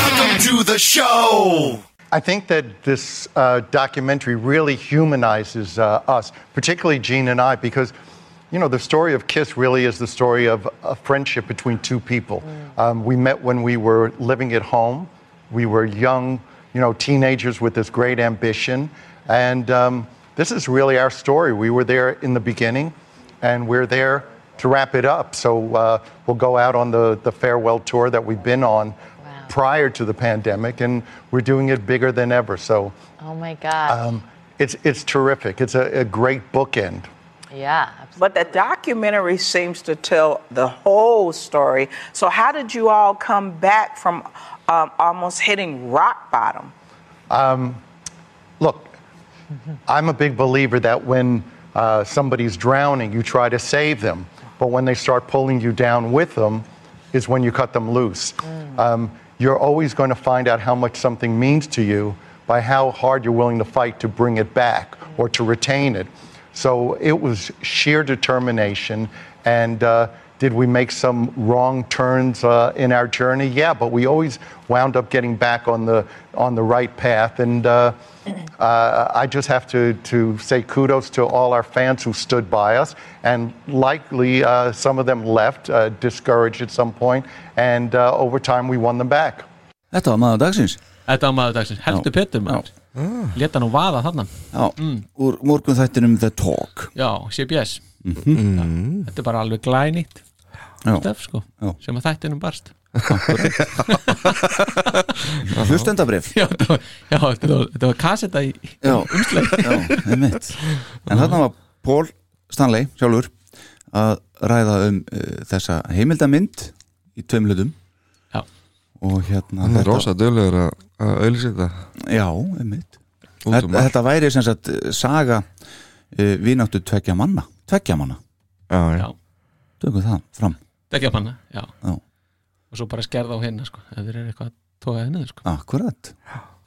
Welcome to the show. I think that this uh, documentary really humanizes uh, us, particularly Gene and I, because you know the story of Kiss really is the story of a friendship between two people. Um, we met when we were living at home. We were young, you know, teenagers with this great ambition, and um, this is really our story. We were there in the beginning, and we're there to wrap it up. So uh, we'll go out on the the farewell tour that we've been on prior to the pandemic, and we're doing it bigger than ever. So Oh my God. um, it's, it's terrific. It's a, a great bookend. yeah. abs- But the documentary seems to tell the whole story. So, how did you all come back from um, almost hitting rock bottom? Look, I'm a big believer that when uh, somebody's drowning, you try to save them. But when they start pulling you down with them, is when you cut them loose. Um, you're always going to find out how much something means to you by how hard you're willing to fight to bring it back or to retain it. So it was sheer determination. And uh, did we make some wrong turns uh, in our journey? Yeah, but we always wound up getting back on the on the right path. And uh, uh, I just have to to say kudos to all our fans who stood by us, and likely uh, some of them left uh, discouraged at some point, and uh, over time we won them back. Þetta var maður dagsins Þetta var maður dagsins, heldur Já. Petur maður Leta nú vaða þarna Já, úr morgun þættinum um The Talk Já, CBS Já, Þetta er bara alveg glænýtt Mhm. Já. Stöf sko, Já. sem að þættinum barst Hlustendabrif Já, þetta var, já, þetta var, þetta var kaseta í Já, já, einmitt En þarna var Paul Stanley sjálfur að ræða um uh, þessa heimildamind í tveim hlutum Já. og hérna Hann er þetta- rosa dölugur að auðlýsa þetta Já, einmitt út um Þetta, allt. þetta væri sem sagt eh, saga uh, vináttu tveggja manna tveggja manna, Já, já. Já. tökum það fram Degja manna, já Já. Og svo bara skerða á hérna sko, ef þeir eru eitthvað tókaði henni sko Akkurat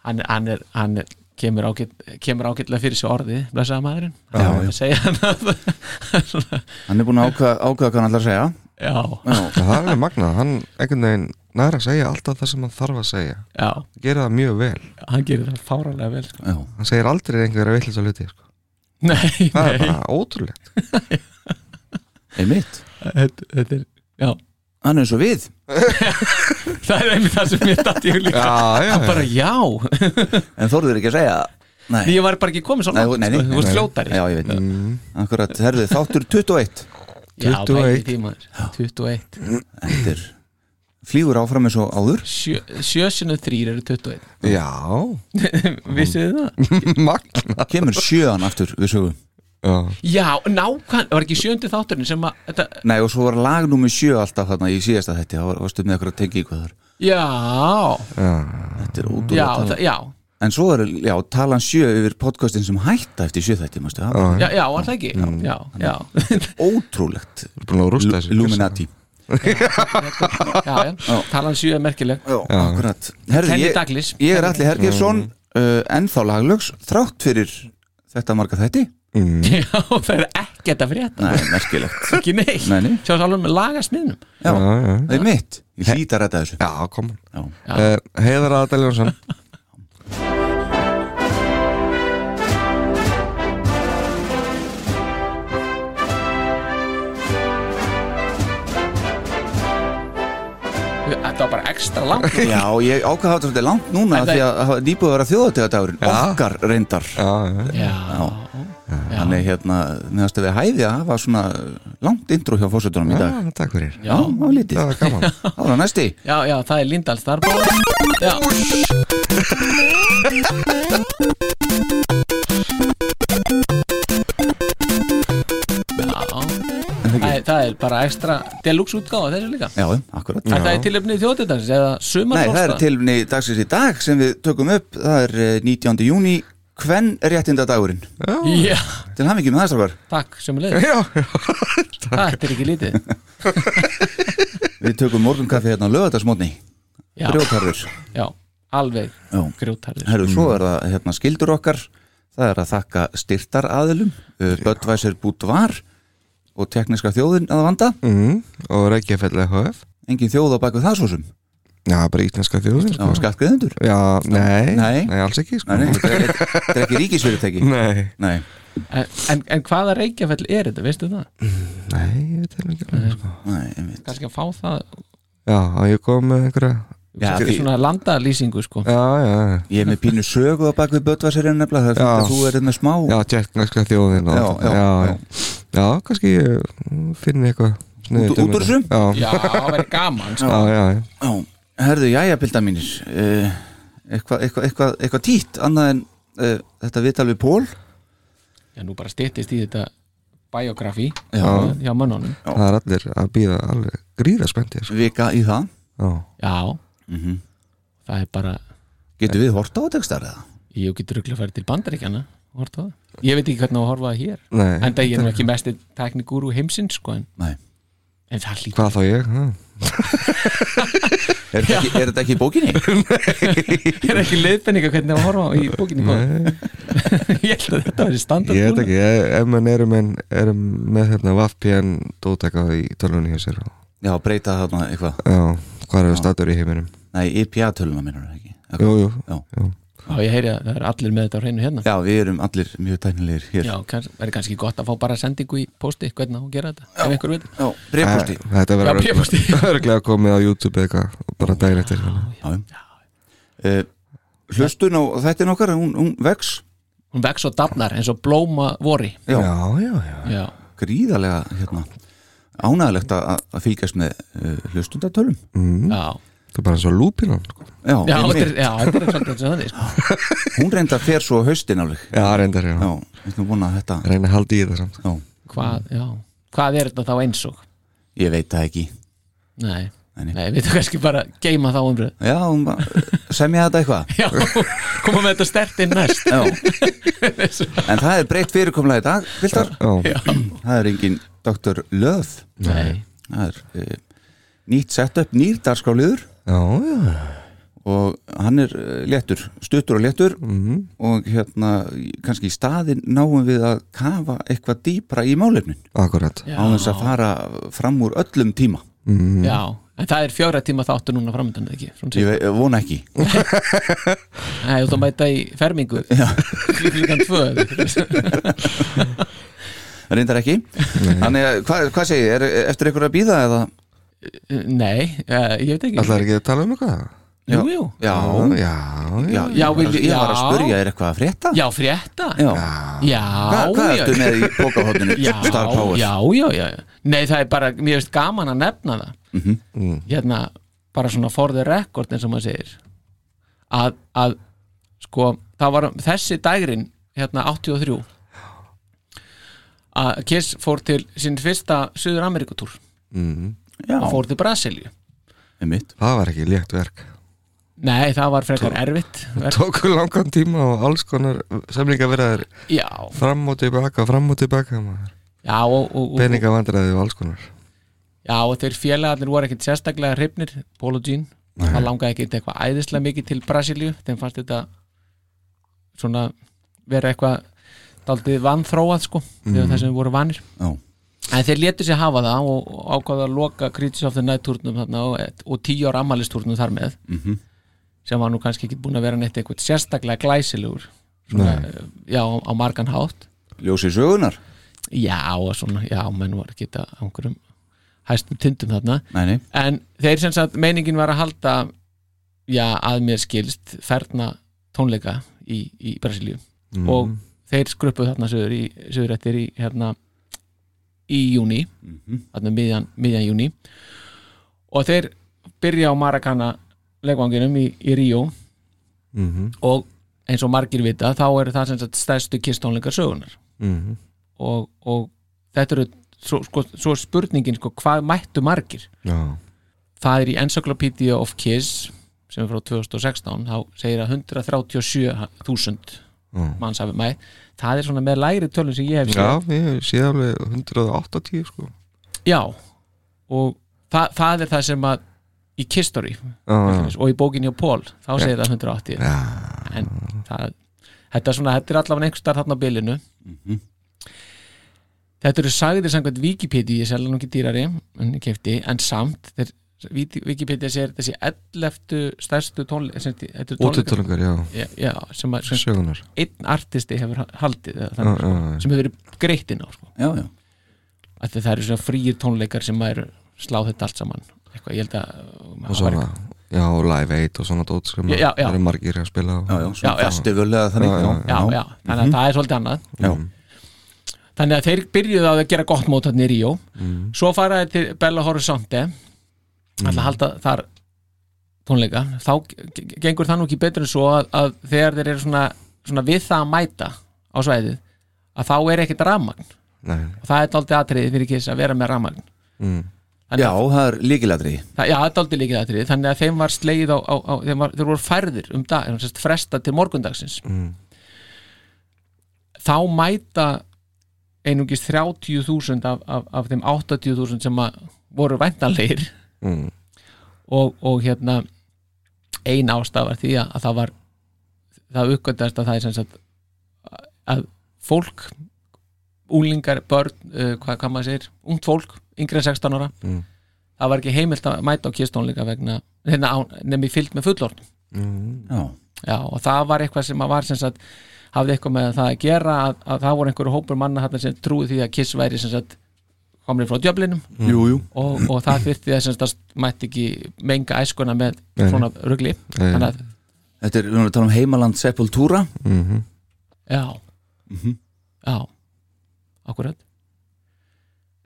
Hann, er- hann er, hann er kemur, ágæt, kemur ágætlega fyrir sér orðið blessaða maðurinn Já, Hann er já. að segja hann að Hann er búin að ákvaða, ákvaða hvað hann ætlar að segja Já, Já, Það er alveg magnað, hann einhvern veginn næra að segja alltaf það sem hann þarf að segja já, gera það mjög vel, hann gerir það fáralega vel sko. já, hann segir aldrei einhverja vitlis hluti, sko. Nei, það er nei, bara ótrúlegt einmitt þetta, þetta er Já, Hann er eins og við það er einmitt það sem mér datt í hug líka Já, já, Hann bara, já. já, En þorður ekki að segja Nei, ég var bara ekki komið svo Nei, langt, nei, sko, nei, þú veist nei. fljótari Já, ég veit Akkurat, herðu, þáttur 21 Já, 21. bæði því, maður. 21 Þetta er flýgur áfram eins og áður Sjö- Sjö sinnum þrýr eru 21 Já, Vissið þið það? magnað Kemur sjöan aftur við sögum Já, Já, nákvæm, var ekki sjöndi þátturinn sem að þetta, Nei, og svo var lag nummer sjö alltaf þarna í síðasta þetta Það var, varstu með eitthvað að tengja ykkur þar Já, Þetta er já, ótrúlega það, já, En svo er, já, talan sjö yfir podcastin sem hætta eftir sjö þætti, mástu það? já, já, var það ekki? Já, já, Ótrúlegt búin að rústa þessu Illuminati já, já, talan sjö er merkileg Já, akkurat Herði, Kenny ég, Douglas ég er Alli Hergersson uh, ennþá laglögs, þrátt fyrir þetta marga þætti Mm. Já, það er ekkert að frétta Nei, merkilegt Ekki neitt, Nei, nei. sjá sálum með lagasmiðnum Já, Já, já, það er mitt Ég hlýt að ræta þessu já, kom Já. uh, Heiðar Adel Jónsson Þetta var bara ekstra langt Já, ég ákvað hafa þetta svolítið langt núna En af því að það er nýbúið að vera þjóðatíðadagurinn Já. okkar reyndar Já, já, Já, Þannig hérna, meðast við hæði að hafa svona langt intro hjá fórsetunum í dag Ah, Já, takk fyrir Já. það var lítið Það var gaman Það var næsti Já, já, það er Lindahl Starbóð Já, já en það Æ, ekki? það er bara ekstra deluxe útgáfa þessu líka Já, akkurat Er það í tilöfnið þjóðdendans eða Nei, það er sumarfrosta? tilni dagsins í dag sem við tökum upp Það er eh, 19. júni Hvenn réttinda dagurinn? Já, Til hann ekki með það strafar takk, sem leið Já, já Þetta er ekki lítið Við tökum morgunkaffi hérna á lögadagsmótni Já, Brjóðkarður já alveg Já. grjótarður Herru, Mm. svo er það hérna skildur okkar það er að þakka styrtar aðilum Böttvæsir bútt var og tekniska þjóðin að vanda mm, Og Reykjafell EHF engin þjóð á baku það svo sem Já, bara íslenska þjóðin það sko. var skattgreðendur Já, nei, Nei. alls ekki sko. Nei, nei, þetta er þetta er ekki ríkisfyrirtæki nei, Nei, en, en, en hvaða reykjafell er þetta, veistu það? Mm, nei, ég veit það ekki alveg, sko. nei, einmitt Kannski að fá það Já, að ég kom með einhverja Já, Þetta er því- svona landalýsingu sko Já, já, já. Ég er með pínu sögu á baku Böttvæsir en nefnilega það er Já. fyrir að þú er með smá já tjekkneska þjóðin og Já, allt já, þetta. já. já, já, kannski ég mm, finn eitthvað sniðugt Út- um út úr þetta. þessu? Já, Já, það verður gaman sko. já, já, já. Já, herðu, jæja, pilda mínir uh, eitthvað eitthva, eitthva, eitthva títt annað en uh, þetta viðtal við Pól Já, nú bara styttist í þetta biografi Já. hjá mönnunum Já. það er allir að býða alveg gríða spenntið sko. vika í það Já. Já, Mhm. það er bara Getum við horta á textar eða? ég getur ruglega að fara til bandaríkjana horta á það Ég veit ekki hvernig á að horfa það hér Nei, En það ég er nú ekki mest teknikúru heimsins sko en, Nei en það líka hvað þá ég já. Er þetta ekki, er þetta ekki í bókinni? er ekki leiðbenninga hvernig á að horfa á í bókinni góð Nei, Ég held að þetta verið standart ég veit ekki, ef ef menn erum, en, erum með hérna VPN dótaka í tölvunni hjá sér og, Já, breyta þarna eitthvað já, hvað eru statur í heiminum Nei, IPA töluna minnur ekki Ok. jú, jú, Já. jú. Já, ég heyri að það er allir með þetta á hreinu hérna Já, við erum allir mjög tæknilegir hér Já, kanns, verður kannski gott að fá bara sendingu í posti hvernig á að gera þetta, ef einhver veit Já breyfbústi Æ, þetta Já, verður bréfposti. örglega komið á YouTube eitthvað og bara daginn eftir þannig. Já, já Hlustun á þættin okkar, hún, hún vex Hún vex og dafnar eins og blóma vori Já. já, já, já Já, Gríðarlega, hérna Ánægilegt að að fylgjast með uh, hlustundatölum Mm. já Það er bara eins og lúpinan sko. Já, Já, einmitt. þetta er já, þetta er svolítið eins og þannig sko. hún reynda að fer svo á haustin alveg Já, reyndar, já, Já, við erum búin að þetta Reyna að halda í það samt Já, Hvað, já, hvað er þetta þá eins og? ég veit það ekki Nei, Nei. nei, við þú kannski bara geima þá umröð Já, hún bara, semja þetta eitthvað Já, koma með þetta stert inn næst Já En það er breytt fyrirkomlega í dag, Viltar Já, Það er engin Dr. Löð Nei, Það er uh, nýtt setup, nýr dagskáliður já, já, og hann er uh, léttur, stuttur og léttur Mhm. og hérna kannski í staðin náum við að kafa eitthvað dýpra í málefnin akkurat já, á þess að fara fram úr öllum tíma já En það er fjóra tíma þáttu núna framöndan eða ekki Svona ég sé. ve- eh, vona ekki Nei, þú ert að mæta í fermingu Klukkan tvö reyndar ekki þannig að hvað, hvað segir, þið? er eh, eftir einhverju að býða eða Nei, eh, ég veit ekki Alltaf er ekki að tala um eitthvað Jú, jú já, Já, já, Já, ég, vil- var, ég var að já. spurja er eitthvað að frétta Já, frétta já. já hvað, hvað já. ertu með í bókahóttinu já, Star Power já, já, já, já. Nei, það er bara, mér finnst gaman að nefna það Mhm. Hérna, bara svona for the record eins og maður segir að, að sko, það var þessi dægrin hérna 83 að Kiss fór til sinn fyrsta Suður Amerikatúr já, og fór til Brasilíu einmitt. það var ekki létt verk Nei, það var frekar erfitt verk. Tóku langan tíma og alls konar samlinga verðar Já, fram og tilbaka, fram og tilbaka maður. já og, og, og, Peninga vandræði og alls konar Já, og þeir félagarnir voru ekkert sérstaklega hrifnir, Pól og Jean það langaði ekkert eitthvað æðislega mikið til Brasilíu þeim fannst þetta svona vera eitthvað daldið vannþróað sko mm. Mhm. það sem voru vanir Já. en þeir letu sér hafa það og og ákváðu að loka Critics of the Night turnum þarna og, og tíu ára ammælisturnum þar með Mhm. sem var nú kannski ekki búin að vera neitt eitthvað sérstaklega glæsilegur svona, eh, já, á margan hátt ljósið sögunar já, og svona, já, menn var ekki þetta á einhverjum hæstum tindum þarna nei, nei. en þeir sem sagt meiningin var að halda Mhm. já að mér skilst ferna tónleika í, í Brasilíu og þeir skruppuð þarna söður, í, söður eftir í, hérna, í júni Mhm. þarna um miðjan, miðjan júni og þeir byrja á Maracana legvanginum í, í Ríó Mhm. og eins og margir vita þá eru það sem sagt stærstu kistónleikar sögunar Mhm. og, og þetta eru svo, sko, svo er spurningin sko, hvað mættu margir Já. það er í Encyclopedia of Kiss sem er frá 2016 þá segir að 137.000 manns hafi mætt það er svona með læri tölum sem ég hef séð. Mm. Já, ég sé alveg 180 sko Já og þa það er það sem að í Kistori já. og í bókinni á Pól þá segir Ah. Já. það 180 en það, þetta er svona þetta er allavega einhver starf þarna á bylinu þetta eru sagðir samkvæmt Wikipedia, ég selja nú ekki dýrari en ég kefti, en samt þeir, Viti- Wikipedia segir þessi 11 stærstu eh, tónleik Útitónleikar, já. já, já sem að sem sagt Sögunar. einn artisti hefur haldið eða þannig, Já, já, já. sko, sem hefur verið greitt inn á sko. já, já. Af því það eru svona fríir tónleikar sem maður slá þetta allt saman eitthvað, ég held að og svona, já, og Live 8 og svona dót sem Já, já, já. eru margir að spila á. Já, já, svona Já, já. festival eða þannig, Já, já, já, þannig að það er svolítið annað Já. þannig að þeir byrjuðu á að gera gott mót hann í Ríó, svo fara þeir til Bella Horizonte alltaf að halda þar tónleika þá g- g- gengur það nú ekki betur en svo að, að þegar þeir eru svona, svona við það að mæta á svæðið að þá er ekkert rafmagn Nei. og það er daldið atriðið fyrir kiss að vera með rafmagn Mm. Þannig já, það er líkilatri Það, já, þetta er aldrei líkið aðtrið, þannig að þeim var slegið á, á, á þeim, var, þeir voru færðir um dag, þannig að fresta til morgundagsins. Mm. Þá mæta einungis 30.000 af, af, af þeim 80.000 sem að voru væntanlegir Mm. og, og hérna ein ástaf var því að, að það var það uppgöndast að það er sem sagt að fólk úlingar, börn, uh, hvað, hvað maður segir ungt fólk, yngri en 16 ára Mm. það var ekki heimilt að mæta á kistónleika vegna, hérna, nefnir fyllt með fullorðnum Mm. já, já, og það var eitthvað sem að var sem sagt hafði eitthvað með það að gera að, að það voru einhverju hópur manna þarna sem trúið því að kiss væri sem sagt komrið frá djöflinum Mm. jú, jú og, og það þyrfti þess að mætti ekki menga æskuna með Nei, nei. svona rugli Nei. þannig að, Þetta er, við erum að tala um heimaland Sepultura Mhm. já já, akkurat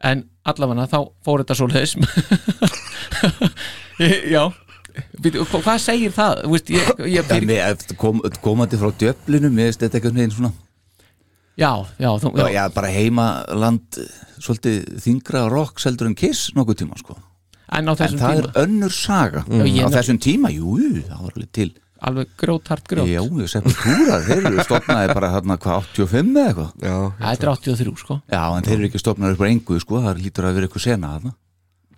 en allavega þá fór þetta svo leðis já Býtu, hva- hvað segir það? Þú Veist, ég, ég Já, fyrir, mér, eftir kom, komandi frá djöflinu mér veist þetta eitthvað neginn svona já, já, þú, já, já, bara heimaland eh, svolítið þingra rock seldur en kiss nokkuð tíma sko en á en þessum það tíma er önnur saga Já, á ég nefn- þessum tíma, jú, jú, það var alveg til alveg grótart grót já, ég sepultúra, þeir eru stofnaði bara þarna hvað 85 eða eitthvað Já, þetta er 83 sko já, en þeir eru ekki stofnaði upp á engu sko, það lítur að vera eitthvað sena þarna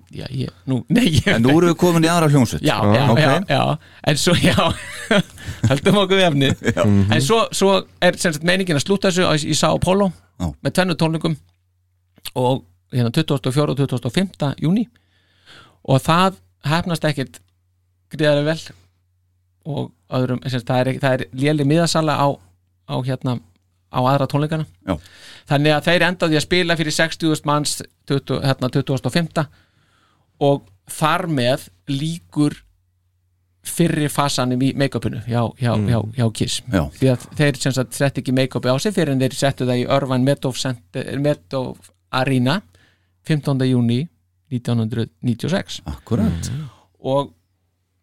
já, ég, nú, nei, ég, en nú erum við komin í aðra hljómsveit já, já, ok. já, já, en svo já, heldum okkur við efni Mhm. en svo, svo er sem sagt meiningin að slúta þessu á- í Sao Paulo Já. með tvennu tónlingum og hérna 24. og 25. júni og það hefnast ekkit gríðarlega vel og öðrum, sem sagt, það er, ekki- það er léli miðasala á, á hérna á aðra tónleikana Já. þannig að þeir endaði að spila fyrir 60.000 manns 20, hérna 2005 og þar með líkur fyrri fasanum í make-upinu hjá, hjá, hjá, hjá Kiss Mm. Já. því að þeir sem sagt sett ekki make-upi á sig fyrir en þeir settu það í Örvan Medov, Center, Medov Arena 15. júni 1996 akkurat, Mm. og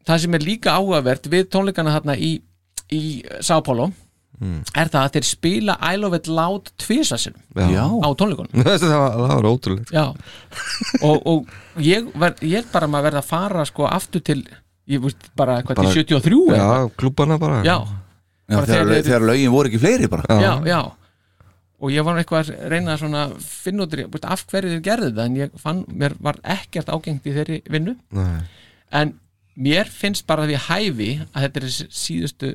það sem er líka áhugavert við tónleikana þarna í, í Sao Paulo Hmm. er það að þeir spila I Love It Loud tvisa sinum já. já, á tónleikunum það, var, það var ótrúlegt Já. og, og ég, ver, ég er bara maður verða að fara sko aftur til ég veist bara hvað Bara- til 73 eða Já, klúbana bara já, já bara þegar, þegar- þegar lögin voru ekki fleiri bara já, já og ég var nú eitthvað að reyna svona að finna út í- veist, af hverju þeir gerðu það en ég fann, mér var ekkert ágengt í þeirri vinnu Nei. en mér finnst bara því hæfi að þetta er síðustu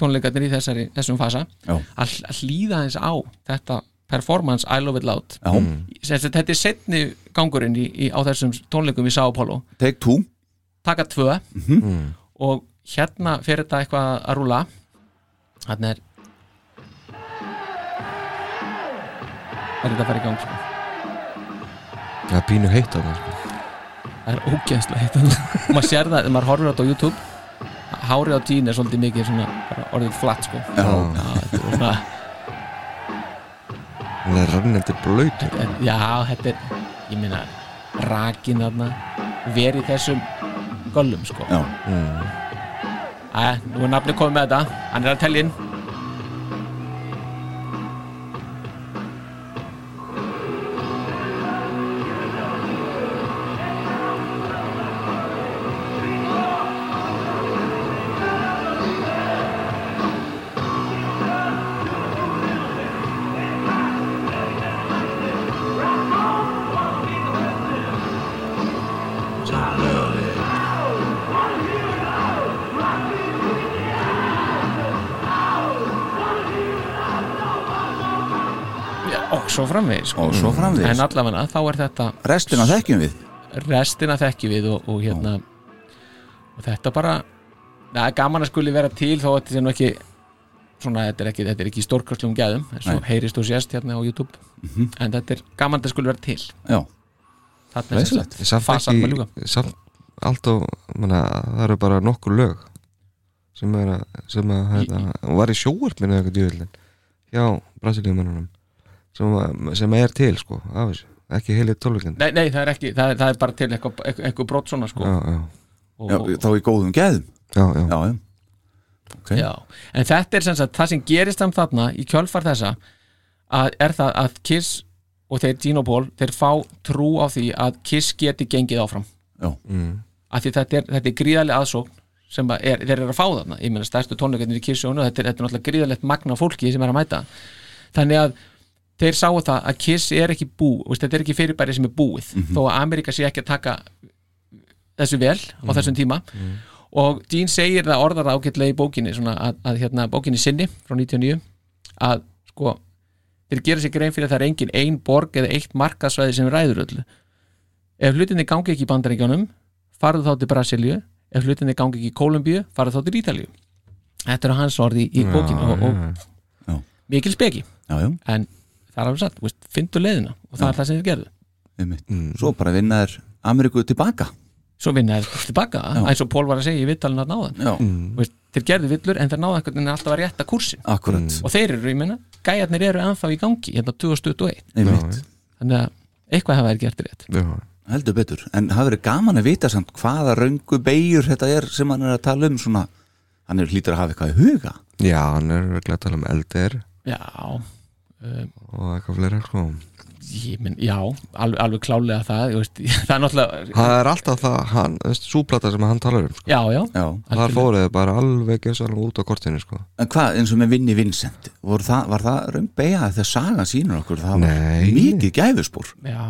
tónleikarnir í þessari, þessum fasa Já. að, hl- að hlýða eins á þetta performance I Love It Loud já, Sem sagt, þetta er setni gangurinn í, í, á þessum tónleikum í Sao Paulo take two taka tvö og hérna fer þetta eitthvað að rúla þannig er er þetta að fara í gang sko. Það er pínu heitt á það sko. það er ógeðslega heitt og maður sér það, þegar maður horfir á þetta á YouTube hárið á tíin er svolítið mikið svona bara orðið flatt sko já, Já, þetta er svona Hún er rannendur blöytur Já, þetta er, ég meina rakin þarna verið þessum göllum sko Já. Æ, nú er nafni komið með þetta hann er að telja inn Já, og svo framvegis sko. Og svo framvegis. en allavega þá er þetta Restina þekkjum við restina þekki við og, og hérna og þetta bara það er gaman að skuli vera til þó að þetta sé nú ekki svona, þetta er ekki, þetta er ekki stórkastlum gæðum eins og Nei. heyrist og sést hérna á YouTube Mhm. en þetta er gaman að þetta skuli vera til Já, þarna er reysilegt Samt Fasan með ljúka. ekki samt, Allt og manna, Það eru bara nokkur lög Sem er að, sem að hérna, Hún var í sjóvarpinu eða eitthvað djöðlin Já, brasilíumannunum sem, að- sem er til sko af þessu Ekki heilið tólvíkend Nei, nei, það er ekki, það er, það er bara til eitthvað, eitthvað, eitthvað brot svona sko Já, já, og, Já, þá í góðum gæðum já, já. Já, já okay. Já, en þetta er sem sagt það sem gerist um þarna í kjölfar þessa að er það að Kiss og þeir Gino Paul, þeir fá trú á því að Kiss geti gengið áfram Já. af því þetta er, þetta er gríðarlega aðsókn sem að er, þeir eru að fá þarna ég meina stærstu tónleikarnir í Kiss sjónu þetta er, þetta er náttúrulega gríðarlegt magna af fólki sem er að mæta þannig að þeir sáu það að Kiss er ekki bú veist, þetta er ekki fyrirbæri sem er búið þó að Amerika sé ekki að taka þessu vel á þessum tíma og Dean segir það orðar það ágætlega í bókinni svona að, að hérna, bókinni sinni frá 99 að sko þeir gera sér grein fyrir að það er engin ein borg eða eitt markasvæði sem ræður öllu ef hlutinni gangi ekki í bandaríkjónum farðu þá til Brasilíu ef hlutinni gangi ekki í Kólumbíu farðu þá til Ítalíu þetta eru hans orði í bókinni og, og Já. mikil speki já, já, en það er alveg satt, þú veist, fyndu leiðina og það er það sem þið gerðu einmitt Mm. Svo bara vinna þær Ameríku tilbaka svo vinna þeir tilbaka, eins og Pól var að segja í vittalinn að náðan, Já, mm. veist, þeir gerðu villur en þeir náðu einhvern veginn alltaf að rétta kursin akkurat, og þeir eru, ég meina, gæjarnir eru ennþá í gangi hérna 2021, einmitt þannig að eitthvað hafa þeir gert rétt já. Heldur betur, en það verið gaman að vita samt hvaða röngu beigur þetta er sem hann er að tala um svona, hann er hlýtur að hafa eitthvað í huga já hann er örugglega að tala um LDR já, um, og eitthvað fleira sko ég meina, já alveg, alveg klálega það, ég veist, það er náttúrulega Það er alltaf það, hann, súplata sem hann talar um sko. já, já, Já, Það fóruðu bara alveg gjössalega út á kortinu sko. en hvað eins og með vinni Vincent, voru það, var það röng beiga þegar sagan sýnur okkur, það var Nei. mikið gæfuspor já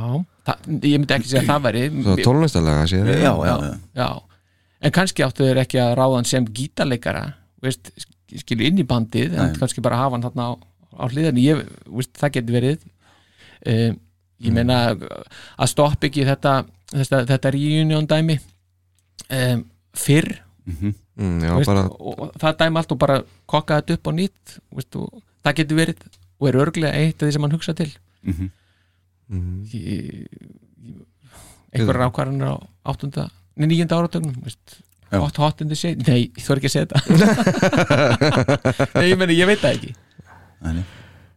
það, ég myndi ekki segja að það væri Svo tónlistalega séð Já, já, já, já, en kannski áttu þeir ekki að ráða hann sem gítarleikara veist, sk- skilu inn í bandið en Nei. kannski bara hafa hann þarna á, á hliðan ég, veist, það getur verið um, ég meina að stoppa ekki þetta þetta, þetta reunion dæmi um, fyrr mm, Já, veist, bara og, og það dæmi allt og bara kokka þetta upp á nýtt veist, og, það getur verið og er örglega eitt af því sem hann hugsa til mm, Ég- ég- einhverjar ákvarðanir á áttunda, nei, nýjunda áratögnum veist, Já. hot, hot in the shade nei, þú er ekki að segja þetta nei, ég meni, ég veit það ekki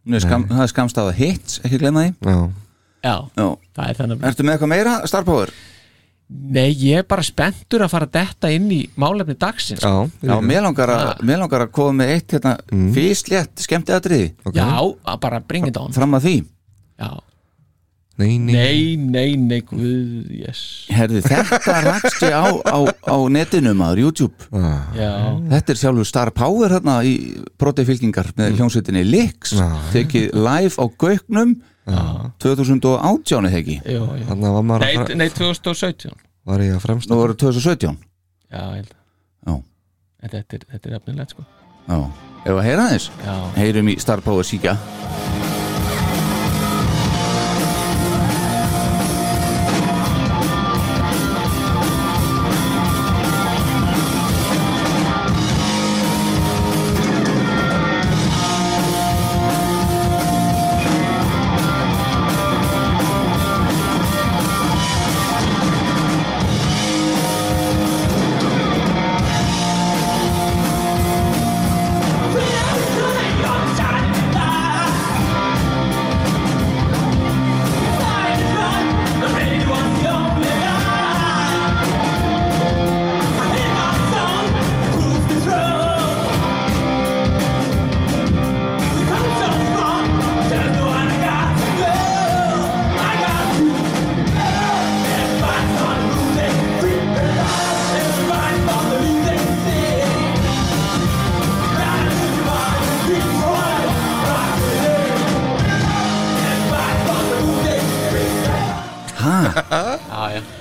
Nú er skam, það er skamstaða hits, ekki glemma því já. já, Já, það er þannig ertu með eitthvað meira, starfbóður? nei, ég er bara spenntur að fara að detta inn í málefni dagsins Já, Já, mér langar, að, mér langar að koma með eitt hérna, mm. fyrstlétt skemmtiatriði ok. já, að bara bringi þetta án fram að því já. Nei, nei, nei, nei, nei, guð yes. Herði, þetta rakst ég á, á, á netinu maður, YouTube Ah. já, Þetta er sjálfur Star Power hérna í protifylkingar með hljómsveitinni Lix tekið live á Gauknum 2018 eða ekki já, já Þannig Ah. var maður að nei, fre- nei 2017 var ég að fremsta Nú voru 2017 já, ég held Já. að En þetta er, þetta er efnilegt sko Já, ef að heyra þess já, Heyrum í Star Power síkja We're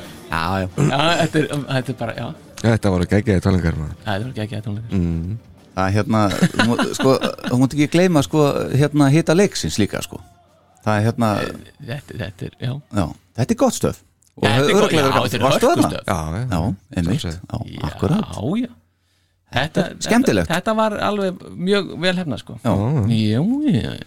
þetta er, um, þetta er bara, já Þetta voru geggjaði talingar maður Það er ekki ekki að tónleika mm. að hérna þú mátt- sko, þú mátt ekki gleyma sko, hérna hita leiksins líka sko. það er hérna þetta, þetta er, já já, þetta er gott stöf og Þetta er hefur gott- örugglega verið já, gott. þetta er Varstu þarna? hörkustöf. Já, já, já, einmitt, Mm, Sjálfsögðu. já, akkurat Já, já Þetta, skemmtilegt. þetta, þetta var alveg mjög vel hefna sko Já. já, já.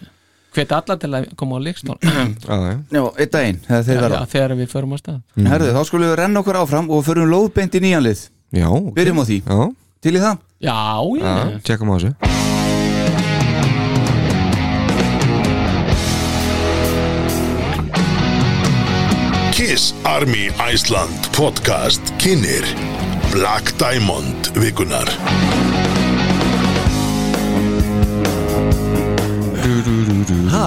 Hvet alla til að koma á leikstól já, Já, já Já, einn daginn, þegar þeir verða já, þegar við förum á stað Herðu, þá skulum við renna okkur áfram og förum lóðbeint í nýjanlið Já, ok. Byrjum á því. Já, Til í það? Já, já, já, tjekkum á þessu Kiss Army Iceland podcast kynir Black Diamond vikunar Ha?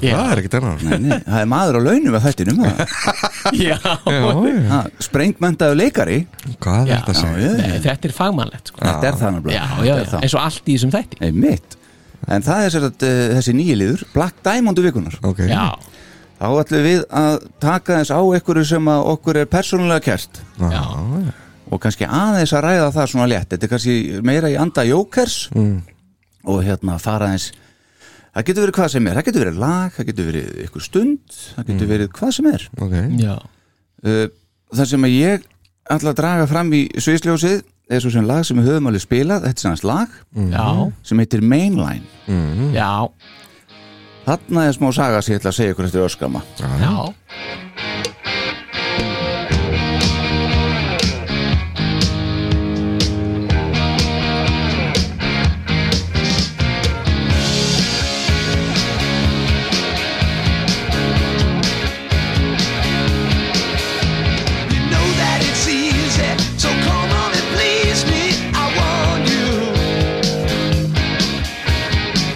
Það er ekkert annar Nei, nei, það er maður á launum að þættinum það. já. Já, já ha, Sprengmentaðu leikari Hvað er Já. þetta að Já, segja? Ah, já, já. Nei, Þetta er fagmannlegt sko Þetta er það Já, náttúrulega já, Þetta er já, það. eins og allt í þessum þætti Nei, mitt En það er sér að uh, þessi nýji liður Black Diamond vikunar Ok Já, Þá ætlum við að taka þess á einhverju sem að okkur er persónulega kert Já, já, og kannski aðeins að ræða það svona létt Þetta er kannski meira í anda jókers Mm. og hérna fara aðeins Það getur verið hvað sem er, það getur verið lag, það getur verið ykkur stund, það Mm. getur verið hvað sem er ok já Uh, Það sem að ég ætla að draga fram í sviðsljósið er svo sem lag sem við höfum alveg spilað, þetta er sannast lag Mhm. Já, sem heitir Mainline Mm. já, Þarna er smá saga sem ég ætla að segja ykkur eftir öskama já You know that it's easy, so come on and please me. I want you.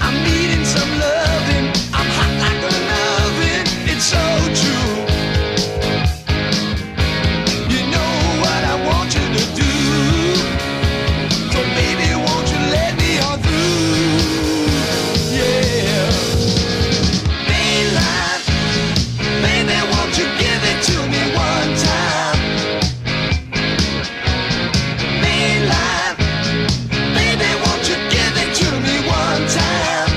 I'm needing some loving. I'm hot like an oven. It's so true. You know what I want you to do. So baby, won't you let me on through? Yeah. Mainline. Baby, won't you give it to me one time? Mainline. Baby, won't you give it to me one time?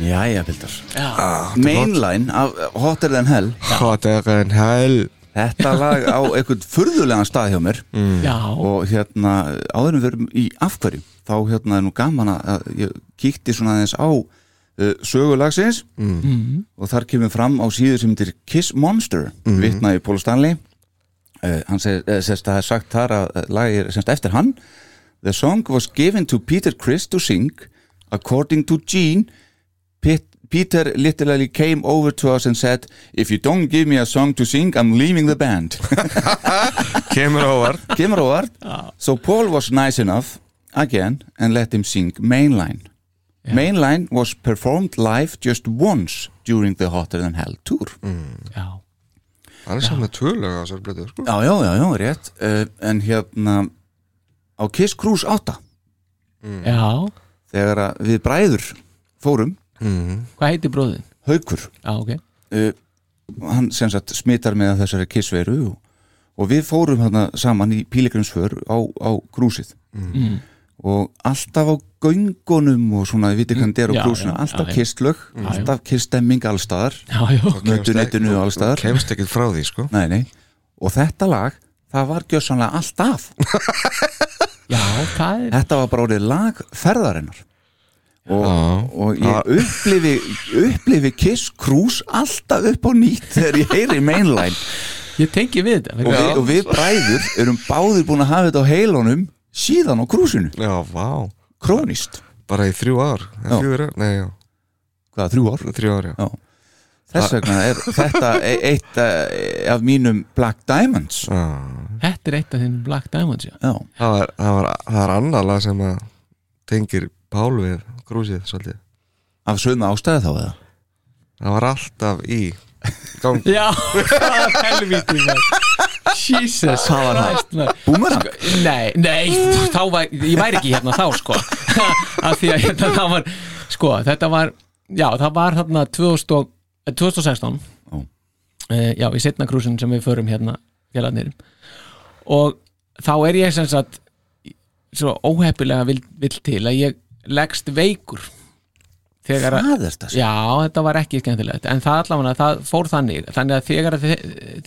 Jæja, Pildar Ah. Mainline af Hotter Than Hell Hot er en hell Þetta lag á einhvern furðulegan stað hjá mér Já, Oh. og hérna áðurum við erum í afhverju þá hérna er nú gaman að- að ég kíkti svona aðeins á uh, sögulagsins og þar kemur fram á síðu sem heitir Kiss Monster mm. vitnaði Paul Stanley uh, hann segir, uh, sérst að það er sagt þar að eh, lagið er sérst eftir hann The song was given to Peter Chris to sing according to Gene Pit, Peter literally came over to us and said if you don't give me a song to sing I'm leaving the band Kemur óvart kemur á vart so Paul was nice enough again and let him sing Mainline Mainline was performed live just once during the Hotter Than Hell tour já, Það er saman tvölega á þessar blötu sko. já, já, já, já, rétt uh, en hérna á Kiss Cruise 8 já þegar að við bræður fórum Hvað heitir bróðin? haukur Já, ok uh, hann sem sagt smittar með þessari kissveru og, og við fórum hérna saman í pílegrimsför á, á krúsið Mm. og alltaf á göngunum og svona, við veitum hvernig þetta er á Já, krúsinu já, alltaf já, já. kistlög, alltaf kiststemming allstaðar, Já, já, um mötuneytinu allstaðar Kemst ekkert frá því sko nei, nei, og þetta lag það var gjössanlega alltaf já, það er þetta var bara orðið lag ferðarinnar og, og Já. ég upplifi, upplifi Kiss Cruise alltaf upp á nýtt þegar ég heyri mainline Ég tengi við þetta og, vegna- við, og við bræður erum báðir búin að hafa þetta á heilunum síðan á krúsinu, Já, vá krónist Bara í þrjú ár Já. Fjögur ár, nei já hvaða, þrjú ár Þrjú ár, já Já. þess vegna er þetta e- eitt eh, af mínum Black Diamonds Já. Þetta er eitt af þínum Black Diamonds, já já, Það var, það var, það var annað lag sem að tengir Pál við grúsið svolítið af sömu ástæði þá eða Það var alltaf í gangi Já, það er helvítið maður Jesus Christ maður. Boomerang? Sko, Nei, nei, þá var Ég væri ekki hérna þá, sko Af því að hérna það var Sko, þetta var, já, það var hérna 2000 og- eh, 2016 Ó. Eh, Já, í setna krúsin sem við förum hérna félagarnir og þá er ég sem sagt svo óheppilega vill, vill til að ég leggst veikur þegar að Það er þetta Já, þetta var ekki skemmtilegt en það allavega, það fór þannig þannig að þegar að,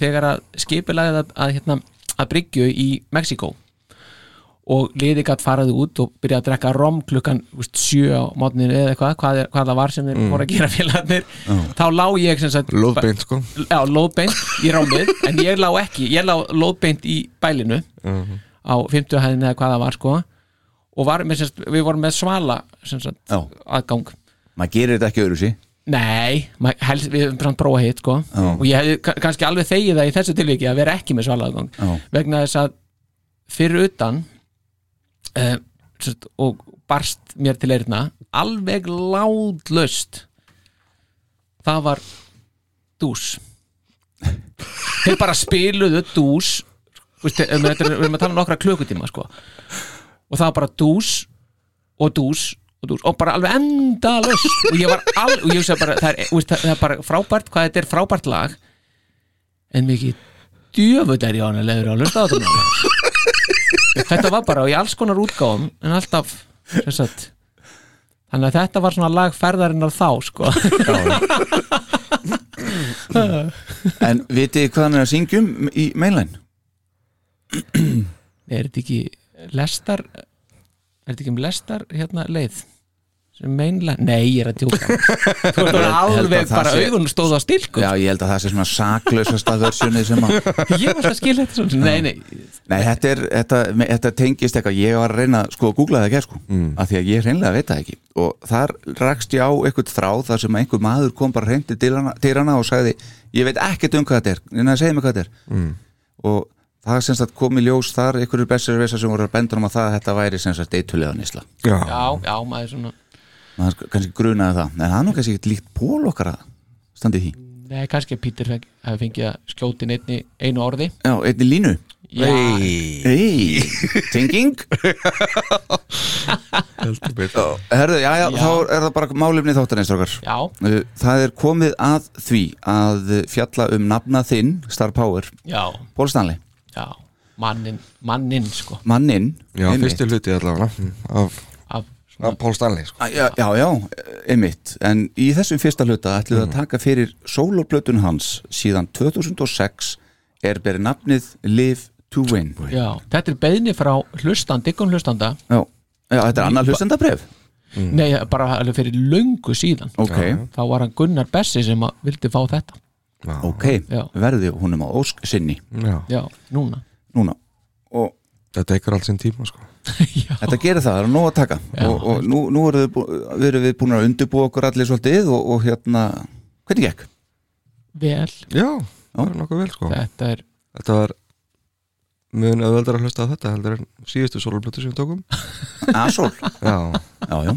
þegar að skipilagið að, að, hérna, að bryggju í Mexíkó og liði gætt faraði út og byrjaði að drekka rom klukkan veist, sjö á mótninu eða eitthvað hvað, er, hvað það var sem þeir voru að gera félagarnir þá lá ég sem sagt Mm. Lóðbeint, sko. Já, lóðbeint í rómið en ég lá ekki, ég lá lóðbeint í bælinu Mhm. á 50 hæðinu eða hvað það var sko og var, með, sem sagt, við vorum með svala sem sagt, Já. aðgang Maður gerir þetta ekki öðru sí Nei, ma- helst, við höfum samt prófa hitt sko. og ég hefði ka- kannski alveg þegið það í þessu tilviki að vera ekki með svalaðgang Já. vegna þess að fyrir utan eh, sérst, og barst mér til eirna alveg láðlöst það var dús þeir bara spiluðu dús Vist, við erum að tala um nokkra klukkutíma sko. og það var bara dús og dús og dús og bara alveg endalaust og ég var al, og ég hugsaði bara það er, veist, það, það er bara frábært, hvað þetta er frábært lag en mikið djöfull er ég ánægilegur á hlusta á þetta lag. þetta var bara í alls konar útgáfum en alltaf sem sagt, þannig að þetta var svona lag ferðarinnar þá sko En vitið þið hvað hann er að syngjum í mainline? er þetta ekki lestar er þetta ekki um lestar hérna leið sem meinlega, nei ég er að tjóka þú ert orðinn held að alveg það bara sé- augunum stóð á stilku Já, ég held að það sé svona saklausasta versjónið sem að ég var svo að skilja þetta svona nei, nei, Nei, þetta, er, þetta, me- þetta tengist eitthvað Ég var að reyna sko að googla það ekki sko, mm. af því að ég hreinlega veit það ekki og þar rakst ég á eitthvað þráð þar sem einhver maður kom bara hreint til dyrana, dyrana og sagði, ég veit ekkert um hvað þetta er en það segir mig hvað þetta er mm. og það sem sagt kom í ljós þar einhverjur bestur veisa sem voru að benda um að það að þetta væri sem sagt eitulega nýsla Já, já, já, maður svona maður sk- kannski grunaði það, en það er nú kannski ekkert líkt pól okkar að standi í því nei, kannski að Pítur feng- hafi fengið að skjóti inn einni, einu orði Já, einni línu já, Hey, tenging heldur betur Ó, Herðu, já, já, Já. þá er það bara málefni þáttarins okkar já, Uh, Það er komið að því að uh, fjalla um nafna þinn, Star Power, já, Paul Stanley, já mannin, mannin sko manninn Já, einmitt. fyrsti hluti allavega mm, af, af, af Paul Stanley, sko Æ, Já, já, já, einmitt En í þessum fyrsta hluta ætlum Mhm. við að taka fyrir sóloplötun hans síðan 2006 er berið nafnið Live to Win já, þetta er beðni frá hlustan, diggum hlustanda Já, já þetta er annar hlustendabref Mm. nei, bara alveg fyrir löngu síðan Ok, þá var hann Gunnar Bessi sem að vildi fá þetta ok, Já. verði húnum á ósk sinni Já, já, núna núna og þetta tekur alls einn tíma, sko Þetta gerir það, það er nóg að taka og, og nú, nú erum við, bú- erum við búin að undirbúa okkur allir svolítið og, og hérna hvernig gekk? vel, Já, það er nokkuð vel, sko þetta er Þetta var mun auðveldar að hlusta á þetta heldur en síðustu sólblötu sem við tókum Asól Já, Já, já,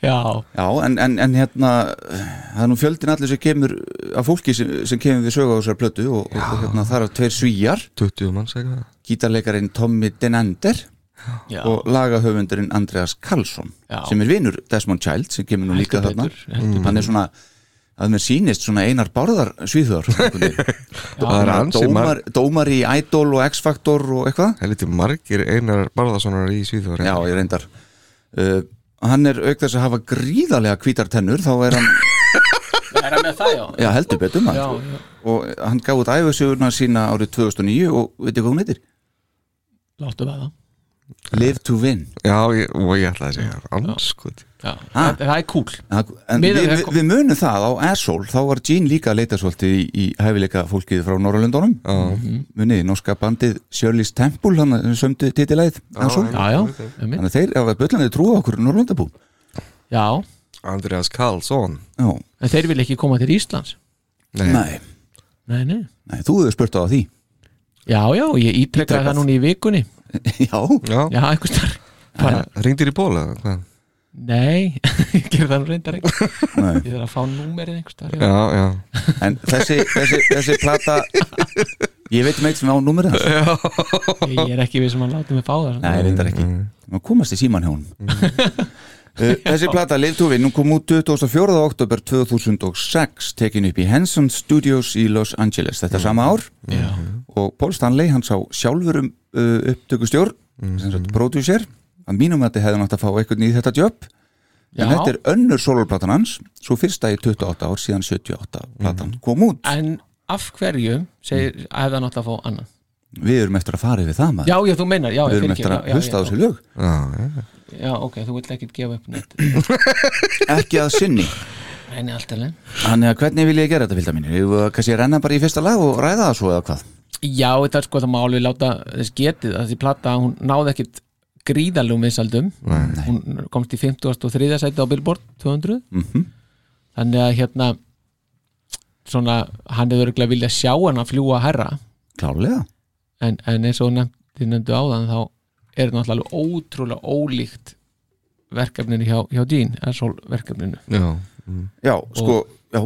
já, já en, en, en hérna það er nú fjöldin allir sem kemur af fólki sem, sem kemur við sögu á þessar plötu og, og, og hérna það eru tveir svíjar 20 manns eitthvað gítarleikarin Tommy Denander já, og lagahöfundurinn Andreas Karlsson Já. sem er vinur Desmond Child sem kemur nú líka Heldur þarna betur, heldur hann er svona að mér sýnist svona einar bárðar svíþjóðar einhvern veginn. Það er ansi dómar, marg dómar í Idol og X-Factor og eitthvað Heldur margir einar barðasonar í Svíþjóri Já, ég reyndar uh, Hann er auk þess að hafa gríðarlega hvítar tennur þá er hann, er hann með það já já heldur betur já, maður og hann gaf út æfisugurna sína árið 2009 og veitir hvað hún heitir? láttu við það Live to Win Já, ég, og ég ætla að segja Anskut já, Ah. það, það er cool En við, Miðað við- við, við munum það á Asshole þá var Gene líka að leita svolítið í, í hæfileika fólkið frá Norrlundunum munið, norska bandið Shirley's Temple hann sömdu titilæð Asshole já, já, um Þannig að þeir hafa böllandi trú á okkur Norrlundabú já, Andreas Karlsson Já, en þeir vil ekki koma til Íslands nei, nei, nei, nei, þú hefur spurt á því já, já, ég ítrekkaði Ítrekað. það núna í vikunni Já, Já, já, einhvers þar bara, ringdir í bóla hvað? nei, ég gerði það nú reyndar ekki nei ég þarf að fá númerið einhvers þar Já, já En þessi, þessi, þessi plata Ég veit um eitt sem á númerið hans ég, ég er ekki við sem að um láta mig fá það Nei, reyndar ekki Nú komast í síman hjá hún Uh, Þessi plata Live to Win hún kom út 24. oktober 2006 tekin upp í Henson Studios í Los Angeles þetta sama ár Já. og Paul Stanley hann sá sjálfur um uh, upptökustjórn sem sagt producer að mínum að þetta hefði nátt að fá eitthvað í þetta jobb Já. en þetta er önnur soloplatan hans svo fyrsta í 28 ár síðan 78 platan kom út En af hverju segir, Mm. hefði hann átt að fá annan? við erum eftir að fara yfir það maður Já, já, þú meinar, já, við ég erum eftir fyrirgef, já, já, að hlusta á já, þessu lög já, já. Já, ok, þú vill ekkert gefa upp neitt ekki að sinni Reyni alltaf leið Þannig að hvernig vil ég gera þetta fylgda mínir? Ég, kannski renna bara í fyrsta lag og ræða það svo eða hvað? Já, þetta er sko það má alveg láta þess getið að þessi plata, hún náði ekkit gríðalum vinsaldum hún komst í 53. sæti á Billboard 200 Mhm. þannig að hérna svona, hann hefur örgulega viljað sjá hann að fljúa herra Klálega en, en eins og nefnt, þið nefndu áðan þá er þetta náttúrulega alveg ótrúlega ólíkt verkefninu hjá, hjá Jean, Asshole verkefninu já. Já, sko, já,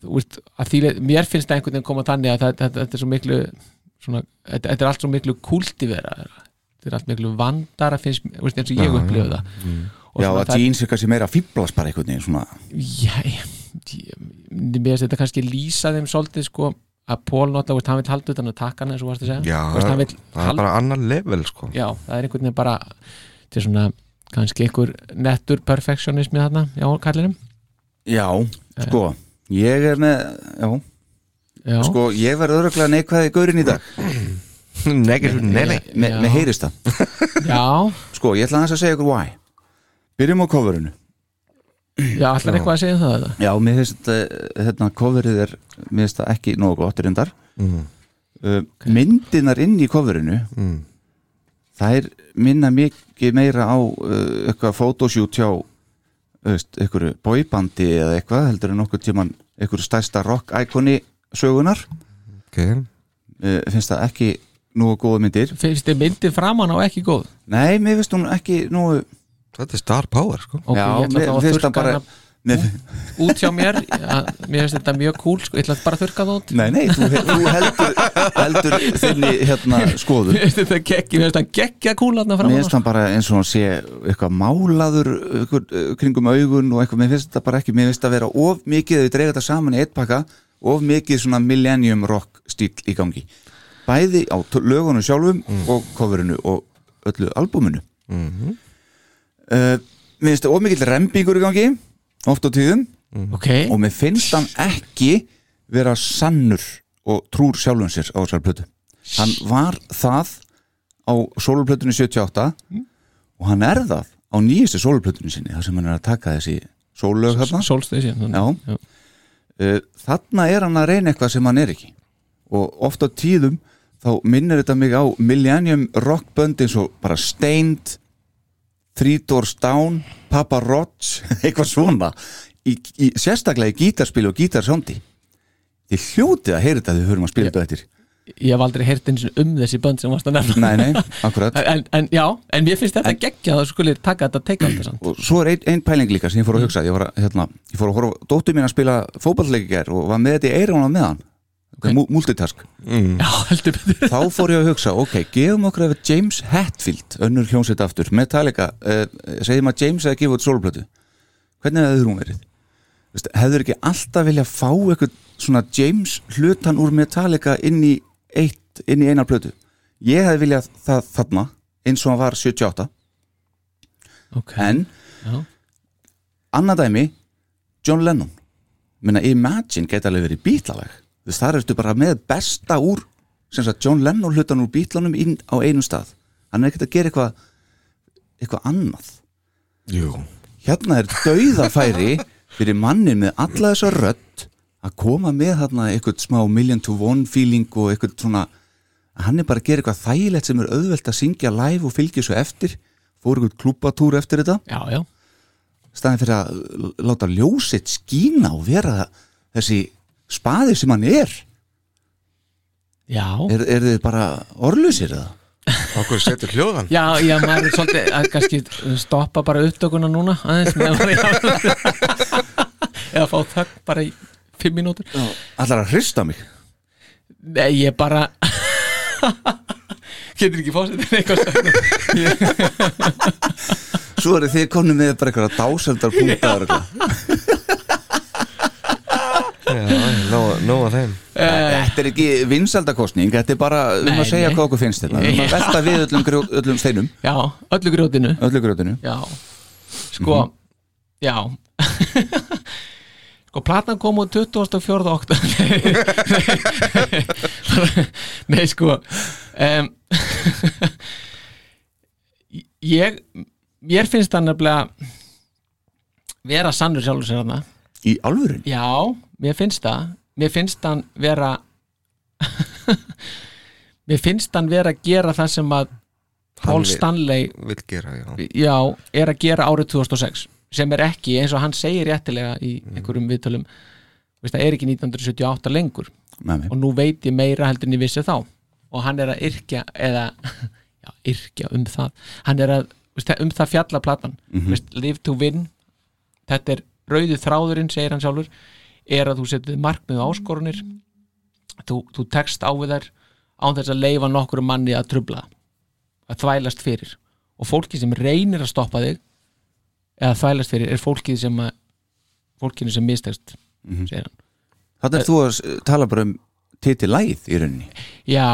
Þú veist, að því, leið- mér finnst það einhvern veginn koma þannig að þetta, þetta, þetta er svo miklu svona, þetta, þetta er allt svo miklu kultivera þetta er allt miklu vandara finnst, mér, þú veist, eins og ég upplifði það og já svona að jeans er kannski meira að fýblast bara einhvern veginn svona Já, ég, ég, mér finnst þetta kannski lýsa þeim svolítið sko að Pól nota, veist, hann vil halda utan að taka hann eins og varst að segja já Þú veist, hann vill það er halda- bara annar level sko já, það er einhvern veginn bara til svona kannski einhver nettur perfectionismi þarna, já, kallinum Já, sko, ég er með, já, já, sko, ég verð öruglega neikvæði gaurin í dag Nei, nei, nei Me, Já. Með heyrist það já, Sko, ég ætla aðeins að segja ykkur why Byrjum á coverinu já allar eitthvað að segja um það eða? Já, mér finnst eh, hérna coverið er, mér finnst það ekki nógu gott reyndar mm. Myndinar inn í coverinu mm. þær minna mikið meira á uh, eitthvað photoshoot hjá veist, einhverju bóibandi eða eitthvað heldur en okkur tíman einhverju stærsta rock iconi sögunar ok, uh, finnst það ekki nógu góða myndir finnst þið myndin framan á ekki góð Nei, mér finnst hún ekki nógu þetta er star power sko ok, ég ætla þá að þurka hana Mér, út hjá mér að, mér finnst þetta mjög cool, sko, ég ætla bara að þurka það út nei, nei, þú, þú heldur, heldur þinni hérna skoðun mér finnst þetta gegg, mér finnst þetta geggja cool þarna Mér framan á finnst hann bara eins og hann sé eitthvað málaður eitthvað, uh, kringum augun og eitthvað, mér finnst þetta bara ekki mér finnst það vera of mikið, ef við dreigum þetta saman í eitt pakka of mikið svona millennium rock stíl í gangi bæði á t- lögunum sjálfum og coverinu og öllu albúminu uh, Mér finnst það of mikið rembingur í gangi oft á tíðum ok, og mér finnst hann ekki vera sannur og trúr sjálfum sér á þessari plötu hann var það á sóluplötunni 78 og hann er það á nýjustu sóluplötunni sinni þar sem hann er að taka þessi sóllög hérna solstation Já. Uh, þarna er hann að reyna eitthvað sem hann er ekki og oft á tíðum þá minnir þetta mig á Millennium Rockbönd eins og bara Stained Three Doors Down Papa Roach, eitthvað svona í, í, sérstaklega í gítarspil og gítarsándi þið hljótið að heyra þetta þegar við höfum að spila þetta eftir ég hef aldrei heyrt eins og um þessi bönd sem varst að nefna nei, nei, akkurat en, en já, en mér finnst þetta geggja að þú skulir taka þetta teikandi samt og svo er ein, ein pæling líka sem ég fór að hugsa ég, var að, hérna, ég fór að horfa, dóttu mín að spila fótballleikir og var með þetta í eirónu með hann okay. multitask já, heldur betur þá fór ég að hugsa, ok, gefum okkur ef James Hetfield, önnur hljómsveit aftur Metallica, uh, segjum að James hefði gefið út sólplötu, hvernig hefur hún verið? Vist, hefur ekki alltaf vilja fá eitthvað svona James hlutan úr Metallica inn í eitt, inn í einar plötu ég hefði viljað það þarna eins og hann var 78 ok, en Já. annað dæmi John Lennon Minna, Imagine geta alveg verið bítlalag þess þar ertu bara með besta úr sem sagt John Lennon hlutan úr bítlanum inn á einum stað hann er ekkert að gera eitthvað eitthvað annað jú hérna er dauðafæri fyrir mannin með alla þessa rödd að koma með þarna eitthvað smá million to one feeling og eitthvað svona hann er bara að gera eitthvað þægilegt sem er auðvelt að syngja live og fylgja svo eftir fór eitthvað klúpatúr eftir þetta já, já, staðin fyrir að láta ljósitt skína og vera þessi spaði sem hann er já er, er þið bara orlusir það? okkur setur hljóðan já, já, maður er svolítið að kannski stoppa bara upptökuna núna aðeins með að eða fá þögn bara í fimm mínútur Allar að hrista mig nei, ég bara getur ekki fórsetið eitthvað svo eru þið konum með bara eitthvað dáseldar punktar já. Nó að þeim þetta er ekki vinsaldakostning þetta er bara um Nei, að segja nei. hvað okkur finnst þetta um Já. að velta við öllum, grjó, öllum steinum Já, öllu grjótinu öllu grjótinu Já, sko Já Sko, platan kom út 24. oktober Nei, sko um, Ég Mér finnst það nefnilega vera sannur sjálfur sér þarna í alvörun Já, mér finnst það Mér finnst hann vera Mér finnst hann vera að gera það sem að Paul vill. Stanley Vil gera, já já, er að gera árið 2006 sem er ekki, eins og hann segir réttilega í einhverjum viðtölum veist, það er ekki 1978 lengur Nei, nei. og nú veit ég meira heldur en ég vissi þá og hann er að yrkja eða, já, yrkja um það hann er að, veist, um það fjalla platan veist, live to win þetta er rauðu þráðurinn, segir hann sjálfur er að þú setur markmið og áskorunir þú, þú tekst á við þær án þess að leifa nokkru manni að trubla að þvælast fyrir og fólki sem reynir að stoppa þig eða þvælast fyrir er fólkið sem að fólkinu sem mistekst segir hann þannig er þú að s- tala bara um titilæð í rauninni Já,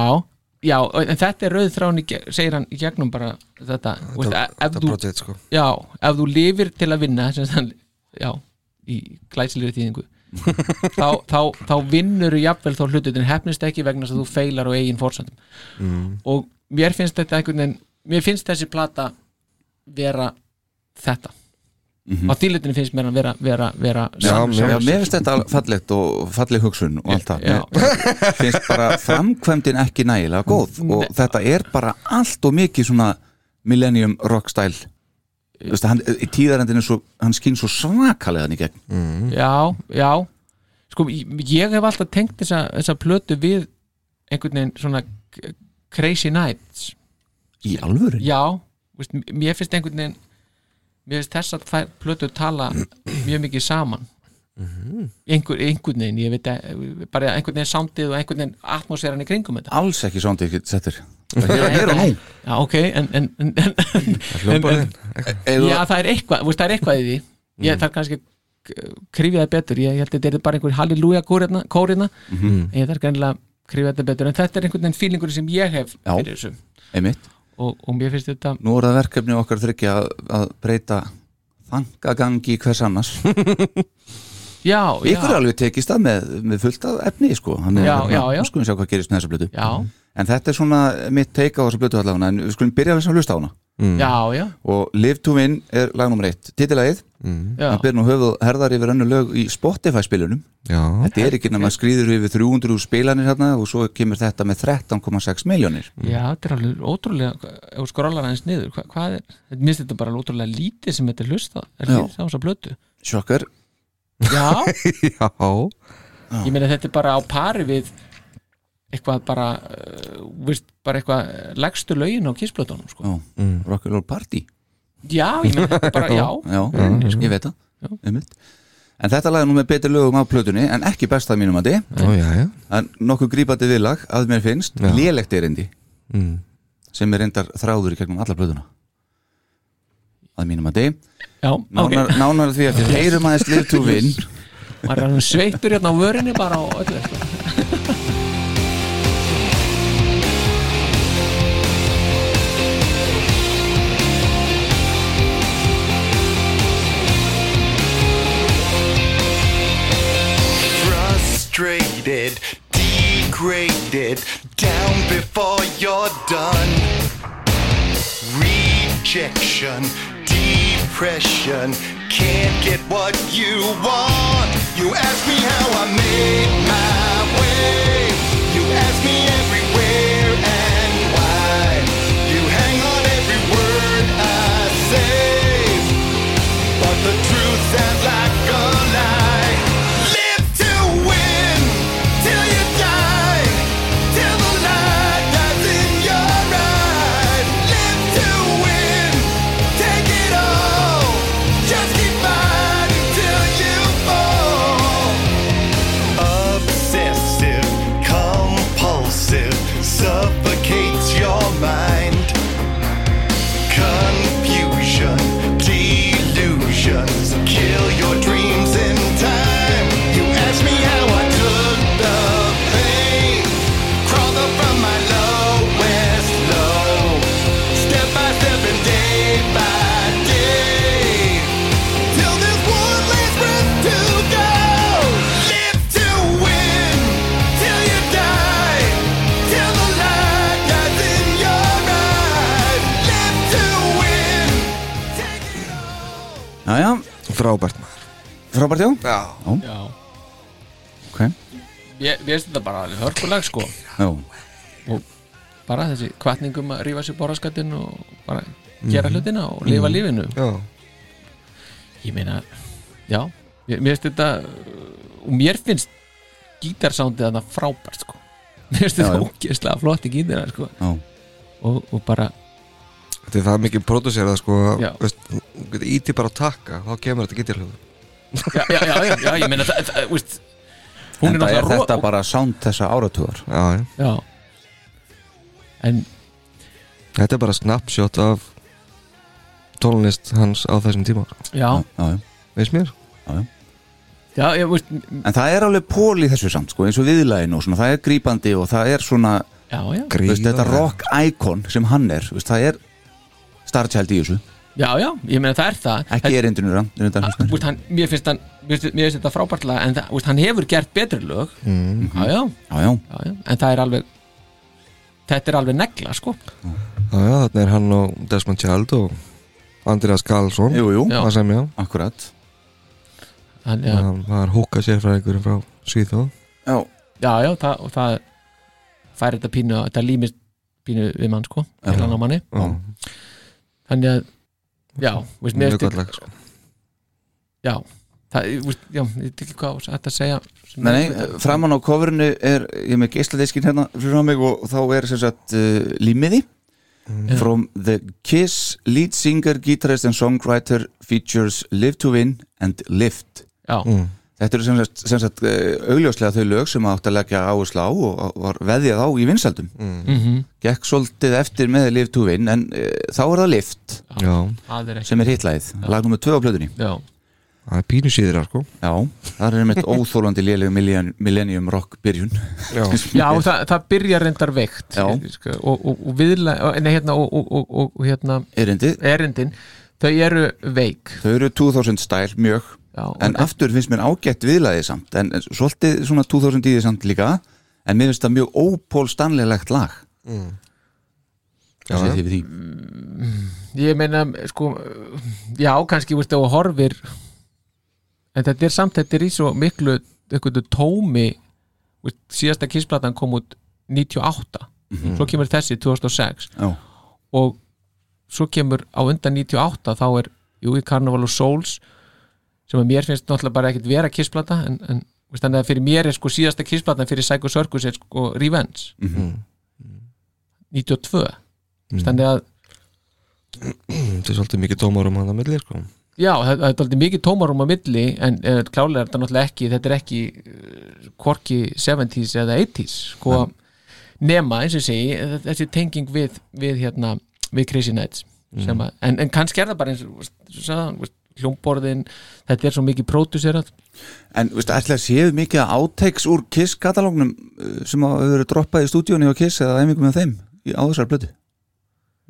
já, en þetta er rauð þráin í ge- segir hann í gegnum bara þetta, þú veist, Þetta, ef, þetta þú, project, sko já, ef þú lifir til að vinna sem þann, já, í glæsilegri þýðingu þá, þá, þá vinnur jafnvel þá hlututin hefnist ekki vegna þess að þú feilar á eigin fórsendum Mm. og mér finnst þetta einhvern veginn mér finnst þessi plata vera þetta á þýlutinu finnst mér hann vera, vera, vera Mhm. Já, sannur mér sjálfur sig. finnst þetta fallegt og falleg hugsun og allt það Já. Mér finnst bara framkvæmdin ekki nægilega góð og þetta er bara allt og mikið svona millennium rockstyle Þú veist, hann, í tíðarendinu svo, hann skín svo svakalega hann í gegn Mm. já, já sko, ég ég hef alltaf tengt þessa, þessa plötu við einhvern veginn svona k- crazy nights í alvöru já, veist, m- mér finnst einhvern veginn mér finnst þess að þær plötu tala mjög mikið saman Mhm. Einhver, einhvern veginn, ég veit að bara einhvern veginn soundið og einhvern veginn atmosfæran í kringum þetta alls ekki svona ekki settur Það er hér og nú já, ok, en, en, en, en, en, en Hljómborðin já, það er eitthvað, veist, það er eitthvað í því ég Mm. þarf kannski að krifja það betur ég, ég held að þetta er bara einhver halleluja kórina, kórina. Mhm. en ég þarf greinlega að krifja þetta betur en þetta er einhvern veginn fílingur sem ég hef Já. fyrir þessu Einmitt, og, og mér finnst þetta nú er það verkefni okkar þryggja að, að breyta þangagangi hvers annars já, já, Ykkur er alveg tekist það með, með fullt af efni sko. Hann er- Já, já, já. Nú skulum sjá hvað gerist með þessa blötu já, En þetta er svona mitt teika á þessa blötu allavega En við skulum byrja þess að hlusta á hana já, já, Og Live to Win er lag nummer eitt Titilagið, já. hann Mm. byrja nú höfuð herðar yfir önnu lög í Spotify spilunum Já, Þetta er ekki nema skrýður yfir 300 spilanir hérna Og svo kemur þetta með 13,6 miljónir já, þetta er alveg ótrúlega ef þú skrólar aðeins niður hva, hvað er, þetta minnst þetta bara alveg ótrúlega lítið sem þetta er hlusta er Já. hlusta á þessa blötu Sjokkar, já, já ég meina þetta er bara á pari við eitthvað bara uh, veist, bara eitthvað eh, lægstu lögin á kissblötunum sko. já, Mm. Rock'n'Roll Party Já, ég meina þetta er bara, já Já, ég veit Já. það einmitt. En þetta lag er nú með betri lögum á plötunni En ekki besta að mínum að þið Ó, já, já En nokkuð grípandi viðlag að mér finnst Já. Lélegt er endi Mm. Sem er endar þráður í gegnum alla plötuna Að mínum að þið Já, Nánar, nánar því að þið heyrum aðeins live to win ok, maður er hann sveittur hérna á vörinni bara og öllu sko. frustrated, degraded, down before you're done. Rejection, depression, can't get what you want. You ask me how I made my way. You ask me everywhere and why. You hang on every word I say. But the truth sounds like a lie. Live to win till you die. Till the light dies in your eyes. Live to win. Take it all. Just keep fighting till you fall. Obsessive, compulsive. frábært maður Frábært já? Já, Já, ok ég ég veist þetta bara alveg hörkulag sko Já, og bara þessi kvartningum að rífa sér borðaskattin og bara gera hlutina og lifa lífinu já, ég meina, já ég- mér finnst þetta uh, og mér finnst gítarsándið þarna frábært sko mér finnst Já, þetta já. ógeðslega flott í gítarna sko já, og, og bara, þetta er það mikið pródúserað sko, Já. veist, þú getur íti bara að taka þá kemur þetta getur hljóð já, já, já, já, já ég meina það, það, veist hún en er það er náttúrulega þetta ro- bara sound þessa áratugar Já, já, já en, þetta er bara snapshot af tónlist hans á þessum tíma sko. já, já, já. veist mér? já, ég veist En það er alveg pól í þessu samt, sko, eins og viðlæginu og svona, það er grípandi og það er svona já, já, þú veist, Gríðarlega. þetta rock icon sem hann er, þú veist, það er starchild í þessu, já, já, ég meina það er það ekki En- er endinu rann, undan, Þú veist, hann, mér finnst hann mér finnst, mér finnst þetta frábærtlega en það, þú veist, hann hefur gert betri lög Mhm. mm. já, já, já, já, já, já, en það er alveg þetta er alveg negla sko Já, já, þarna er hann og Desmond Child og Andreas Karlsson jú, jú, Já. það sem já, akkurat hann, já, hann var húka sérfræðingur frá Svíþjóð Já, já, já, það, og það fær þetta pínu, þetta límist pínu við mann sko, Já. hérna á manni Já, þannig að, já, þú veist, mér mjög finnst gott lag sko. já, það, þú veist, já, ég veit ekki hvað þetta að segja sem- Nei, nei, framan á coverinu er ég er með geisladiskin hérna fyrir á mig og þá er sem sagt uh, límiði From the Kiss lead singer, guitarist and songwriter features Live to Win and Lift já, Mm, Þetta eru sem sagt, sem sagt uh, augljóslega þau lög sem átt að leggja áherslu á og var veðjað á í vinsaldum mm Gekk svolítið eftir með Live to Win en uh, þá er það Lift Já, það er ekki sem er hitlæðið, lag nummer 2 á plötunni já, það er pínu síðra sko. Já, það er einmitt óþólandi léleg millennium, millennium rock byrjun Já. já og það, það byrjar reyndar veikt Já. sko, og, og, og viðlega, nei, hérna og, og, og, og, og hérna Erindið erindin þau eru veik Þau eru 2000 stæl mjög já, en og- aftur finnst mér ágætt viðlaðið samt en en svolítið svona 2000 dýðið samt líka en mér finnst það mjög ópólstanleilegt lag Hvað segir þið við Mm. því? ég meina sko, já kannski veist, og horfir en þetta er samt þetta er í svo miklu einhverju tómi veist, síðasta kissplatan kom út 98 svo kemur þessi 2006 Já, og svo kemur á undan 98 þá er Júi Carnival of Souls sem að mér finnst náttúrulega bara ekkert vera kissplata en, en veist, þannig að fyrir mér er sko síðasta kissplata fyrir Psycho Circus er sko Revenge Mhm. 92 mm. þannig að Þetta er svolítið mikið tómarum hann að milli sko. já, það, það er aldrei mikið tómarum á milli en uh, klálega er þetta náttúrulega ekki þetta er ekki uh, hvorki 70s eða 80s sko, nema eins og ég segi eh, þessi tenging við, við hérna við Crazy Nights mm. að, en, en kannski er það bara eins og sagðan, hljómborðin, þetta er svo mikið pródúserað en veist, ætla að séu mikið að átegs úr Kiss-katalógnum uh, sem að hefur verið droppað í stúdíónu á Kiss eða einhverjum með þeim í- á þessar blödu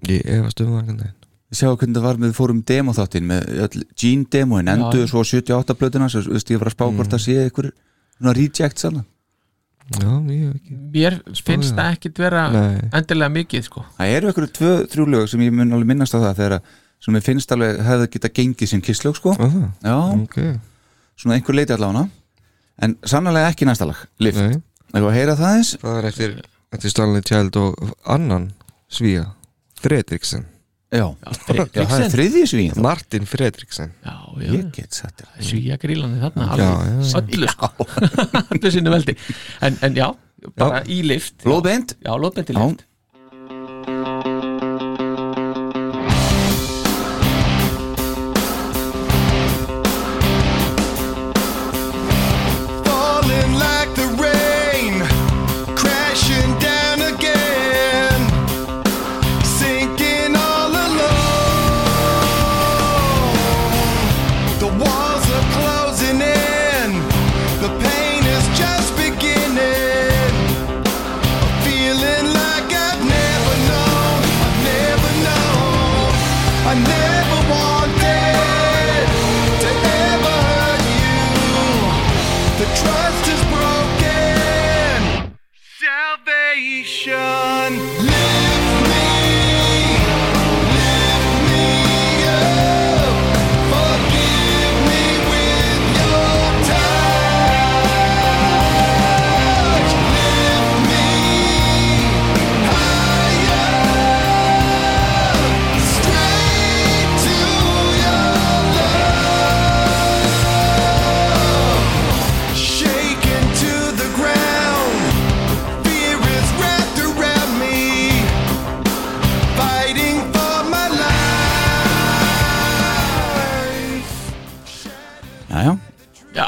Ég efast um það einhvern veginn Við sjáum hvernig það var með við fórum demoþáttin með öll Gene demoin, enduðu svo 78 blöðuna svo veist ég var að spá hvort það sé ykkur reject sann Já, ég hef ekki mér finnst í það ekkit vera Nei. endilega mikið sko Það eru ykkur tvö, þrjú lög sem ég mun alveg minnast á það þegar að sem ég finnst alveg hefði geta gengið sem kisslög sko Á það? Já, Ok, svona einhver leiti allána en sannlega ekki næsta lag, Lift nei Þegar að heyra það eins Það er eftir, eftir Stanley Child og annan svíja Fredriksen, Já, Já það er Fredriksen. þriðji svín Martin Fredriksen já, já, Ég get satt þér það. svíja grílandi þarna Já, alveg, já, já. öllu sko öllu sinni veldi, en, en já bara í lift, Blóðbeint já, lóðbendi Já, lift falling like the rain, crashing down again, sinking all alone. The walls are closing in, the pain is just beginning. I'm feeling like I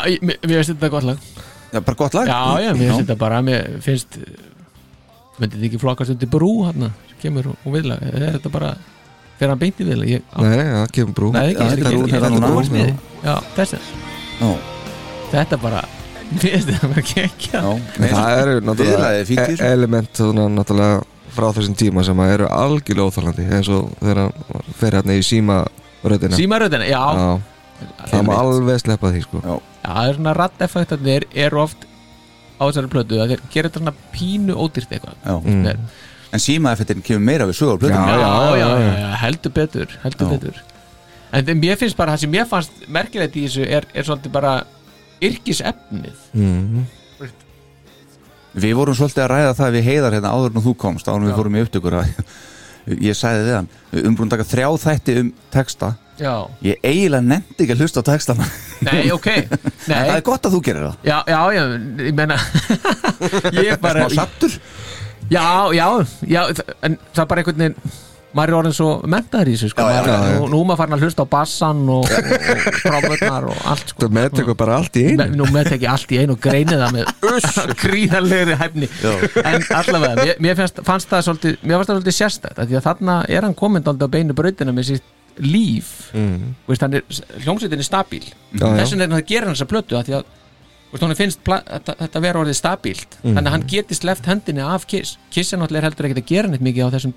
ég- mér mér finnst þetta gott lag Já, bara gott lag Já, já, mér Já. finnst þetta bara Mér finnst Myndi þetta ekki flokkast undir brú hann Kemur og viðlag Er þetta bara Fyrir hann beinti viðlag ég, á- Nei, nei, það kemur brú Nei, ekki, Já, þetta er brú, ég- hérna þetta er þetta núna. brú er sniði Já, þessi Já, Þetta bara Mér finnst þetta bara kekja já En það eru Viðlagið er fínt í náttúrulega þessu. e- element svona, náttúrulega frá þessum tíma sem að eru algjörlega óþálandi eins og þegar hann fer hérna í síma röddina Símaröðina, já, já Já, það má alveg sleppa því sko Já. Það er svona ratteffektarnir Er oft á þessari plötu að Þeir gerir þetta svona pínu ódýrt eitthvað Já. Þeir- En símaeffektin kemur meira við sögur plötum Já, já, já, já, já, já, heldur betur heldur Já. betur en þeim, mér finnst bara það sem mér fannst merkilegt í þessu er, er svolítið bara yrkisefnið Við vorum svolítið að ræða það við heiðar hérna áður en þú komst áður en við fórum í upptökur að ég sagði við hann, við erum búin að taka þrjá þætti um texta, já, ég eiginlega nefndi ekki að hlusta á textana, nei, ok en það nei, er gott að þú gerir það já, já, já, ég menna ég er bara Smá sattur, já, já, já, þ- en það er bara einhvern veginn maður er orðin svo mentaður í þessu sko. Já, já, Maður- já, já. nú, nú er maður farin að hlusta á bassan og, og, og fráböðnar og allt sko. Það meðtekur bara allt í einu Me- nú meðtek ég allt í einu og greini það með gríðarlegri hæfni en allavega, mér, mér fannst, fannst það svolítið, mér fannst það svolítið sérstætt af því að þarna er hann komin dálítið á beinu brautina með sitt líf mm. veist, hann er, hljómsveitin er stabíl já. þess vegna er hann að gera hans að plötu af því að Veist, honum finnst pla- þetta, þetta vera orðið stabílt Mm. þannig að hann geti sleft hendinni af Kiss Kiss er náttúrulega heldur ekkert að gera neitt mikið á þessum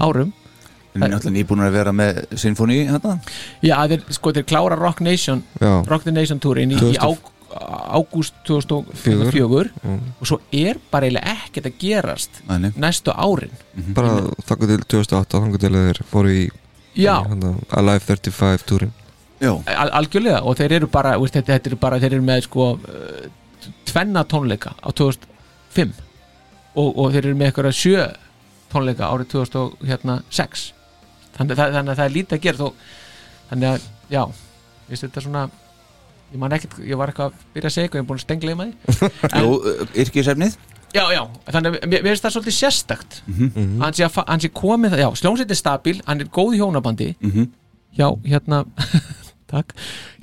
árum við erum náttúrulega nýbúin að vera með sinfóni hérna, Já, þeir, sko, þeir klára Rock Nation Já. Rock the Nation túrin í, 2000 í ág, ágúst 2004 og svo er bara eiginlega ekkert að gerast Nei, nei. næstu árin Bara þakku til 2008, þakku til að þeir fóru í Já, hana, Alive 35 túrin já, al algjörlega og þeir eru bara, veist, þetta, þetta eru bara þeir eru með sko eh, tvenna tónleika á 2005 og, og þeir eru með eitthvað sjö tónleika árið 2006 þannig, það, þannig að það er lítið að gera þó, þannig að, já veist, þetta er svona ég man ekkert, ég var eitthvað að byrja að segja eitthvað ég er búin að stengla í maður jú, yrkisefnið já, já, þannig að mér, mér finnst það svolítið sérstakt hann, sé að, fa- hann sé komið það, já, sljónsett er stabil hann er góð í hjónabandi já, hérna takk,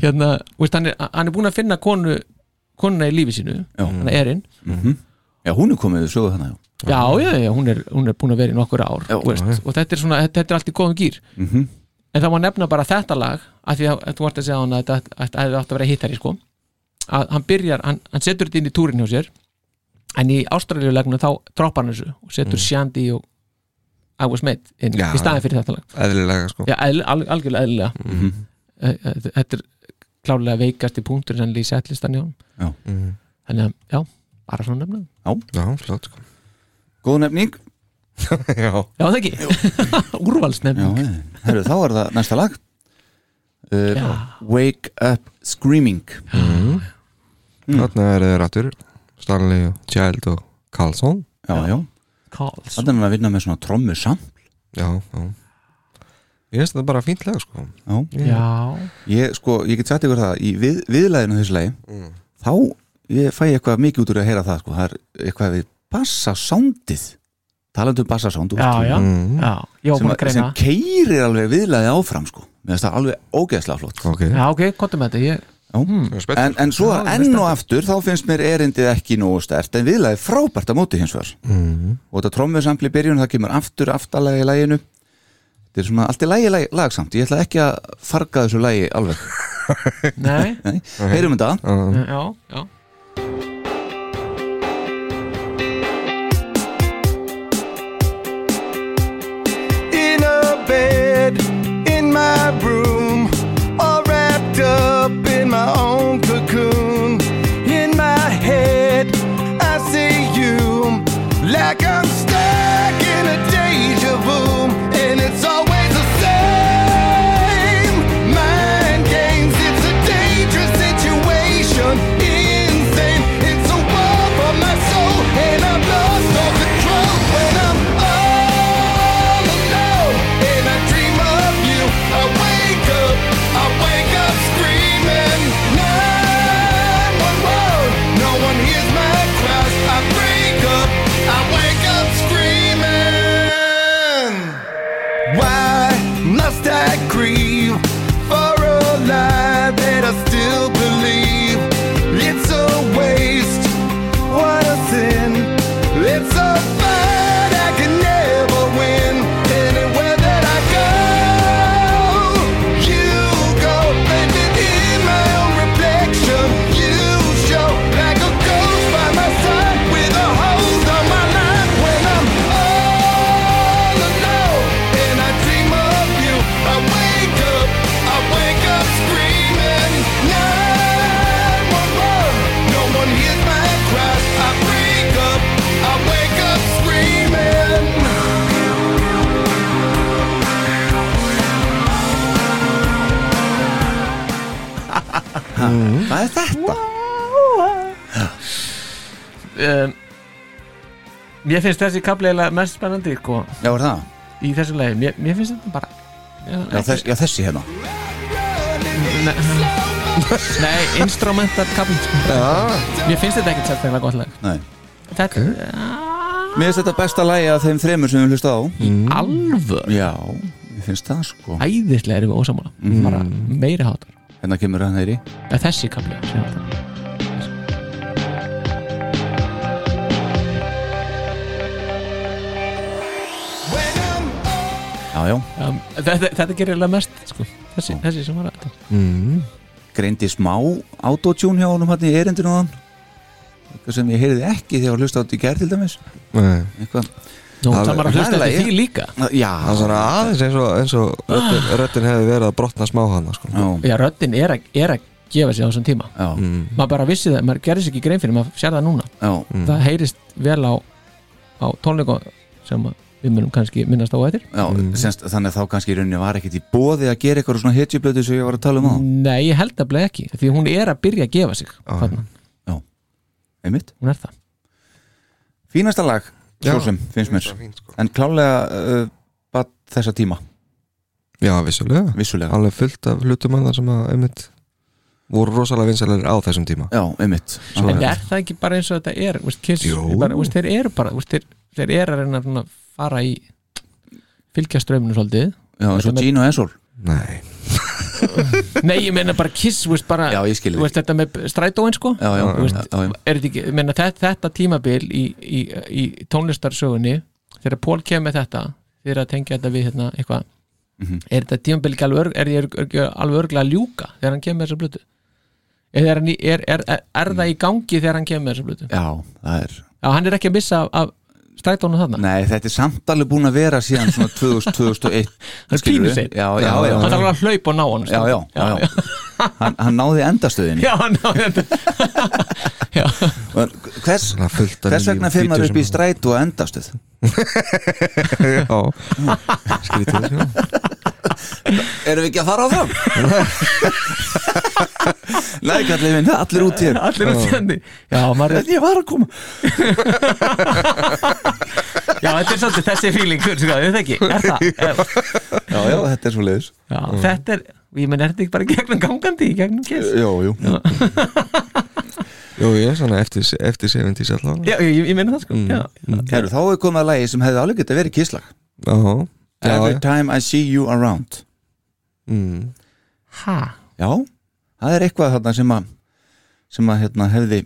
hérna, veist, hann, er, hann er búin að finna konu, konuna í lífi sínu Já. hann er erinn, Já, hún er komið við sögur þannig já, já, já, hún er, hún er búin að vera í nokkur ár, Já. veist, og þetta er svona þetta, þetta er allt í góðum gýr Mhm. en það má nefna bara þetta lag að því að, að þú varst að segja hann að þetta að- að hefði átt að vera hittari, sko að hann byrjar, hann, hann setur þetta inn í túrin hjá sér en í ástraljulegnum þá droppar hann þessu og Mhm. setur Shandy og I was made inn, Já. í staðin fyrir þetta lag Eðlilega sko Já, eðl, al, algjörlega eðlilega Mhm. Eh, eh, Þetta er klárlega veikasti punktur sem lýsa ætlistan hjá honum. Já. Þannig að, já, bara svona nefna Já, flott sko Góð nefning Já, Já, það ekki Já, Úrvalsnefning eh, herru, þá er það næsta lag uh, Já. Wake Up Screaming þarna eru þeir rættur Stanley og Child og Carlson Já, já, Calls þannig er hann að vinna með svona trommu samt Já, já Ég finnst þetta bara fínt lag sko Já, Já, Ég, sko, ég get sagt ykkur það í við, viðlæðinu þessu lagi Mm. þá ég fæ ég eitthvað mikið út úr að heyra það sko. það er eitthvað við bassasándið talandi um bassasánd já, já, já Ég var Mm. sem, búin að sem greina keirir alveg viðlæði áfram sko. mér finnst það alveg ógeðslega flott Ok, Já, ok, kontum með þetta ég... en, en svo enn og aftur þá finnst mér erindið ekki nógu stert en viðlæði frábært á móti hins vegar Mhm. og þetta trommusampli í byrjun það kemur aftur aftalega í læginu þetta er svona allt í lægi lag, lagsamt ég ætla ekki að farga þessu lægi alveg Nei, Nei, heyrum þetta já, já in a bed in my room, all wrapped up in my own cocoon. In my head, I see you like I'm stuck in a deja vu, and it's always the same. Mind games, it's a dangerous situation in Hvað er þetta? um, Mér finnst þessi kapli eiginlega mest spennandi sko, Já, er það? í þessu lagi Mér, mér finnst þetta bara Já, þess, já þessi hérna Nei, instrumentar kapli Já. Mér finnst þetta ekkert sérstaklega gott lag Nei. Þetta Mér finnst þetta besta lagi af þeim þremur sem við hlusta á alvör Já, mér finnst það sko Æðislega erum við ósamála Mm. bara meiri hátar Hérna kemur hann þeirri Eða Þessi kapli sem þetta. Já, já, um, þetta, þetta gerir eiginlega mest sko. þessi, þessi sem var að greindi smá autotune hjá honum hann í erindinu á hann Eitthvað sem ég heyrði ekki þegar ég var að hlusta á þetta í gerð til dæmis Nei. Eitthvað Nú, Það það var að hlusta er þetta lagi. því líka Já, Ah. Það er svona aðeins eins og, eins og röddin, röddin hefði verið að brotna smá hana sko. já, Mm. Já, röddin er, að- er að gefa sig á þessum tíma já, Maður bara vissi það, maður gerði sér ekki grein fyrir maður sér það núna já, Það heyrist vel á, á tónleikum sem að við munum kannski minnast á á eftir já semst, Þannig að þá kannski í rauninni var ekkit í bóði að gera eitthvað svona hetjublötu sem ég var að tala um á Nei, ég held að bleið ekki Því hún er að byrja að gefa sig þarna. Einmitt Hún er það Fínasta lag, svo Já. sem, finnst mér Það er fínt, sko. En klálega uh, bara þessa tíma, Já, vissulega vissulega Alveg fullt af hlutum að það sem að einmitt, voru rosalega vinsælir á þessum tíma Já, einmitt Svo En er er það ekki bara eins og þetta er úst, kiss, Jú. bara, úst, Þeir eru bara úst, þeir, þeir eru að reyna að svona fara í fylgja strömminu svolítið Já, eins og Þetta með- Gino Ensol Nei, Nei, ég meina bara kiss, úst, bara, Já, ég skil þig. úst, þetta með strætóin sko Já, já, Þú veist, já, já, já. er þetta ekki, ég meina þetta, þetta tímabil í, í, í tónlistarsögunni þegar Pól kemur með þetta þegar að tengja þetta við hérna eitthvað Mhm. er þetta tímabil ekki alveg, örg, er, er, er, er, alveg örglega að ljúka þegar hann kemur með þessa blötu Eða er, hann í- er, er, er, er það í gangi þegar hann kemur með þessa blötu Já, það er Já, hann er ekki að missa af, af strætónu þarna Nei, þetta er samt alveg búin að vera síðan svona 2000, 2001 Það er skilurðu? pínu seinn. Já, já, já hann þarf alveg að hlaupa og ná hann Já, já, já, já. Hann, hann náði endastöðinni já hann ná þetta já, En Hvers, það er fullt af hvers nýjum vegna fyrir maður feature upp í sem- strætu og endastöð? Já, skrítið já. Erum við ekki að fara áfram? Nei, kallið minn, allir út hér allir að sendi já, maður er En ég var að koma Já, þetta er svolítið þessi fílingur, sko, við þekki, er það? Já, Já, já, þetta er svo leiðis þetta er, ég menn, er þetta ekki bara gegnum gangandi, í gegnum kiss? Jú, jú Jú, ég er svona eftir, eftir 70s allavega Já, ég, ég menna það, sko, já. Herru, þá hefur komið að lagi sem hefði alveg getið að vera kíslag Já, já, Every já. time I see you around Mm. Ha, Já, það er eitthvað þarna sem að sem að hérna, hefði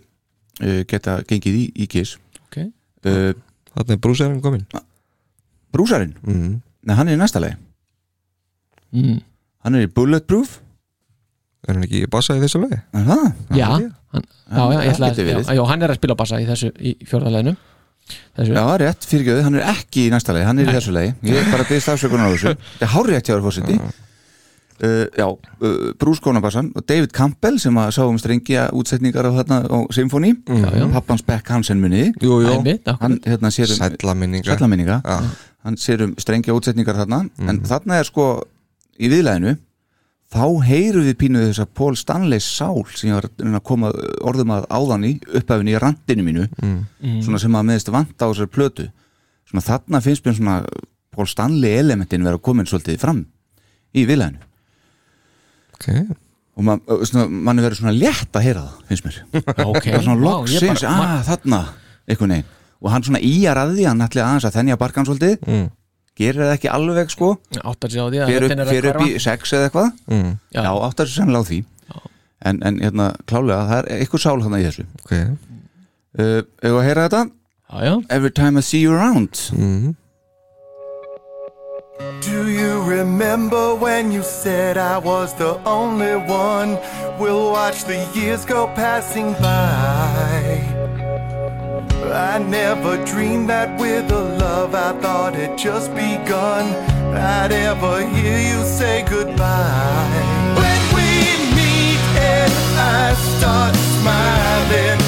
uh, geta gengið í, í kiss ok. uh, Ah, Þarna er brúsarinn kominn Brúsarinn, mm. nei hann er í næsta lagi Mm. hann er í Bulletproof Er hann ekki í bassa í þessu lögi? er það? Já, hann, já, já, ég það ætla að, getur verið. já, já, hann er að spila bassa í þessu, í fjórðarleginu. Þessu, Já, rétt, fyrirgjöðu, hann er ekki í næsta lagi hann er í þessu lagi, ég er bara að byggðist afsökunar á þessu þetta er hárrétt hjá þér fórseti uh, Já, uh, Bruce Konabassan og David Campbell sem að sáum strengja útsetningar á þarna á Symfóni já. pappans Beck Hansen munni Jú, jú, Æmitt, okkur. hann hérna sér um sætla minninga sætlaminninga Já. hann sér um strengja útsetningar þarna en þarna er sko í viðlæðinu þá heyru við pínuð þess að Paul Stanley sál sem ég var að reyna að koma orðum að áðan í upphæfinu í randinu mínu svona sem að meðist vanta á þessari plötu svona þarna finnst mér svona Paul Stanley elementin vera komin svolítið fram í viðlæðinu Ok, og man, svona, mann er verið svona létt að heyra það finnst mér ok. það var svona Vá, ég loksins, ah. bara- að þarna einhvern veginn, og hann svona íjar að því hann ætli aðeins að þennja barkan svolítið Mm. gerir það ekki alveg sko Áttar sig á því að fer þetta upp, er að fer upp hverfa. í sex eða eitthvað mm. já, Já. áttar sér sennilega á því en, en hérna, klálega, það er eitthvað sál þarna í þessu ok uh, ef að heyra þetta, Já, já. every time I see you around Do you remember when you said I was the only one? We'll watch the years go passing by. I never dreamed that with a love I thought had just begun, I'd ever hear you say goodbye. When we meet and I start smiling,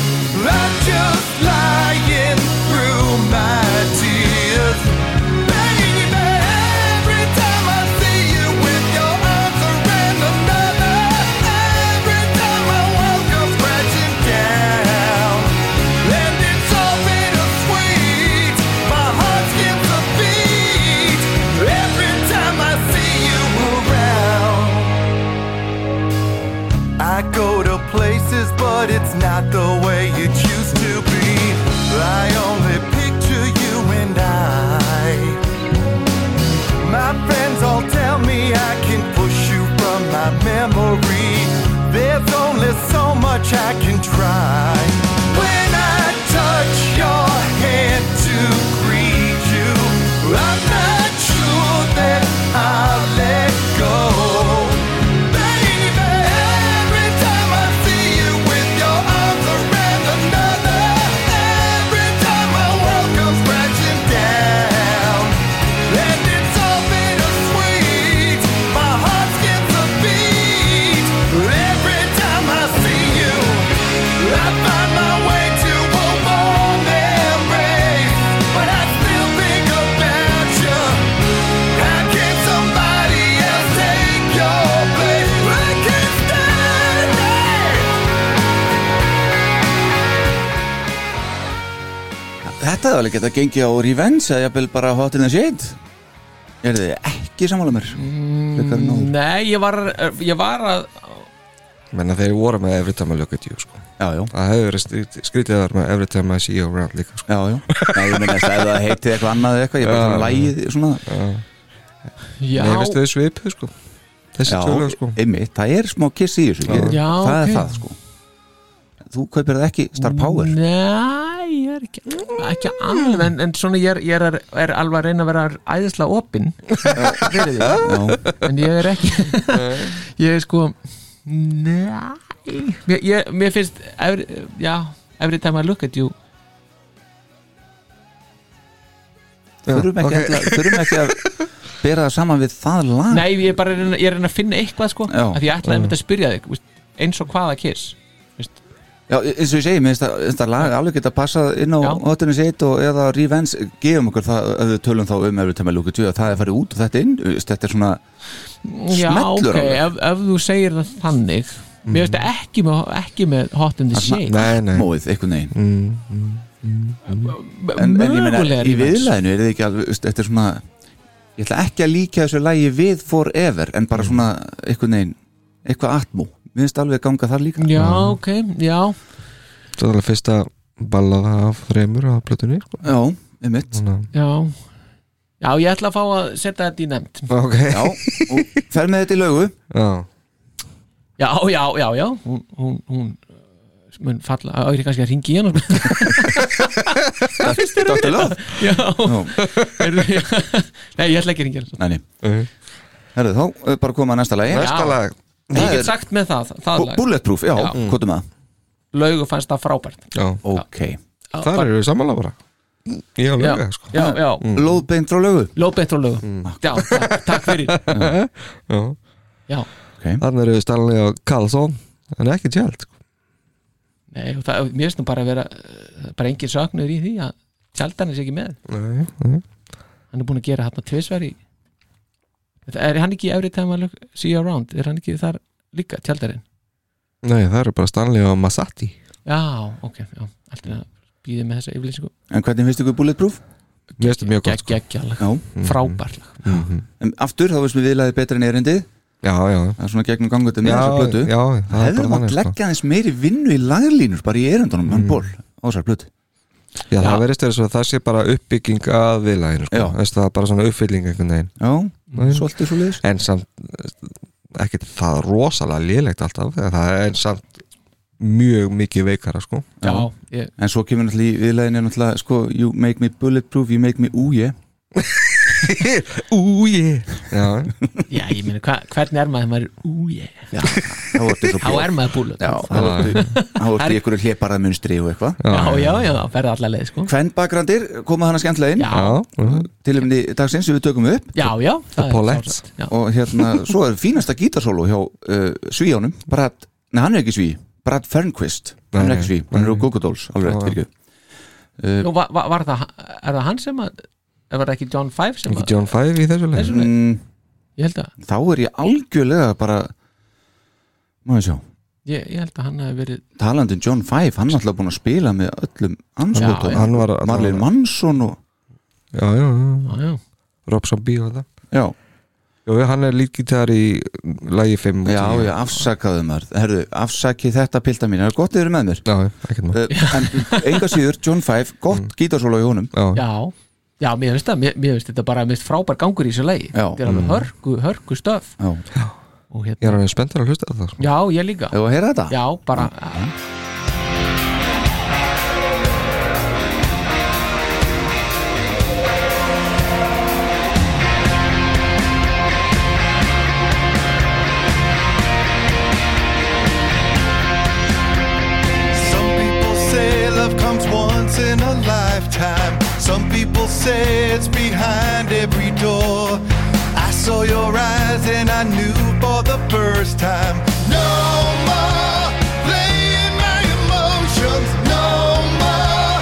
I'm just lying through my tears. Baby, every time I see you with your arms around another, every time I not the way it used to be. I only picture you and I. My friends all tell me I can push you from my memory. There's only so much I can try. When I touch your hand to greet you, I'm not sure that I'll let go. Þetta er alveg geta gengið á Revenge eða jafnvel bara Hot in the Shade Er þið ekki sammála mér? Mm, Nei, ég var, ég var að menna þeir voru með Every Time I Look At You sko. já, já. það hefur verið skrít- skrítið að vera með Every Time I See You Around líka sko. já, já. Nei, ég minna að ef það heitið eitthvað annað eða eitthvað, ég bara Já. þannig lægið svona Já, Mér finnst þau svipuð sko. þessi Já, tölög sko. einmitt, það er smá kiss í þessu ég, Já, Það ok. er það sko Þú kaupir það ekki Star Power Mm. Nei, ég er ekki, ekki alveg en, en svona ég, er, ég er, er alveg að reyna að vera æðislega opinn fyrir því Já, en ég er ekki ég er sko Nei Mér, ég, mér finnst every, já, every time I look at you þurfum ekki, okay. þurfum ekki að bera það saman við það lag Nei, ég er bara að reyna, ég er að reyna að finna eitthvað sko Já. að því ég ætlaði að mynda að spyrja þig veist, eins og hvaða kiss veist. Já, e, eins og ég segi, mér finnst það- finnst það lag alveg geta passað inn á Já. hotinu sitt og eða Revenge, gefum okkur það ef við tölum þá um ef við tæmum að lúka tjóða, það er farið út og þetta inn, veist, þetta er svona Já, Smellur ok, alveg. Mhm. ef, ef þú segir það þannig Mér finnst það ekki með, ekki með hot in the shade nei, nei móið, einhvern veginn en, en ég meina, Mögulega í revenge. viðlæðinu er þið ekki alveg, veist, þetta er svona ég ætla ekki að líka þessu lagi við forever, en Mm. bara svona einhvern veginn, eitthvað atmú mér finnst alveg ganga þar líka Já, ok, já það er alveg fyrsta ballaða af þreymur á plötunni sko. Já, einmitt Þannig Já Já, ég ætla að fá að setja þetta í nefnd að- ok Já, og fer með þetta í lögu já. Já, já, já, já Hún, hún, hún uh, mun falla Á, ég er kannski að ringi í hann Hvað finnst þér um Dr. Love. þetta? Já, Já, heyrðu, já. Nei, ég ætla ekki að ringi hann næni, Uh. herðu þá, eh, bara koma að næsta lagi næsta lag Það er- Ég get sagt með það, það Bu- lag Bulletproof, já, Já. hvað er Mm. það? Laugu fannst það frábært já. Ok, þar eru við sammála bara já, Já, líka sko. já, já lóðbeint Mm. frá lögu Lóbett og lögu Já, takk, takk fyrir Mm. já. Já, þannig eru við Stanley og Carlson en ekki tjald sko. nei, og það, mér finnst nú bara að vera uh, bara engin söknur í því að tjaldan er sér ekki með nei, nei. hann er búin að gera hérna tvisvar í Þetta- er hann ekki í every time I look, see you around er hann ekki þar líka tjaldarinn nei, það eru bara Stanley og Masati já, ok, já, allt er að býði með þessa yfirlýsingu En hvernig finnst ykkur Bulletproof? mér finnst það mjög gott sko. geggjala, Já, frábærla en aftur þá veist við viðlæði betra en erindið já, já, Það er svona gegnum gangutum í já, þessu plötu já Það hefði bara mátt þannig, sko. Mm. leggja aðeins meiri vinnu í laglínur bara í erendunum, hann ból, á þessar plötu Já, það Já. verðist verið svo að það sé bara uppbygging að viðlæðinu, sko. Já. Veistu, það er bara svona uppfylling einhvern veginn, Já, Nei. svolítið svo liðis en samt eh, ekkert það rosalega lélegt alltaf, þegar það er samt mjög mikið veikara, sko já, ég, En svo kemur náttúrulega í viðlæðinu náttúrulega, sko, you make me bulletproof, you make me úje Ú, ég Já, já, ég meina hva, hvernig er maður þegar maður er ú, yeah, Já, þá ertu svo þá er maður búlut Já, þá ertu- þá ertu í einhverju hlébarða munstri og eitthvað já, já, já, það ferði allar leið sko. Hvern bakgrandir, koma hana skemmtilega inn já, já, mhm. Tilumni dagsins sem við tökum upp já, já það er Paulette. sjálfsagt, já. Og hérna, svo er fínasta gítarsólu hjá uh, svíjónum Brad, nei hann er ekki sví Brad Fernquist, hann er ekki sví Hann er úr Gogodóls, alveg rétt, fyrir Nú, var, var, var það, er það hann sem að er það ekki John Five sem ekki að John Five í þessu leik Þessu- mm, ég held að, þá er ég algjörlega bara maður sjá ég, ég held að hann hafi verið talandin John Five, hann er alltaf búin að spila með öllum Já, anskotum, Hann var hann var- Marlin Mansson og Já, já, já, já, já, Rob Zombie og það já, Jó, hann er líkgitar í lagi 5 Já, já, afsakaðu maður Herðu, afsakið þetta pilda mín, það er gott þið eru með mér Já, ekkert maður En enga síður, John Five, gott mm. gítarsóla í honum Já, já, mér finnst það, mér, mér finnst þetta bara mist frábær gangur í þessu lagi Já. Þetta er alveg Mm. hörku, hörku stöf Já, Ég er alveg spenntur að hlusta á það sko. Já, ég líka Hefur að heyra þetta? Já, bara Mm. Some people say love comes once in a lifetime. Some people say it's behind every door. I saw your eyes and I knew for the first time. No more playing my emotions. No more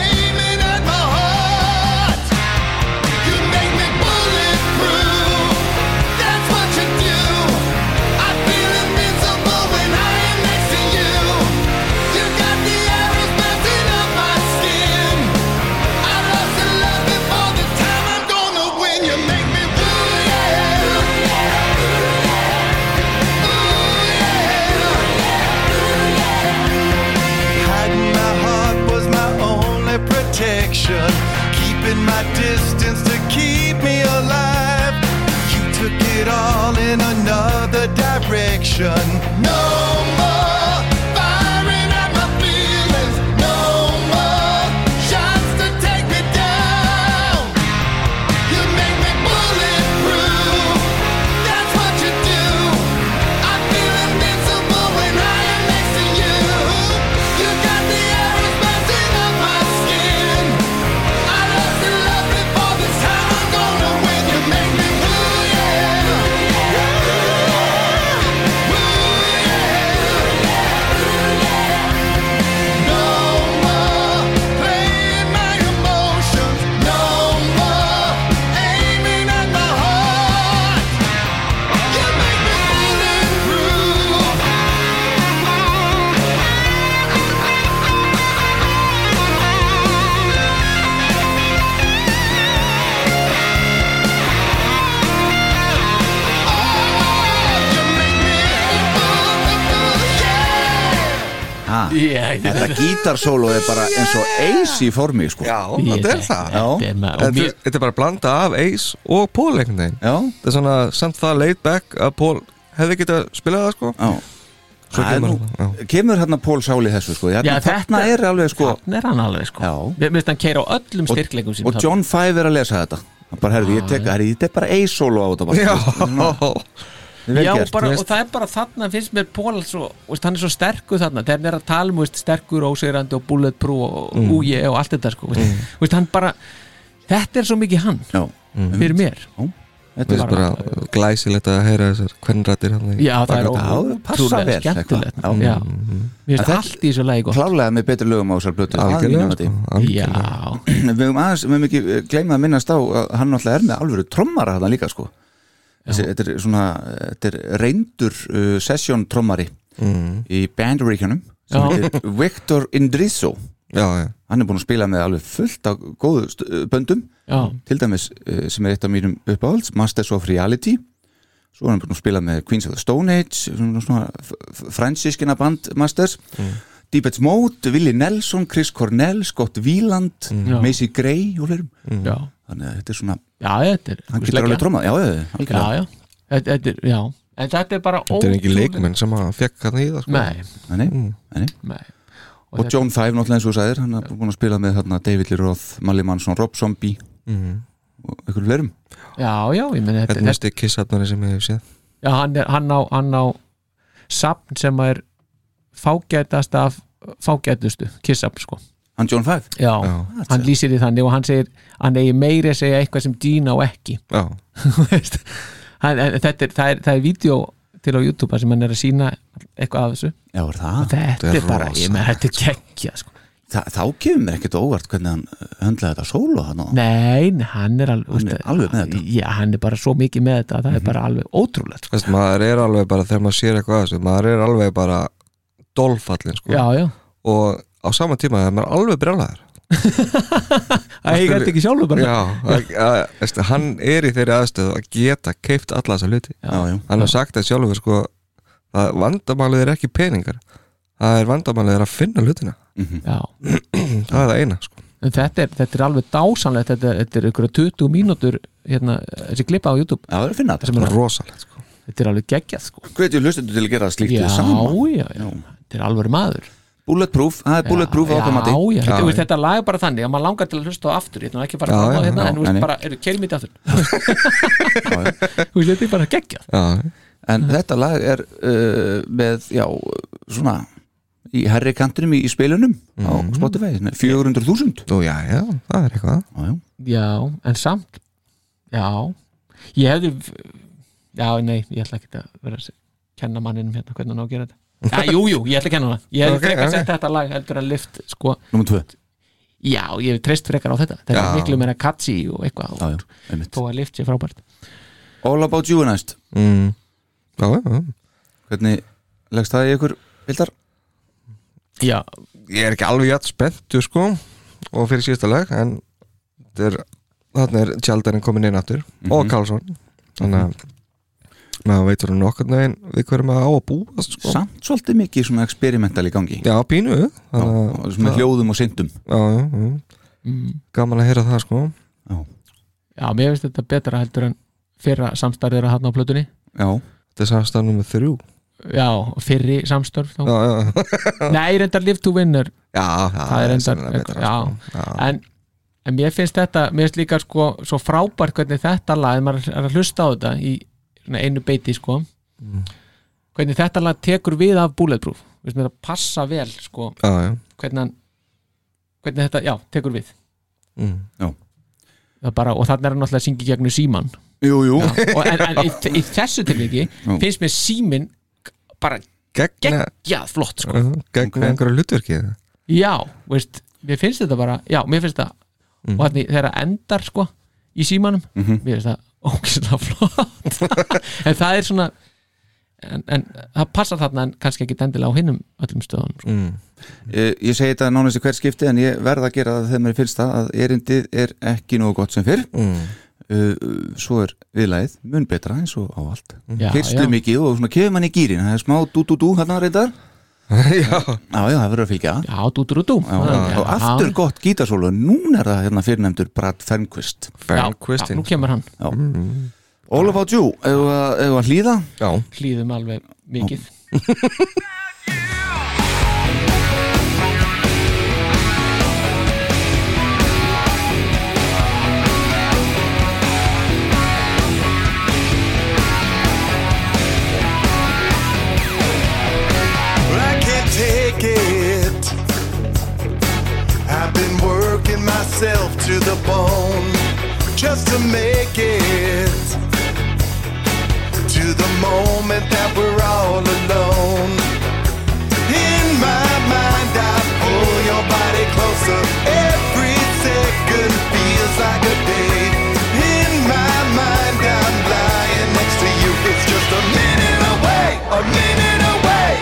aiming at my heart. You make me bulletproof. That's what you do. I feel invincible when I am next to you. You got the arrows bouncing off my skin. I lost the love before the time I'm gonna win. You make me blue, yeah. Hiding my heart was my only protection. Keeping my distance to keep me alive. You took it all in another direction. No more firing at my feelings. No more shots to take me down. You make me bulletproof. That's what you do. I feel invincible when I am next to you. You got the arrows bouncing off my skin. I lost the love before this time. I'm gonna win. You make me blue, yeah. No more playing my emotions. No more aiming at my heart. You make me bulletproof. Oh, Ha, yeah, Þetta gítarsóla er bara eins og eis í formi sko. Já, þetta er það. Já, Þetta er- þetta er bara að blanda af Ace og Paul einhvern veginn Það er svona samt það laid back að Paul hefði getað spilað það sko Já Svo Það er kemur nú- kemur hérna Pól Sáli þessu sko. hérna, Já, Þarna þetta- er alveg sko Þannig er hann alveg sko Já Mér finnst hann keira á öllum styrkleikum sínum Og John Five er að lesa þetta Hann bara, herðu, ég tek, herðu, þetta er bara eis sóla á þetta bara. Þetta er vel Já, gert, bara, þú og veist. það er bara þarna finnst mér Pól svo, veist, hann er svo sterkur þarna þegar hann er að tala um veist, sterkur ósegrandi og bulletproof og mm. Mm. úje og allt þetta sko, veist, Mm. veist, hann bara, þetta er svo mikið hann Já. fyrir mér Já, Þetta er Mm. bara, glæsilegt að heyra þessar kvennrættir hann Já, það er það passa ótrúlega vel skemmtilegt sko. eitthvað. Já. Já. Mm-hmm. Mér finnst allt í þessu lagi gott Klálega með betri lögum á þessar blötu Algjörlega, sko, Já Við höfum aðeins, við höfum ekki gleymað að minnast á að hann náttúrulega er með alvöru trommara þarna líka sko Þessi, þetta er svona, þetta er reyndur uh, session trommari Mm. í bandaríkjunum sem Já. heitir Victor Indrizzo já, já. hann er búin að spila með alveg fullt af góðu st- uh, böndum Já. til dæmis uh, sem er eitt af mínum uppáhalds Masters of Reality svo er hann búin að spila með Queens of the Stone Age svona, svona f- f- fransískina band Masters Deepets Mode, Willi Nelson, Chris Cornell Scott Wieland, Já. Macy Gray og fleirum Mm. Já. þannig að þetta er svona Já, þetta er hann getur alveg trommað, já, já, já, algjörlega. Já, já, þetta þetta er, já En þetta er bara Þetta er ekki leikmenn sem að fekk hann í það sko Nei. Nei, nei. Nei. Og, John Five náttúrulega eins og þú sagðir, hann er búin að spila með þarna David Lee Roth, Mally Manson, Rob Zombie Mm. Mhm. og einhverju fleirum Já, já, ég meni Þetta er mest ekki kissatnari sem ég hef séð Já, hann, er, hann, á, hann á sapn sem er fágætast af fágætustu, kissapn sko Hann John Five? Já, hann lýsir því þannig og hann segir hann eigi meiri að segja eitthvað sem dýna og ekki Já Þú veist, hann, en, þetta er, það er, það er vídeo til á YouTube þar sem hann er að sína eitthvað af þessu Já, er það? Og þetta er bara, ég með þetta er kekkja sko. Þa, Þá kemur mér ekkert á óvart hvernig hann uh, höndlaði þetta sólu hann og Nei, nei, hann er alveg, Hann er alveg með þetta. Já, hann er bara svo mikið með þetta Mhm. að það er bara alveg ótrúlegt sko. Þess, maður er alveg bara, þegar maður sér eitthvað að þessu maður er alveg bara dolfallin sko Já, já, og á sama tíma er maður alveg brjálæður Æ, ég gæti ekki sjálfur bara. já, að, að, veist, hann er í þeirri aðstöðu að geta keift alla þessa hluti já, já. hann har sagt það sjálfur sko, að vandamálið er ekki peningar það er vandamálið er að finna hlutina Mhm. Já. það er það eina sko. En þetta er, þetta er alveg dásanlegt þetta, er- þetta er ykkur 20 mínútur hérna, þessi klippa á YouTube Já, það er að finna þetta. sem er rosalegt sko. Þetta er alveg geggjað sko Hvetjum hlustendur til að gera slíkt Já, hið sama. já, já, þetta er alveg maður Bulletproof, það er bulletproof já, ákvæmati. já, Já, þetta, veist, já. þetta lag er bara þannig að maður langar til að hlusta á aftur ég ætlum ekki að fara Já, fram á já, hérna já, en nei, þú veist nei. bara, eru keirum í þetta aftur Þú veist, þetta er bara geggjað já, En þetta lag er uh, með, já, svona í herri kantinum í, í spilunum á Spotify, hérna, svona 400.000 Nú, já, já, það er eitthvað Já, já. Já, en samt Já, ég hefði Já, nei, ég ætla ekki að vera að kenna manninum hérna hvernig hann á að gera þetta Já, jú, jú, ég ætla að kenna hana Ég hefði Ok, frekar ok. okay. sett þetta lag heldur að lift sko, Númer 2 já, ég hef treyst frekar á þetta Þetta Já. er miklu meira katsi og eitthvað já, já, einmitt. Þó að lift sé frábært All About You er næst mm. já, já, já. Hvernig leggst það í ykkur bildar? Já, ég er ekki alveg jætt spenntu sko, og fyrir síðasta lag en þetta er, þarna er tjaldarinn komin inn aftur Mhm. og Karlsson þannig að maður veitur hann nokkurn veginn við hverjum að á að búast sko. Samt svolítið mikið svona experimental í gangi já, pínu þannig Og svona hljóðum og syndum já, já, já. gaman að heyra það sko já, mér finnst þetta betra heldur en fyrra samstarfið er að hann á plötunni Já, þetta er samstæðan nummer þrjú Já, og fyrri samstarf þá. já, já, já, Nei, reyndar Live to Winner það er reyndar sennilega eitthvað, betra, já. sko. já. en, en mér finnst þetta mér finnst líka sko, svo frábært hvernig þetta lag ef maður er að hlusta á þetta í svona einu beiti sko Mm. hvernig þetta lag tekur við af Bulletproof Vist, það passa vel sko já, já. hvernig, hann, hvernig þetta, já, tekur við Mm. Það bara, og þannig er hann náttúrulega að syngja í gegnum síman jú, jú og, en, en í, í þessu tilviki Já. finnst mér símin bara gegna, geggjað flott sko. gegna, gegna einhverju hlutverki já, veist, mér finnst þetta bara já, mér finnst það Mhm. og þannig þegar það endar sko í símanum mér finnst það ógislega flott en það er svona en, en það passar þarna en kannski ekki endilega á hinnum öllum stöðunum sko. mm. Eh, Ég segi þetta nánast í hvert skipti en ég verð að gera það þegar mér finnst það að erindið er ekki nógu gott sem fyrr Mm. uh, Svo er viðlæð mun betra eins og á allt Mm. Já, Fyrstu já. mikið og svona kefum hann í gýrin Það er smá dú-dú-dú hérna reyndar já, Já, já, það verður að fylgja já, dútur og dú Já, og aftur gott gítarsólu núna er það hérna fyrirnefndur Brad Fernquist já, já, fengkvistin nú kemur hann, All About You, ef að- ef að hlýða já, hlýðum alveg mikið But I can't take it. I've been working myself to the bone just to make it to the moment that we're all alone. In my mind, I pull your body closer. Every second feels like a day. In my mind, I'm lying next to you. It's just a minute away, a minute away.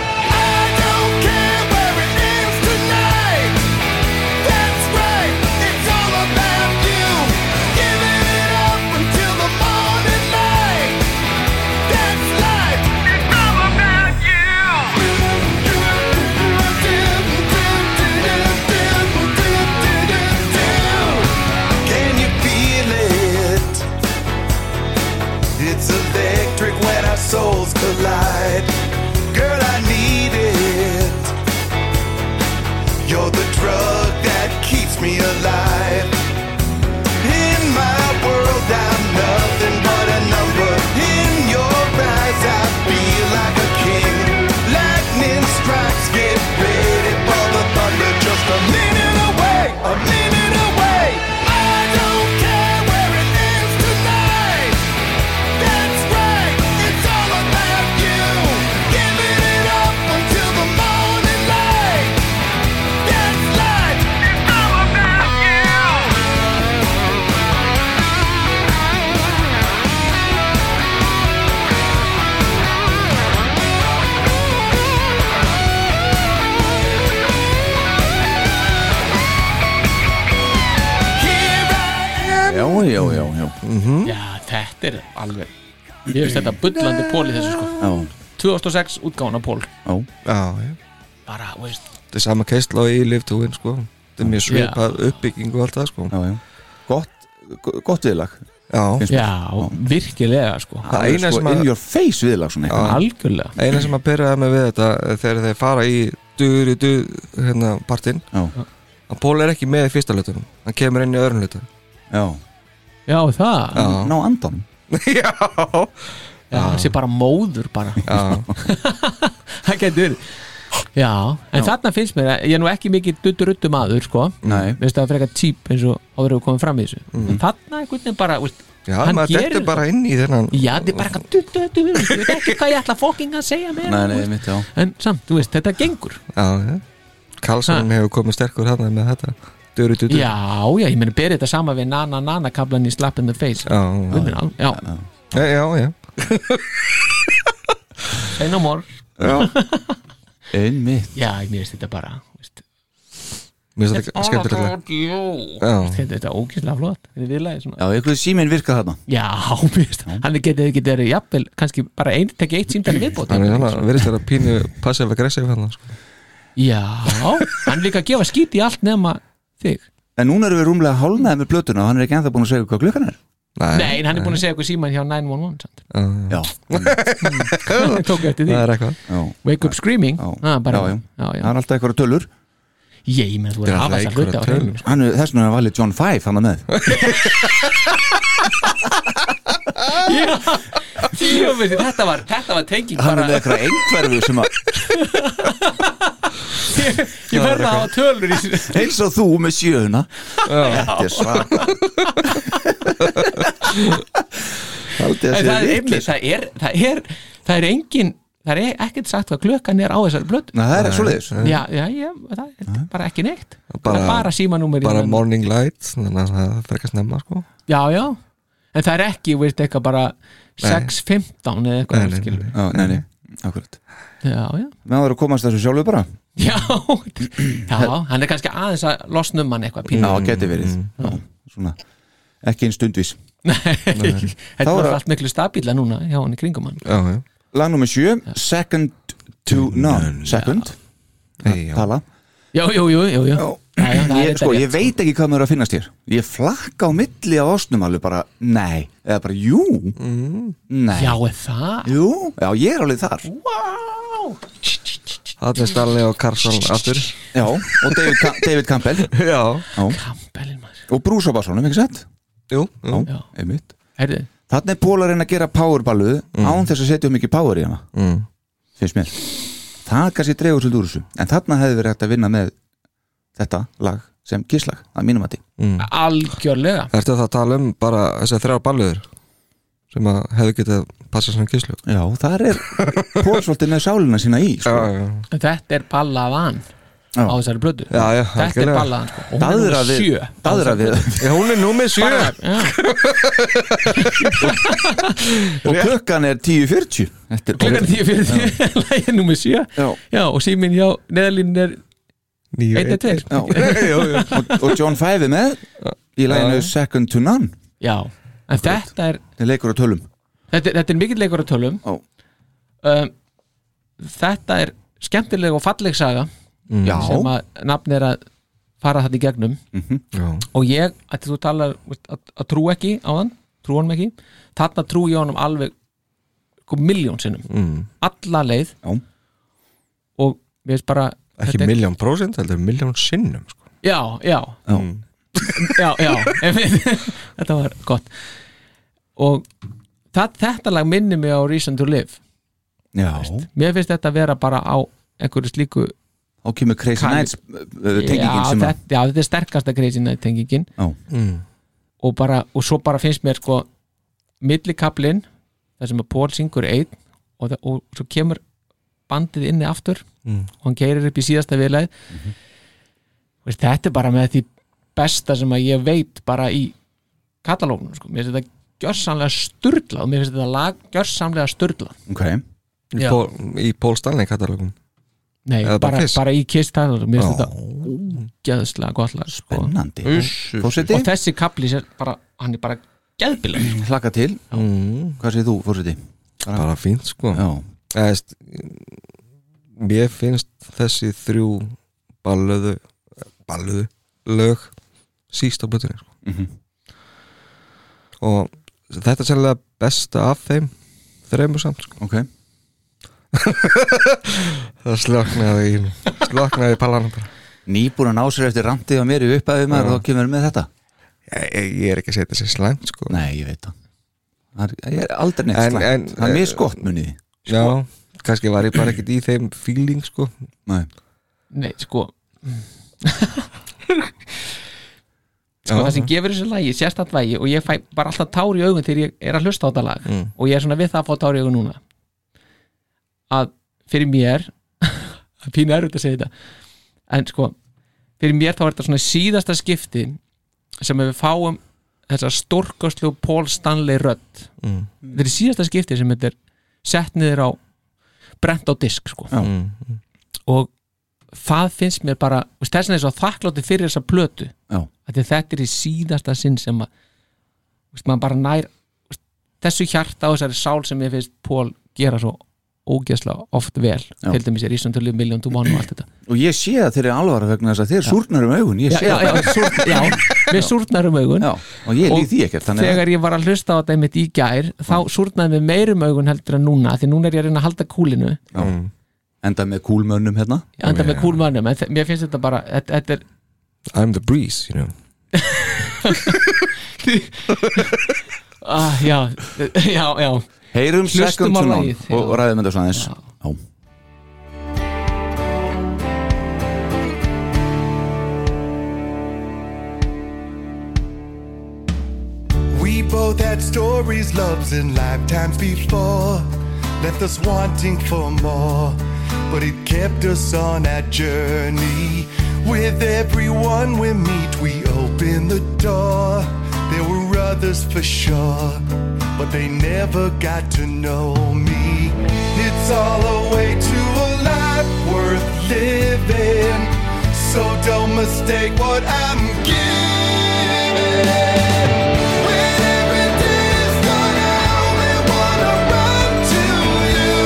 I don't care where it ends tonight. That's right, it's all about you. Giving it up until the morning light. That's life. It's all about you. Can you feel it? It's electric when our souls collide. Girl, I need it. You're the drug that keeps me alive. In my world, I'm nothing but a number. In your eyes, I feel like a king. Lightning strikes, get ready for the thunder. Just a minute away, a minute away. I don't care where it ends tonight. That's right. já, já, já Já, þetta er alveg Ég veist þetta bullandi pól í þessu sko Já. 2006 útgána pól Já, já Bara, þú veist Þetta er sama keisla í Live to Win sko Þetta er mjög Já. svipað uppbygging og allt það sko Já, já Gott, gott viðlag Já, Finnst mér. Já, virkilega sko Það eina sko sem að- in your face viðlag svona Já. Algjörlega Eina sem að perraða mig við þetta er þegar þeir fara í duður í duð hérna partinn Já. að Pól er ekki með í fyrsta hlutunum hann kemur inn í öðrum hlutunum Já, Já, það Já. ná andan Já Já, hann sé bara móður bara Já Það getur Já, en Já. þarna finnst mér að ég er nú ekki mikið dutturuttu maður sko Nei. Mhm. Veist það er frekar típ eins og áður við komum fram í þessu En þarna einhvern veginn bara, veist Já, maður dettur það. bara inn í þennan Já, þetta er bara eitthvað dutturuttu maður, Ég veit ekki hvað ég ætla fokking að segja mér Nei, nei, mitt já En samt, þú veist, þetta gengur Já, já Karlsson hefur komið sterkur hann með þetta Döru dutur Já, já, ég meni berið þetta sama við nana nana kablan í slap in the face Já, Guð minn al- já, já, já, já. Say no more Já. Einmitt Já, ég veist þetta bara veist. Mér finnst þetta It's all skemmtilegt. about you. Já. Veist, Þetta þetta er ókýrslega flott Þetta er viðlagið svona Já, eitthvað síminn virkað þarna Já, veist, hann getið ekki verið jafnvel, kannski bara ein, tekið eitt símdæli viðbót Þannig að hann verðist vera pínu passiv-aggressiv hann sko. Já, hann er líka að gefa skít í allt nema þig En núna erum við rúmlega hálnaði með plötuna og hann er ekki ennþá búin að segja hvað klukkan er Nei, hann er búin að segja eitthvað síman hjá 911 samt. Já, Ég Tók eftir því Það er eitthvað. Wake up screaming ah, bara, já, já. já, já. Það er alltaf eitthvað tölur Ég með þú er að hafa þess að hluta á hreinu, sko. Hann er þess vegna að valið John 5 hann er með Já, djöfull, Þetta var, þetta var tenging Hann bara er með eitthvað einhverfu sem að Ég verða á tölur í eins og þú með sjöuna Þetta er svaka Haldið að En segja það er einmitt, það er, það er, það er engin, það er ekkert sagt hvað klukkan er á þessari blötu. Nei, það er svoleiðis. Já, já, já, það er bara ekki neitt. Bara, bara, bara símanúmerið. bara morning light þannig að það frekar snemma sko. Já, já, en það er ekki, veist, eitthvað bara 6.15 eða eitthvað, Nei, skilur. Já, nei, nei, akkurat Já, já. Með það er að komast þessu sjálfu bara Já, já, hann er kannski aðeins að losna um hann eitthvað Já, pínu. geti verið Mm. Já, svona, Ekki einn stundvís Þetta Þá var er- allt miklu stabíla núna hjá hann í kringum hann. já. Lag nummer sjö Second to none Second Hey, Tala Já, jú, jú, jú, jú. Já, já, það er ég, þetta sko, rétt, ég veit ekki hvað maður er að finnast hér Ég flakka á milli á ásnum alveg bara Nei, eða bara jú Nei Mm. Já, er það? Jú, já, ég er alveg þar Það er Stanley og Carson aftur Já, og David, Ca- David Campbell Já, Campbellin Ah, maður Og Bruce Obassonum, ekki sett? Jú, Já, jú. Já. einmitt Herðu, Þannig er Póla að reyna að gera powerballu án þess að setja um mikið power í hana Mm. finnst mér Það kannski dregur svolítið úr þessu En þarna hefði verið hægt að vinna með þetta lag sem kisslag, að mínum að því algjörlega. Ertu að það að tala um bara þessar þrjár balluður sem að hefðu getað passað sem kíslu Já, þar er Pól svolítið með sálina sína í sko. já, En Þetta er ballaðan Já. á þessari blödu já, já, Þetta er ballaðan sko. Og hún er Daðra númer við, sjö á daðra við þessari Já, hún er númið sjö Bara- já. Og klukkan er 10.40 Þetta er Klukkan tíu fyrir því Lægir númer sjö Já. Já, og síminn hjá neðalín er Níu, einn og tveir Já. og, og John Five er með í laginu Second to None Já, en þetta er Það leikur á tölum þetta, er- þetta er mikill leikur á tölum Já. um, Þetta er skemmtileg og falleg saga Mm. Já, Mhm. sem að nafn er að fara þetta í gegnum Já, og ég, að þú talar veist, að, að trú ekki á hann, trú honum ekki þarna trú ég honum alveg miljón sinnum, mm. alla leið Já. og við veist bara Ekki þetta er- miljón prósent, heldur miljón sinnum sko. já, já, Mm. Já. já, já einmitt. þetta var gott og það, þetta lag minni mig á Reason to Live já mér finnst þetta vera bara á einhverju slíku Þá kemur Crazy Kali- Nights uh, uh, tengingin já, sem að þetta, já, þetta er sterkasta Crazy Night tengingin Já. og, bara, og svo bara finnst mér sko millikablin þar sem að Paul syngur einn og, það, og svo kemur bandið inni aftur og hann keirir upp í síðasta viðlæð mm Mhm. þetta er bara með því besta sem að ég veit bara í katalógunum sko, mér finnst þetta gjörsamlega sturglað, mér finnst þetta lag gjörsamlega sturglað Ok, í, Já. Pól, í Pól Stanley katalógum Nei, Eða bara, bara bara, Kiss? í Kiss það, mér finnst Já. þetta gæðslega gott lag sko. Spennandi. Uss, uss, Forseti? Og þessi kapli, sér bara, hann er bara gæðbileg Hlakka til, Mm. hvað segir þú fórseti? bara fínt sko Já, Eðst, mér finnst þessi þrjú ballöðu ballöðu lög síst á blöðunni sko. Mhm. og þetta er sérlega besta af þeim þreymur samt sko. ok það slöknaði í slöknaði í pallanum bara Nýbúin að ná sér eftir randið á mér í upphæðu maður og þá kemur með þetta ég, ég er ekki að segja þetta sér slæmt sko. Nei, ég veit það Það er- Ég er aldrei neitt En- slæmt en- eh, Það er misgott sko. munið þið. já, kannski var ég bara ekkert í þeim feeling sko. Nei. Nei, sko Sko það sem gefur þessu lagi, sérstætt lagi og ég fæ bara alltaf tár í augun þegar ég er að hlusta á þetta lag Mm. og ég er svona við það að fá tár í augun núna að fyrir mér það er pínu erfitt að segja þetta en sko, fyrir mér þá er þetta svona síðasta skipti sem við fáum þessa stórkostlu Paul Stanley rödd Mm. þetta er síðasta skipti sem þetta er sett niður á brent á disk sko Já. Mm. og það finnst mér bara þú veist, þess vegna er ég svo þakklátti fyrir þessa plötu Já. Af því að þetta er í síðasta sinn sem að, þú veist, maður bara nær þú veist, þessu hjarta og þessari sál sem ég finnst Pól gera svo ógeðslega oft vel Já. til dæmis er Ísland tölum miljón dúman og allt þetta Og ég sé að þeir eru alvara vegna þess að þeir súrnar um augun Ég já, sé já, það já, súr, já, við súrnarum augun Já, og ég líð því ekkert þannig að- þegar ég var að hlusta á þetta einmitt í gær þá súrnaði mér meirum augun heldur en núna af því núna er ég að reyna að halda kúlinu Enda með kúlmönnum hérna enda með kúlmannum, en þe- mér finnst þetta bara þetta, þetta er I'm the breeze you know. ah, já, já, já Heyrum Hlustum Second to á None lagið, já. og ræðum þetta svona aðeins Já. Já. We both had stories, loves, and lifetimes before. Left us wanting for more. But it kept us on our journey. With everyone we meet, we open the door. There were others for sure, but they never got to know me. It's all a way to a life worth living. So don't mistake what I'm giving. When every day is gone, I only wanna run to you.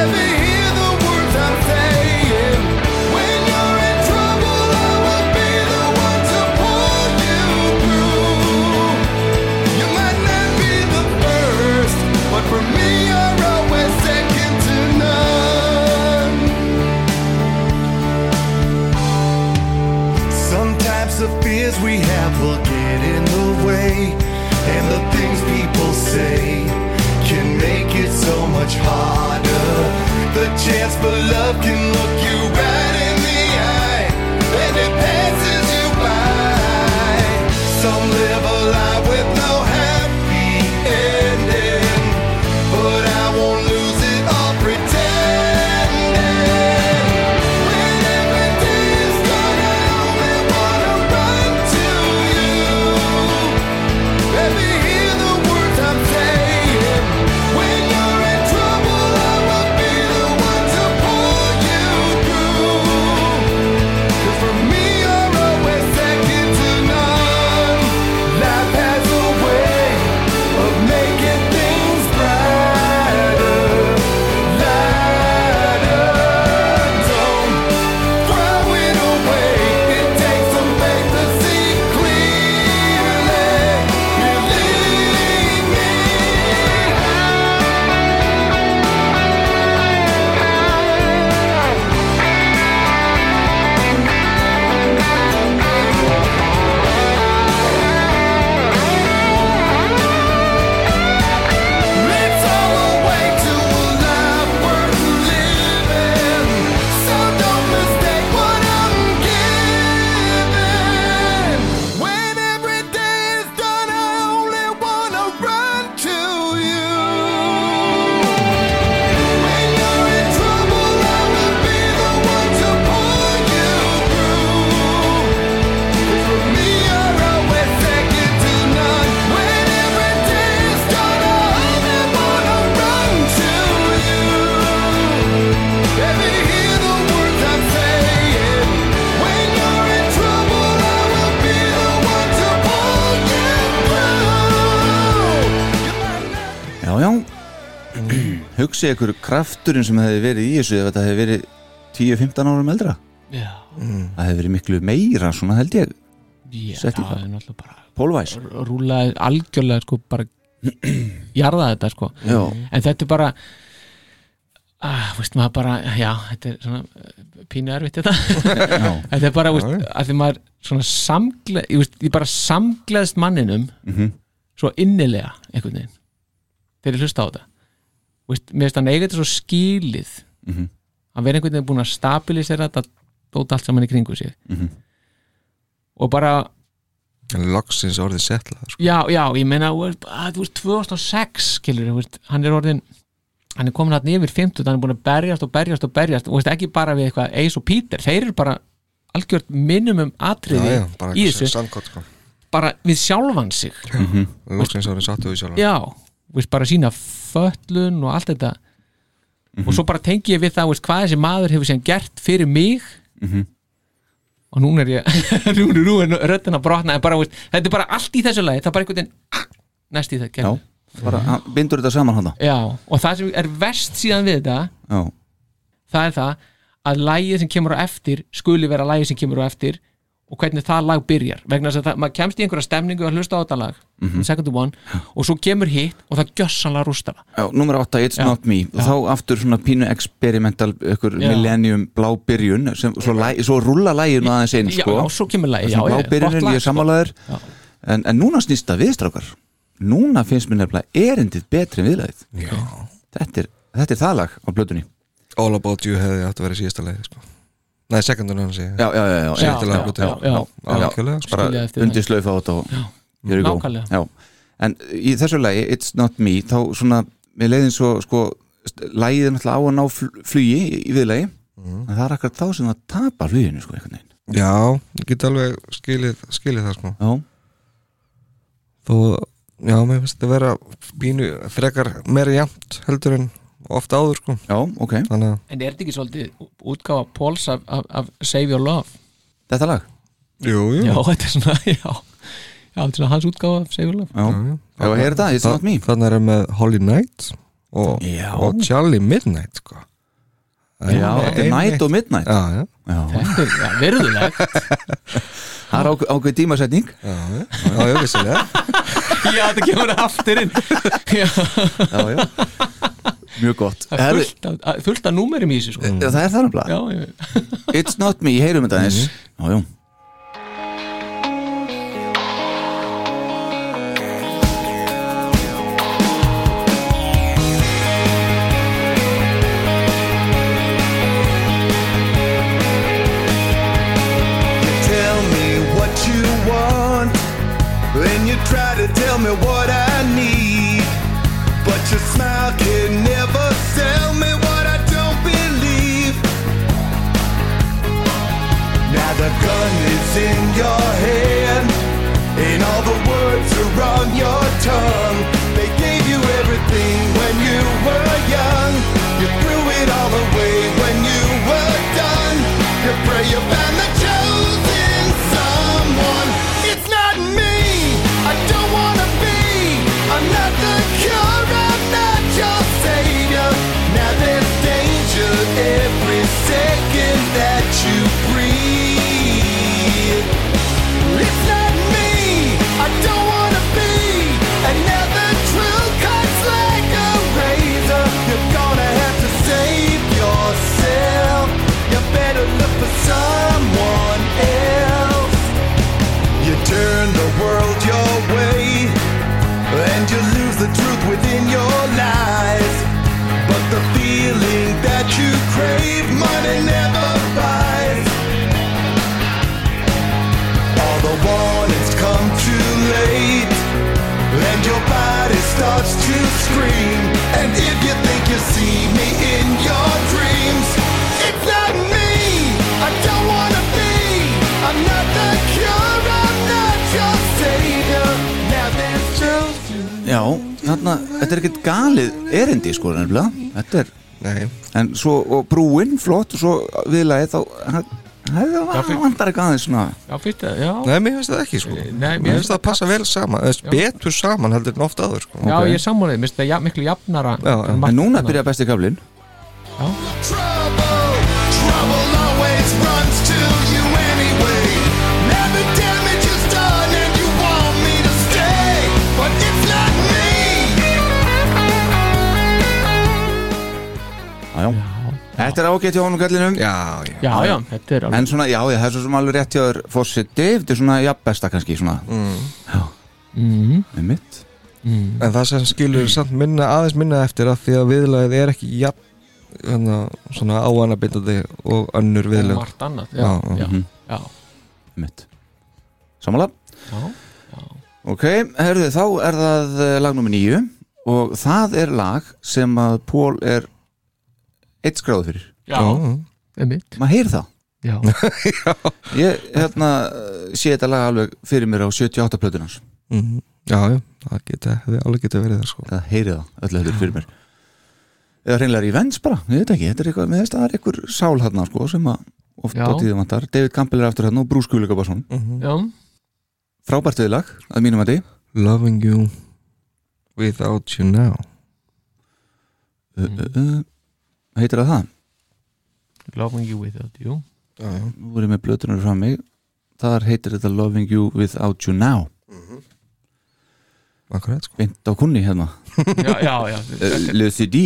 Ever hear the words I'm saying? When you're in trouble, I will be the one to pull you through. You might not be the first, but for me, you're always second to none. Sometimes the fears we have will já hugsið ykkur krafturinn sem hefði verið í þessu ef þetta hefði verið 10-15 árum eldra Já. það hefði verið miklu meira svona held ég Já, Sett í það er náttúrulega bara Pólvæs rúlaði algjörlega sko bara jarðaði þetta sko Já. en þetta er bara ah, veist maður bara, já, þetta er svona eh, pínu erfitt þetta þetta er bara, veist, að því maður svona samgleð, ég veist, ég bara samgleðst manninum Mhm. svo innilega einhvern veginn þegar ég hlusta á þetta veist, mér finnst hann eiga þetta svo skilið Mhm. hann verið einhvern veginn búin að stabilisera þetta dót allt saman í kringu sig Mhm. og bara Loksins orðið settla sko. já, já, ég meina þú veist, að, þú veist, 2006 skilur, þú veist, hann er orðin hann er komin hann yfir 50 hann er búin að berjast og berjast og berjast og veist, ekki bara við eitthvað Ace og Peter, þeir eru bara algjört minimum atriði Já, já, bara í eitthvað þessu, sandkott, sko. bara við sjálfan sig Loksins orðið sattu við sjálf já, þú veist, bara sína föllun og allt þetta og svo bara tengi ég við það, þú veist, hvað þessi maður hefur sem gert fyrir mig Mhm. og núna er ég nú, nú, nú er röddina brotna en bara, þú veist, þetta er bara allt í þessu lagi það er bara einhvern veginn ah, næst í þetta já, bara hann bindur þetta saman hann Já, og það sem er verst síðan við þetta já, það er það að lægið sem kemur á eftir skuli vera lægið sem kemur á eftir og hvernig það lag byrjar vegna þess að það, maður kemst í einhverja stemningu að hlusta á þetta lag Mhm. second to one og svo kemur hitt og það gjössanlega rústa það já nummer 8, It's Já. Not Me og Já. þá aftur svona pínu experimental ykkur Já. millennium blá byrjun sem, svo, læ, svo rúla lægin aðeins inn Já, sko. já, svo kemur lagið, Svona já, blá já, gott byrjunin, lag, ég er sko. sammálaður Já. en, en núna snýst það viðstrákar núna finnst mér nefnilega erindið betri en viðlæðið þetta er, þetta er það lag á blötunni All About You hefði átt að vera síðasta leið sko. Nei, second one hann sé já, já, já, já, Síðasta Já, lag já, blötu. já, já. Algjörlega, sko. bara Skilja eftir undir slaufa á þetta og hér er ég nákvæmlega. góð Já. en í þessu lagi, It's Not Me þá svona, mér leiðin svo sko, lagið er náttúrulega á að ná fl- flugi í- í viðlagi, Mhm. en það er akkur þá sem það tapar fluginu sko einhvern veginn Já, ég get alveg skilið, skilið það sko. Já, Þó, já, mér finnst þetta vera bínu frekar meira jæmt heldur en ofta áður sko. já, ok, Þannig að, En er þetta ekki svolítið útgáfa Póls af, af, af Save Your Love? þetta lag jú, jú Já, þetta er svona, já Já, þetta er svona hans útgáfa af Save Your Love Já, já, hér er þetta, It's Not Me Þannig er hann með Holly Knight og, Já. og Charlie Midnight sko. Já, þetta er Night og Midnight Já, já Já, Þetta er já, virðulegt það er ákveð, ákveð tímasetning Já, já, vissilega Já, þetta kemur aftur inn Já, Já, já, mjög gott það er Herðu, fullt af, að- fullt af númerum í þessu sko. Mm. Já, það er það Já, náttúrulega ég It's Not Me, heyrum þetta eins Mhm. Já, já, Tell me what you want, then you try to tell me what I need. But your smile can never sell me what I don't believe. Now the gun is in your hand, and all the words are on your tongue. They gave you everything when you were young. You threw it all away when you were done. You pray you find the chosen someone. It's not me. I don't wanna be. I'm not the cure. I'm not your savior. Now there's danger every second that you breathe. It's not me. I don't wanna be another true cuts like a razor. You're gonna have to save yourself. You better look for someone else. You turn the world your way, and you lose the truth within your lies. But the feeling that you crave, money never buys. All the warnings come too late And your body starts to scream And if you think you see me in your dreams It's not me, I don't wanna be I'm not the cure, I'm not your savior Now there's truth já Þarna, þetta er ekkert galið erindi sko nefnilega Þetta er Nei, en svo og brúinn flott og svo viðlagið þá hann, það vantar eitthvað aðeins svona Já, fyrst það, já Eh, Nei, mér finnst það ekki sko Nei, Mér finnst það passa vel saman eða Betur saman heldur en oft aður sko Já, ég er sammálið, mér finnst það ja, miklu jafnara Já, já. margt En núna annað. byrjar besti kaflinn Trouble always runs to you anyway. Now the damage is done and you want me to stay, but it's not me. Já, já. Þetta er ágætt hjá honum gallinum Já, já, Já, já, þetta er alveg En svona, já, já, það er svo sem alveg rétt hjá þér Fossetti, þetta er svona, já, besta kannski svona. Mm. Já, mm. með mitt En það sem skilur samt minna aðeins minna eftir að því að viðlagið er ekki jafn hérna, svona áanabindandi og önnur viðlög Og margt annað, já, já, já. mitt Samanlega Ok, herðu, þá er það eh, lag nummer nýju og það er lag sem að Pól er eitt skráð fyrir Já, einmitt. Maður heyr það Já. Ég, hérna, eh, sé þetta lag alveg fyrir mér á 78 plötunars Mhm. Já, já, það geta, hefði alveg geta verið það sko Það heyri það öllu heldur fyrir mér Eða reynlega í vens bara, ég veit ekki Þetta er eitthvað, með þess að það er eitthvað sál hérna sko, sem að oft Já. á tíðum vantar David Campbell er aftur hérna og Bruce Kulik og bara Mm. svona já, Frábært viðlag, að mínum að Loving you without you now Uh, uh, Mm. uh, heitir það það loving you without you nú er ég með blötunar frá mig þar heitir þetta Loving You Without You Now Akkurat sko beint á kunni hérna Já, já, já, Eh, LCD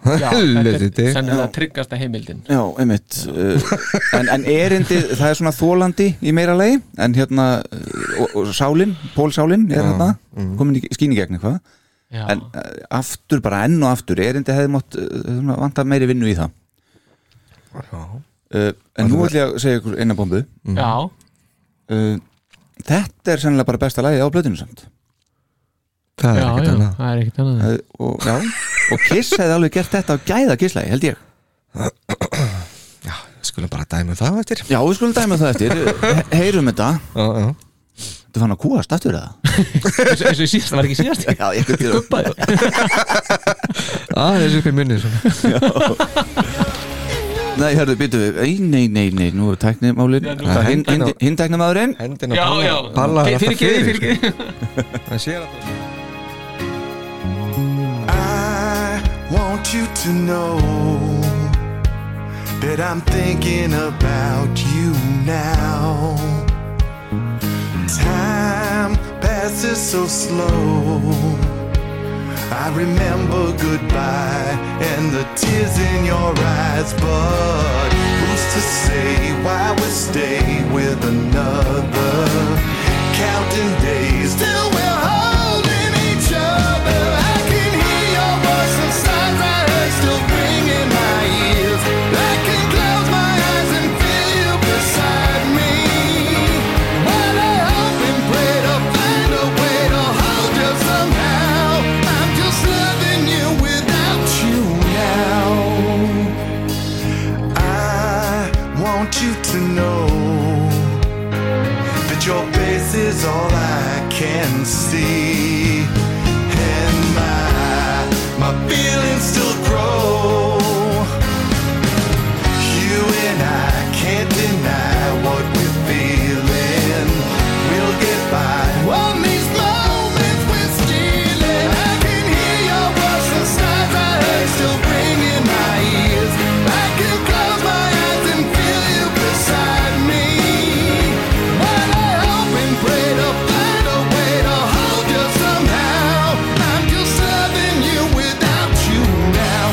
já Þetta er sennilega tryggasta heimildin já, einmitt uh, en, en erindi, það er svona þólandi í meira lagi en hérna eh, og, og sálin, Pól Sálin er hérna mhm. komin í skýni gegn eitthvað Já, en eh, aftur, bara enn og aftur erindi hefði mátt uh, vanta meiri vinnu í það uh, en nú ætlum ég að segja ykkur eina bombu Mm. já, uh, þetta er sennilega bara besta lagið á blötunum samt Það já, er ekkert já, annað það er ekkert annað Eh, og, já, og Kiss hefði alveg gert þetta á gæða kisslagi, held ég Við skulum bara dæmi það á eftir Já, við skulum dæma það eftir, He- heyrum þetta Já, já Þú fann að kúast aftur það Eins og- eins og í síðast, það var ekki síðast Já, ég veit það Gubbaði Það er þessu upp í munni svona Nei, hörðu, býtu við, nei, nei, nei, nei, nú er tæknimálin Já, nú- Það er hinn- hinn- Hinn tæknimaðurinn Hendina Já, palla- já, Palla er alltaf fyrir fyrir ekki, fyrir sko. ekki Það sér alltaf I want you to know that I'm thinking about you now. Time passes so slow. I remember goodbye and the tears in your eyes, but who's to say why we stay with another? Counting days till we're holding each other. I can hear your voice inside my head still ringing my ears. I can close my eyes and feel you beside me. While I hope and pray to find a way to hold you somehow. I'm just loving you without you now. I want you to know that your face is all I can see, and my my feelings still grow. You and I can't deny what we're feeling. We'll get by. On these moments we're stealing, I can hear your voice inside my head still ringing my ears. I can close my eyes and feel you beside me. While I hope and pray to find a way to hold you somehow. I'm just loving you without you now.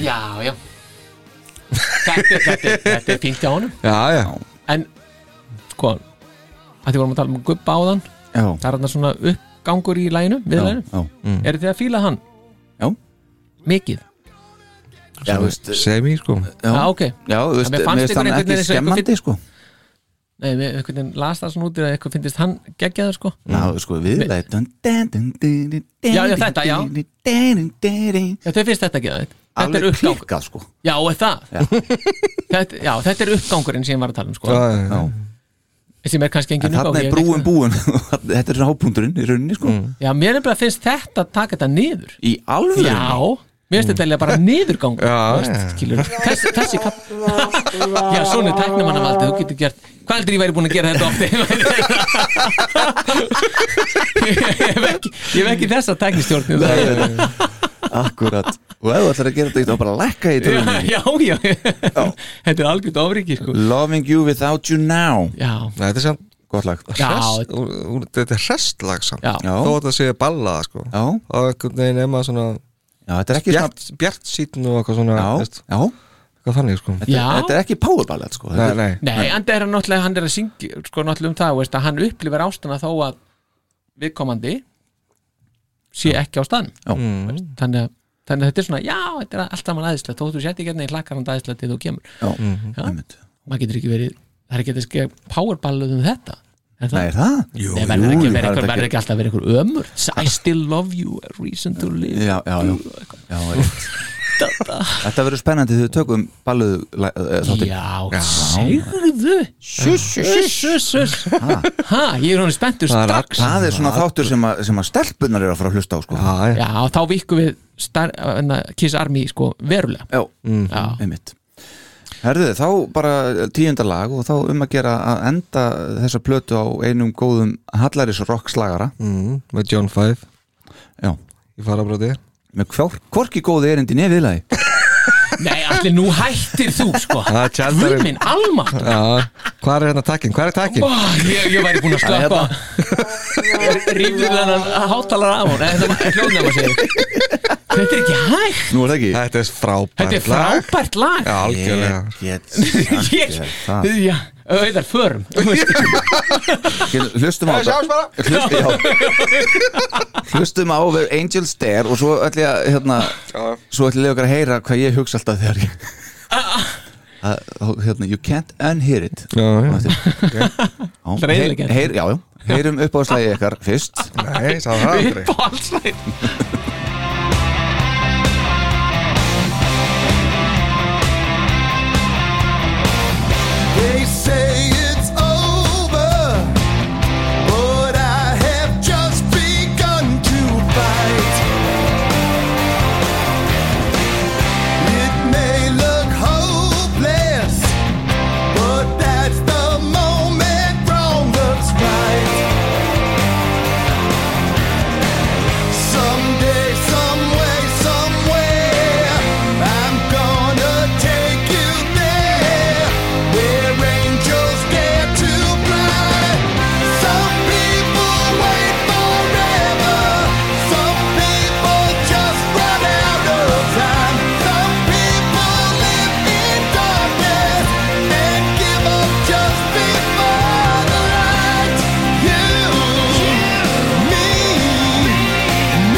Já, já Þetta, er- þetta, er- þetta er fínt á honum Já, já En sko að því vorum að tala um gubba áðan Já. Það er þarna svona uppgangur í læginu Já, Við læginu já. Mm. Eru þið að fíla hann? Já Mikið Já, þú veist, Semi, sko já, Já, ok. já, þú veist, En mér fannst mér veist hann ekki einhvern veginn eins og eitthvað skemmandi sko. Nei, við einhvern veginn las það svona út í að eitthvað finnist hann geggjaður sko Já, sko, viðlega Já, já, þetta, já. Já, þau finnst þetta ekki það Þetta er Alveg uppgang klikkað, sko Já, er það þetta, já, þetta er uppgangurinn sem ég var að tala um sko Já, já, já. Já. Sem er Mm. kannski engin En þarna uppgang er ég- um- brúin búin Þetta er hápunkturinn í rauninni, sko Já, mér er bara finnst þetta að taka þetta niður Í alveg Já, mér finnst þetta eiginlega bara niðurgang skilur, þessi, þessi kapp Já, svona er tæknumannavaldi, þú getur gert Hvað heldur ég væri búin að gera þetta oft Ég hef ekki, ég hef ekki þessa tæknistjórn Akkurat Og ef þú ætlar að gera þetta, þá bara lækka í Já, trunni já, já Þetta er algjörð ofriki sko. Loving you without you now Já, Nei, Þetta er samt Gott lag Já. hrest, úr, úr, Þetta er hrestlag samt Já. Já. Þó að þetta sé ballaða, sko Já. Og einhvern veginn er maður svona Já, þetta er ekki svona bjart, bjart sítin og eitthvað svona Já, veist, já eitthvað þannig sko Þetta Já. þetta er ekki powerballad, sko nei, nei. Nei, enda er hann náttúrulega, hann er að syngja sko náttúrulega um það, veist, að hann upplifir ástana þó að viðkomandi sé ekki á stann Já. Mm. veist, þannig, að, þannig að þetta er svona já, þetta er allt saman aðeinslega, þó þú sétt ekki hérna í hlakkar hann aðeinslega til þú kemur Já, Já. einmitt maður getur ekki verið, það er ekki að skega powerballuð um þetta er Nei, það? er það? Jú, Nei, verður ekki, verður það ekki, er verður ekki alltaf að vera ykkur ömur I still love you, a reason to live Já, já, já, já rétt. Þetta verður spennandi þegar við tökum eh, balluð þáttir Já, segðu Suss, suss, suss Ha, ég er honum spenntur Það er strax Það er svona þáttur sem að, sem að stelpunar eru að fara að hlusta á sko. Já, já. Já, og þá vikum við star, enna, Kiss Army sko, verulega Já, Já. Mhm, einmitt Herðu, þá bara tíundar lag og þá um að gera að enda þessa plötu á einum góðum Hallaris rockslagara Mm, með John Five Já, í farabróti með hvort, hvorki góði erindi nefiðlagi Nei, allir nú hættir þú sko Það er Guð tjaldarinn minn, almatt Já, hvað er hérna takkin? Hvað er takkin? ég, ég væri búin að hérna. slöpa Rífðu þennan hátalara af hún Nei, Þetta var hljóðnæma sér Þetta er ekki hægt Nú er það ekki Þetta er frábært Þetta er frábært lag Já, algjörlega Ég get sagt Ég, þér það. já, auðvitað förum Þú veist, Ég- Hlustum á þetta Hlust- já. Hlustum á The Angel Stare og svo ætlum ég að hérna, svo ætlum ég okkar að heyra hvað ég hugsa alltaf þegar ég að, þá, hérna, You can't unhear it Já, já. Á eftir. Já, Það er eiginlega heyr- heyr- Já, já, heyrum upp á slægi ykkar fyrst Nei, sá það aldrei Uppáhaldslagið. They say it's over, but I have just begun to fight. It may look hopeless, but that's the moment wrong looks right. Someday, someway, somewhere, I'm gonna take you there. Where angels get to fly. Some people wait forever. Some people just run out of time. Some people live in darkness and give up just before the light. You, me.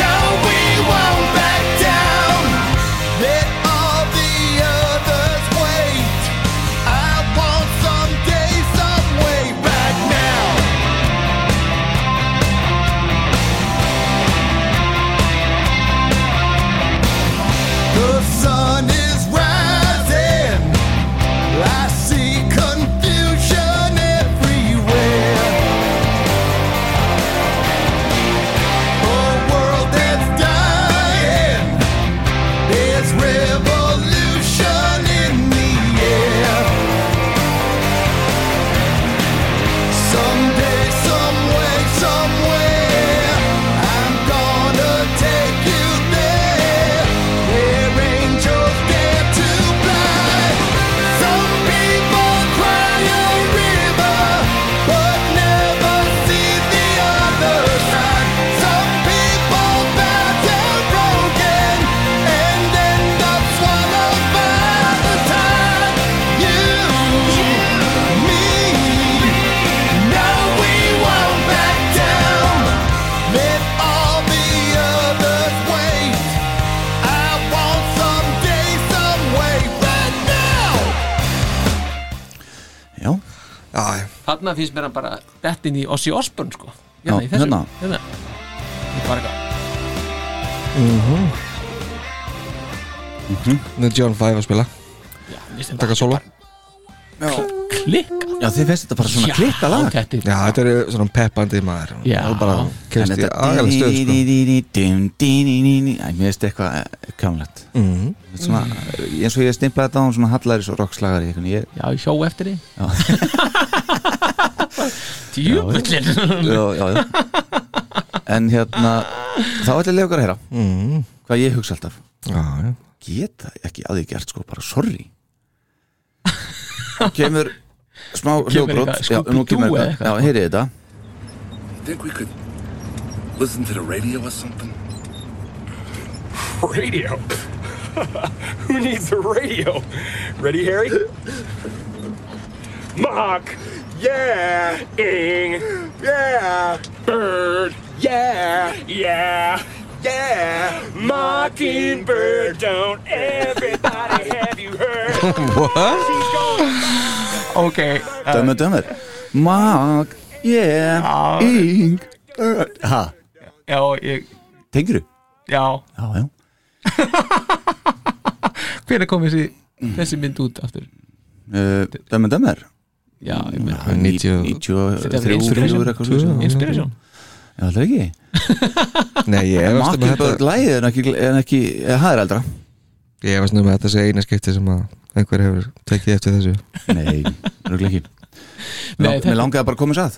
No, we won't back down. Let all the others wait. I want some day, some way right now. The sun is rising. I see confusion everywhere. A world that's dying. There's revolution in the air. Someday, someway, somewhere, I'm gonna take you there, where angels get þarna finnst mér hann bara dett inn í Ossi Osborn sko Já, í þessu. hérna. hérna. Ég bara eitthvað Mhm. Nú er Mhm. John Five að spila mér finnst Takka solo klikka Já, þið finnst þetta bara svona Já, klikka lag þetta er Já, þetta eru svona peppandi maður Já. Það er bara kemst í aðgæðlega stöð sko. Æ, mér veist eitthvað eh, kjámlegt Mhm. Svona, eins og ég stimplaði þetta á hann svona hallaris og rockslagari einhvern veginn. Já, ég hjó eftir því Djúbullin ég, já, já, já. En hérna þá ætla ég að lega okkar að heyra Mhm. hvað ég hugsa alltaf Já, já geta ekki að því gert sko, bara sorry kemur smá Kemur hljóbrot eitthvað, já, nú Scooby-Doo kemur eða eitthvað, já, eitthvað. heyrið þetta Think we could listen to the radio or something? Radio? Who needs a radio? Ready, Harry? Mock! Yeah! Ing! Yeah! Bird! Yeah! Yeah! Yeah! Mockingbird, don't everybody have you heard? What? She's gone! Ok dömur, dömur mag, yeah, ing uh, ha, Já, ég, tengir þú? já já, já, Hvernig kom þessi, þessi mynd út aftur? uh, dömur, dömur Já, ég með 90 Þetta er 93 Inspiration. eitthvað svo sem. Inspiration já, það er ekki Nei, ég efast um að Mockingbird þetta lægið en ekki, en ekki eða, það er eldra Ég efast um að þetta sé eina skipti sem að einhver hefur tekið eftir þessu nei, röglega ekki Nei, Lang, þetta- mér langaði bara að koma að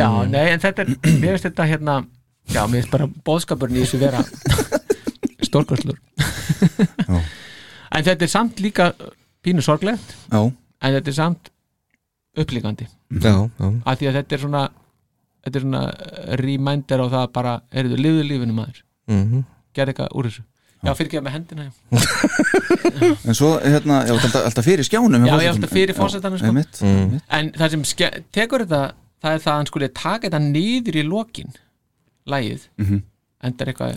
Já, nei, en þetta er, mér finnst þetta hérna Já, mér finnst bara bóðskapurinn í þessu vera Stórkvörslur Já. En þetta er samt líka pínu sorglegt já, En þetta er samt upplíkandi Já, já af því að þetta er svona þetta er svona eh, reminder á það bara, heyrðu, lifðu lífinu maður Mhm. gerð eitthvað úr þessu Já, fyrir ekki með hendina já. en svo hérna, já, alltaf, alltaf fyrir skjánum hjá Já, ég forsetanum. alltaf fyrir Já, forsetanum, sko. einmitt. Mm. En það sem ske- tekur þetta það er það að hann skuli taka þetta niður í lokin lægið Mhm. endar eitthvað,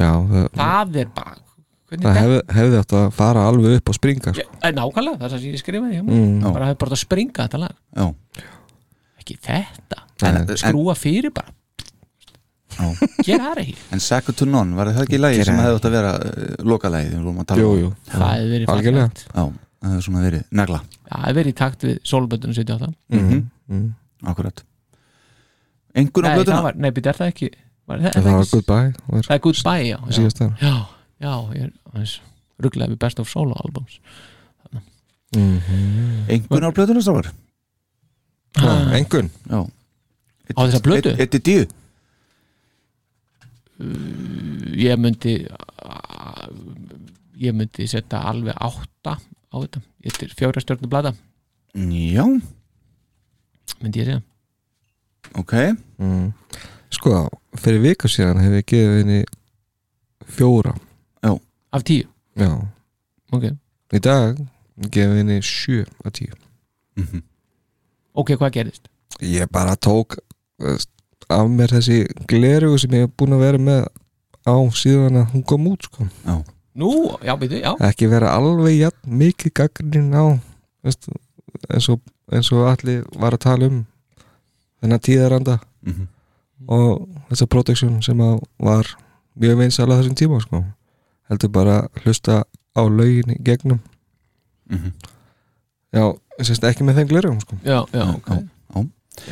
Já, það, það er bara hvernig það þetta hef, hefði átt að fara alveg upp og springa sko. Já, eh, Nákvæmlega, það er það sem ég skrifaði hjá mér mm. Já. bara hefur bara átt að springa þetta lag Já. ekki þetta, En- en- skrúa fyrir bara Já. gera það ekki En Sacco to None, var það ekki lægi Gerðu sem það. hefði átt að vera uh, lokalægi þegar við vorum að tala Jú, um? jú það hefur verið Algjörlega. fallegt. Já, það hefði svona verið negla, Mhm. það hefur verið í takt við solböndunum 78 mm. Mm. akkurat Engur á Nei, það blöðuna? var, nei, býtt, er það ekki var, það, En það það var ekki, goodbye og er það er Goodbye, já Já, síðast þar já, já ég er aðeins rugglaði við Best of Solo albums Engur á blöðuna strákar? Engun Já Á þessa plötu? Eitt í tíu Ég myndi ah, ég myndi setja alveg átta á þetta Ég er fjóra stjórnum blada, Já, myndi ég segja ok mm. Sko, fyrir viku síðan hef ég gefið henni fjóra Af tíu, Já, ok í dag gefið henni sjö að tíu Ok, hvað gerðist? Ég bara tók veist, af mér þessi glerugu sem ég hef búin að vera með á síðan að hún kom út sko. Nú, já, býttu, já ekki vera alveg jafn mikið gagnrinn á veist, eins, og, eins og allir var að tala um þennan tíðaranda Mhm. og þessa protection sem að var mjög vinsal á þessum tíma sko. heldur bara að hlusta á lögin í gegnum Mhm. já, sérst ekki með þeim glerjum sko. Já, já, ok Já,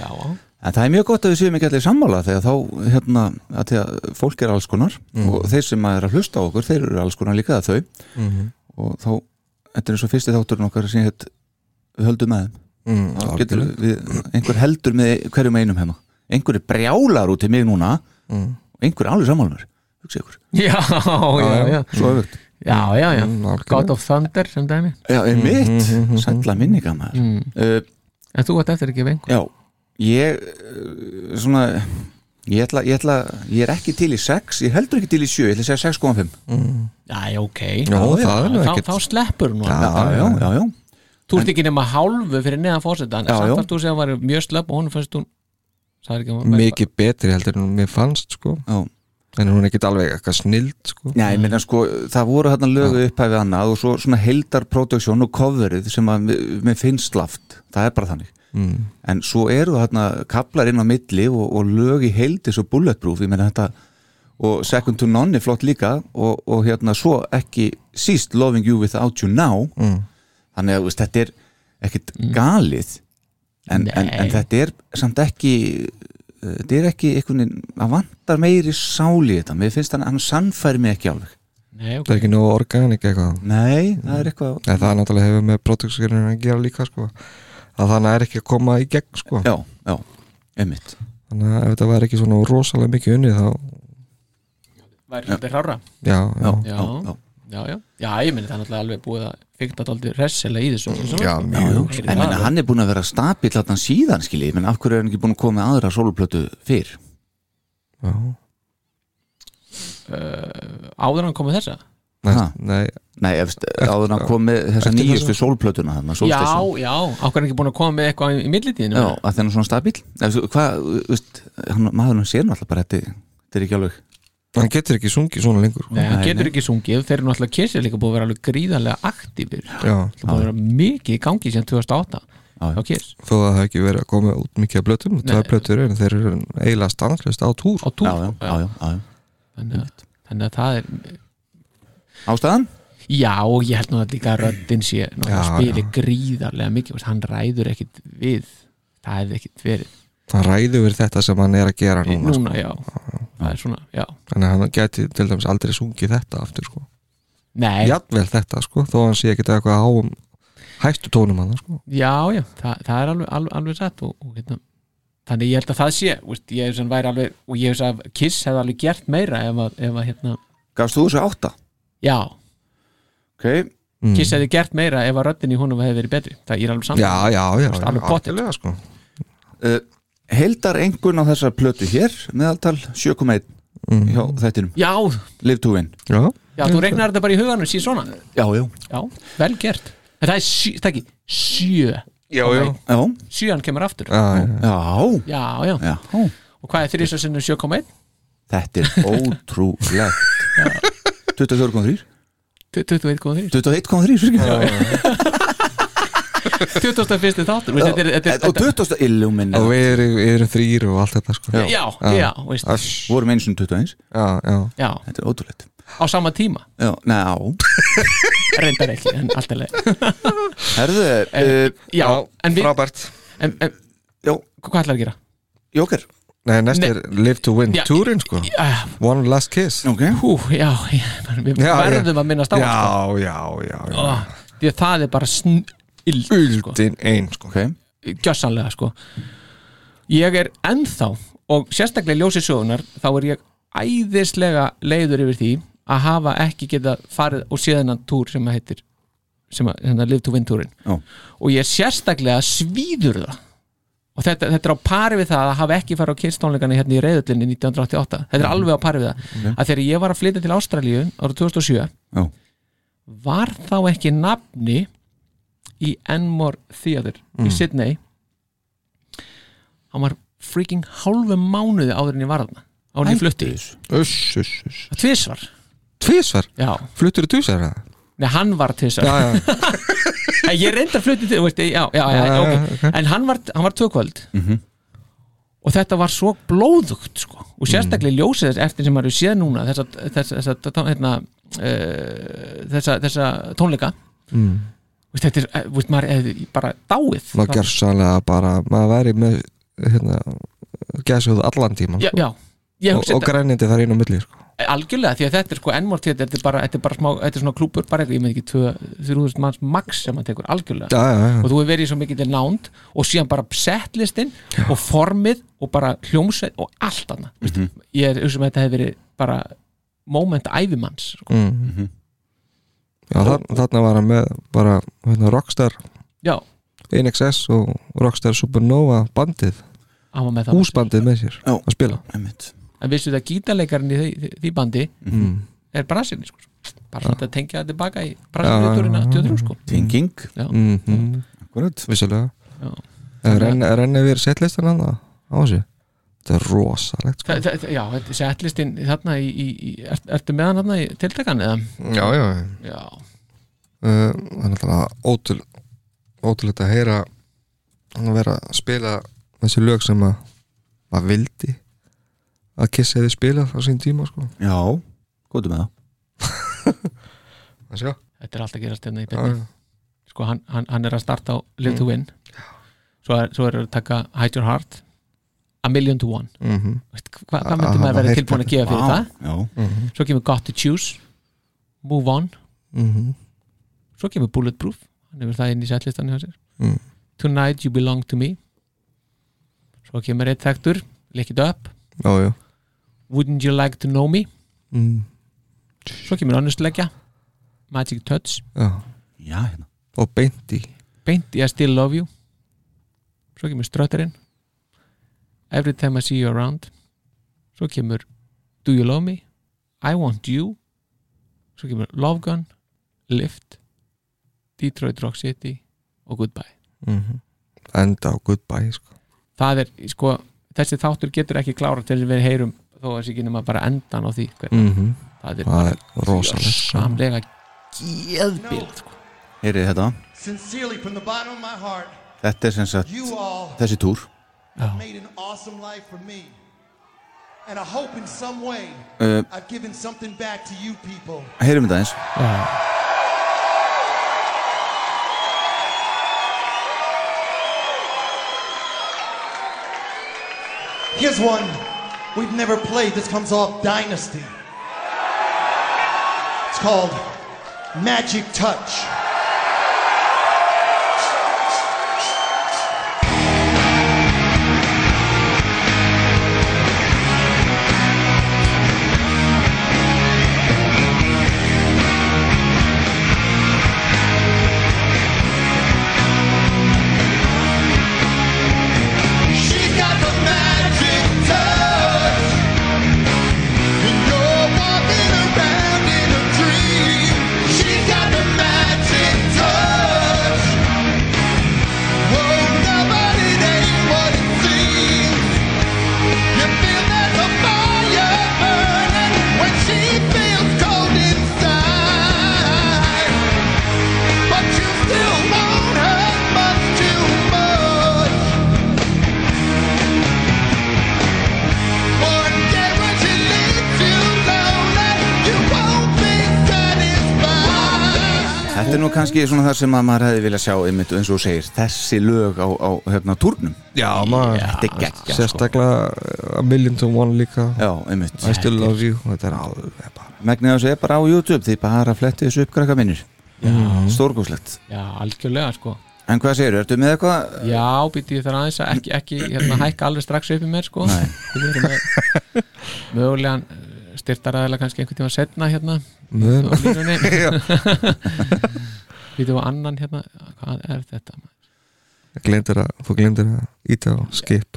já. Já, En það er mjög gott að við séum ekki allir sammála þegar þá, hérna, að því að fólk er alls konar Mhm. og þeir sem að er að hlusta á okkur þeir eru alls konar líka að þau mm -hmm. Mhm. og þá, þetta er eins og fyrsti þátturinn okkar sem hétt höldum með þeim Mhm, Þá getur við, einhver heldur með hverjum einum heima einhver er brjálar út í mig núna mm. Mhm. og einhver er alveg sammálmur hugsa ykkur, já, já, já svo öfugt Já, já, já Mm, algjörlega. God of Thunder sem dæmi já, einmitt, mm, Mhm, mhm, sætla minninga maður mm. uh, En þú ætti eftir ekki veng já, ég uh, svona ég ætla, ég ætla, ég er ekki til í 6 ég er heldur ekki til í 7, ég ætla að segja 6,5 Já, ok já, það er Þá, nú þá, ekkert þá sleppur hún já, honum. já, já, já Þú ert ekki nema hálfu fyrir neðan fórsetan Já, já. Samt að þú segja að hún var mjög slöpp og hún fannst hún sagði ekki að hún væri mikið betri heldur en mér fannst sko. Já. en hún er ekkert alveg eitthvað snild sko. Já, ég meina sko, það voru hérna lögu upphæfi annað og svo svona heildar production og coverið sem að mér- mér finnst laft, það er bara þannig Mm. en svo eru þarna kaplar inn á milli og, og lög í heildis og bulletproof ég meina þetta og Second to None er flott líka og, og hérna svo ekki síst Loving You Without You Now Mm. þannig að þú veist, þetta er ekkit galið en, en, Nei. en þetta er samt ekki uh, þetta er ekki einhvern veginn að vantar meiri sáli í þetta, mér finnst hann hann sannfæri mig ekki alveg Nei, ok. Það er ekki nóg organik eitthvað nei, það er eitthvað En það er náttúrulega hefur með produktskirinu að gera líka sko. að þannig er ekki að koma í gegn sko. já, já, einmitt þannig að ef þetta var ekki svona rosalega mikið unni þá, væri svolítið hrára já, já, já, Já. já, já. já, já, já, ég meni það er náttúrulega alveg búið að fyrta daldið hressilega í þessu já, Já, mjög sko. en Heyri það, menna, alveg. hann er búin að vera stabil hann síðan skilji, menn af hverju er hann ekki búin að koma með aðra sóluplötu fyrr? já. áður en hann komið þessa Nei, Ha. nei, Nei, efst, áður en að koma með þessa Eftir nýjustu þessa? sólplötuna hann, já, já, okkur er ekki búin að koma með eitthvað í millitíðinu já, að þennan svona stabil Efst, hvað, þú veist, hann, maður hann sér náttúrulega bara þetta, þetta er ekki alveg hann getur ekki sungið svona lengur sko. Nei, hann Nei, getur nei. ekki sungið, þeir eru náttúrulega kissið líka búið að vera alveg gríðarlega aktífir já, Það búið að vera mikið í gangi síðan 2008 já. á kiss, þó að það hafi ekki verið að koma út mikið af blötum, Nei. tvær blötur en þeir eru eiginlega stanslust á túr á Já, túr já, sko. já, já, já. Þannig, að, þannig að það er Ástæðan? Já, og ég held nú að líka röddin sé já, Já, spili já. gríðarlega mikið þú veist, hann ræður ekkit við það hefði ekkit verið hann ræður verið þetta sem hann er að gera núna, núna, já, það er svona, já Sko. þannig að hann geti til dæmis aldrei sungið þetta aftur sko. Nei, já, jafnvel þetta sko, þó að hann sé ekki eitthvað á um hættu tónum hann sko. já, það, það er alveg, alveg, alveg satt og, og hérna þannig ég held að það sé, veist, ég hef sem væri alveg og ég hef sem að Kiss hefði alveg gert meira ef að, ef að hérna, Gafst þú þessu átta? já, Okay. Mm. Kiss hefði gert meira ef að röddin í honum hefði verið betri, það ég er alveg saman já, já, já, veist, já, alveg pottet. algjörlega, sko. Uh, Heldar engun á þessar plötu hér meðaltal 7,1 Mm. hjá þættinum, já, Live to Win já, já, þú regnar þetta bara í huganum síðan svona, Já, já, já, vel gert en það er, sjö, það er ekki, sjö já, já, já, sjöan kemur aftur já, já. já, já, já, já. og hvað er þrýsa sinnum 7,1? Þetta er ótrúlegt 24,3 Tu- 21,3 21,3 fyrirgefðu. 21. þáttur veist, þetta er- þetta er- og 20 illumin og við erum, við erum þrýr og allt þetta sko. þetta- já, já, veist Ass, vorum eins og 21 já, já, já, þetta er ótrúlegt á sama tíma, já, ná, reyndar ekki en alltaf leið herðu uh, já, en við, frábært en, en, já, hvað ætlar að gera? Jóker Nei, næst er Live to Win Já. túrin sko. Uh, One Last Kiss ok, hú, já, já, við Já, verðum að minna já, stáð sko. já, já, já. Ah, því að það er bara snild sko. Uldin ein sko. ok, gjössanlega sko ég er ennþá og sérstaklega í ljósi sögunar þá er ég æðislega leiður yfir því að hafa ekki geta farið og séð hennan túr sem að heitir sem að hérna, live to win túrin Já. og ég er sérstaklega svíður það og þetta, þetta er á pari við það að hafa ekki farið á kynstónleikana hérna í reyðullinni 1988 þetta er alveg á pari við það að þegar ég var að flytja til Ástralíu ára 2007 Já. var þá ekki nafni í Enmore Theatre í Mm. Sydney hann var freaking hálfu mánuði áður en ég var þarna áður en ég flutti, Uss, uss, uss það tvisvar Tvísvar, já, fluttur í tvísar eða? nei hann var tvisvar Já, já, En ég reyndar flutti til, veist, já, já, já, Já, Mhm. já, já, ok En hann var, hann var tvökvöld Og þetta var svo blóðugt sko. Og sérstaklega Mm. í ljósið þess eftir sem maður hefur séð núna Þessa, þessa, þessa, tó- hérna, uh, þessa, þessa tónleika Mm. veist, Þetta er, eh, veist, maður er bara dáið maður Bara- gersanlega bara maður væri með hérna, gæsjóðu allan tíman Já, sko. já Ég og, hugsa og þetta Eh, grænindi þar inn á milli sko. algjörlega því að þetta er sko ennmárt þetta er bara, þetta er bara smá, þetta er svona klúpur bara eitthvað, ég með ekki 2-3.000 manns max sem maður tekur algjörlega Já, já, já, og þú hefur verið í svo mikið til nánd og síðan bara setlistinn og formið og bara hljómsveit og allt annað mm ég er auðvitað að þetta hefur verið bara moment æfimanns sko. mm. já þar, þarna var hann með bara hérna, Rockstar já, NXS og Rockstar Supernova bandið, hann var með það húsbandið með sér Já. að spila einmitt en vissu þetta gítarleikarinn í því, því bandi mm. er brasilni sko. bara svona að tengja það tilbaka í brasilíturina 23 sko tenging, Mm -hmm. akkurat vissulega Já. renna renn við setlistan hann á þessu þetta er rosalegt sko. Þa, þa, þa- já, þetta- setlistinn þarna í, í, í er, ertu með hann þarna í tiltakan eða? já, já, já Eh, já, Uh, það er náttúrulega ótrú- ótrúlegt að heyra að vera að spila þessi lög sem að maður vildi að Kiss hefði spilað á sín tíma sko. Já, góðu með það að sjá Þetta er alltaf að gerast hérna í Já, Mm. byrni Sko hann, hann, hann er að starta á Live to Win Svo er, svo er að taka Hide Your Heart A Million to One Mhm. Veist, hva, Hvað Að myndi hafa maður verið heyrt tilbúin að þetta. gefa fyrir Vá, það? já. Svo kemur Got to Choose Move On Mhm. Svo kemur Bulletproof Hann hefur það inn í setlistan hjá sér Mm. Tonight You Belong to Me Svo kemur eitt þektur Lick It Up já, já Wouldn't You Like to Know Me Mm. Svo kemur önnustleggja Magic Touch Já. Já, hérna. og beint í Beint í I Still Love You Svo kemur strötterinn Every Time I See You Around Svo kemur Do You Love Me I Want You Svo kemur Love Gun Lift Detroit Rock City og Goodbye Mhm. enda á goodbye sko. Það er, sko, þessi þáttur getur ekki klára til þess að við heyrum þó að þessi ekki nema bara endan á því hvernig Mhm. Það það er bara er rosalegt sko. samlega geðbíl sko. Heyrið þetta, Sincerely, from the bottom of my heart, þetta er sem sagt you all þessi túr have made an awesome life for me. And I hope in some way uh, I've given something back to you people. Heyrum þetta eins Here's one we've never played. This comes off Dynasty. It's called Magic Touch. She got the magic touch, and you're walking around in a dream. She got the magic touch. Oh, nobody knows what it seems. You feel there's a fire burning when she feels cold inside, but you still want her much too much. One day when she leaves you lonely, you won't be satisfied. Þetta er nú kannski svona það sem að maður hefði vilja sjá einmitt eins og þú segir, þessi lög á, á hérna túrnum já maður Þetta er geggja sko. sérstaklega uh, a million to one líka Já, einmitt I still love you þetta er alveg bara Megnið þessu er bara á YouTube, því bara flettið þessu upp krakka minnir Mm. Stórgúslegt Já, algjörlega sko En hvað segirðu, ertu með eitthvað? Já, býtti ég þar aðeins að ekki, ekki hérna, hækka alveg strax upp í mér sko Nei. Við erum með mögulegan styrtaræðilega kannski einhvern tíma setna hérna Mun. á línunni Býttu á annan hérna, hvað er þetta? maður? glemdir að þú glemdir að íta á skip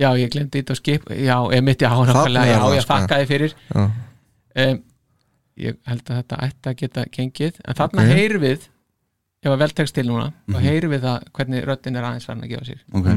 Já, ég glemdi þetta á skip, já, emitt, já, Þarna er nákvæmlega, það, já, ég sko. þakkaði fyrir já um, Ég held að þetta ætti að geta gengið, en þarna Ok. Mhm. okay. heyrum við ef að vel tekst til núna, þá heyrum við það hvernig röddin er aðeins farin að gefa sér Okay.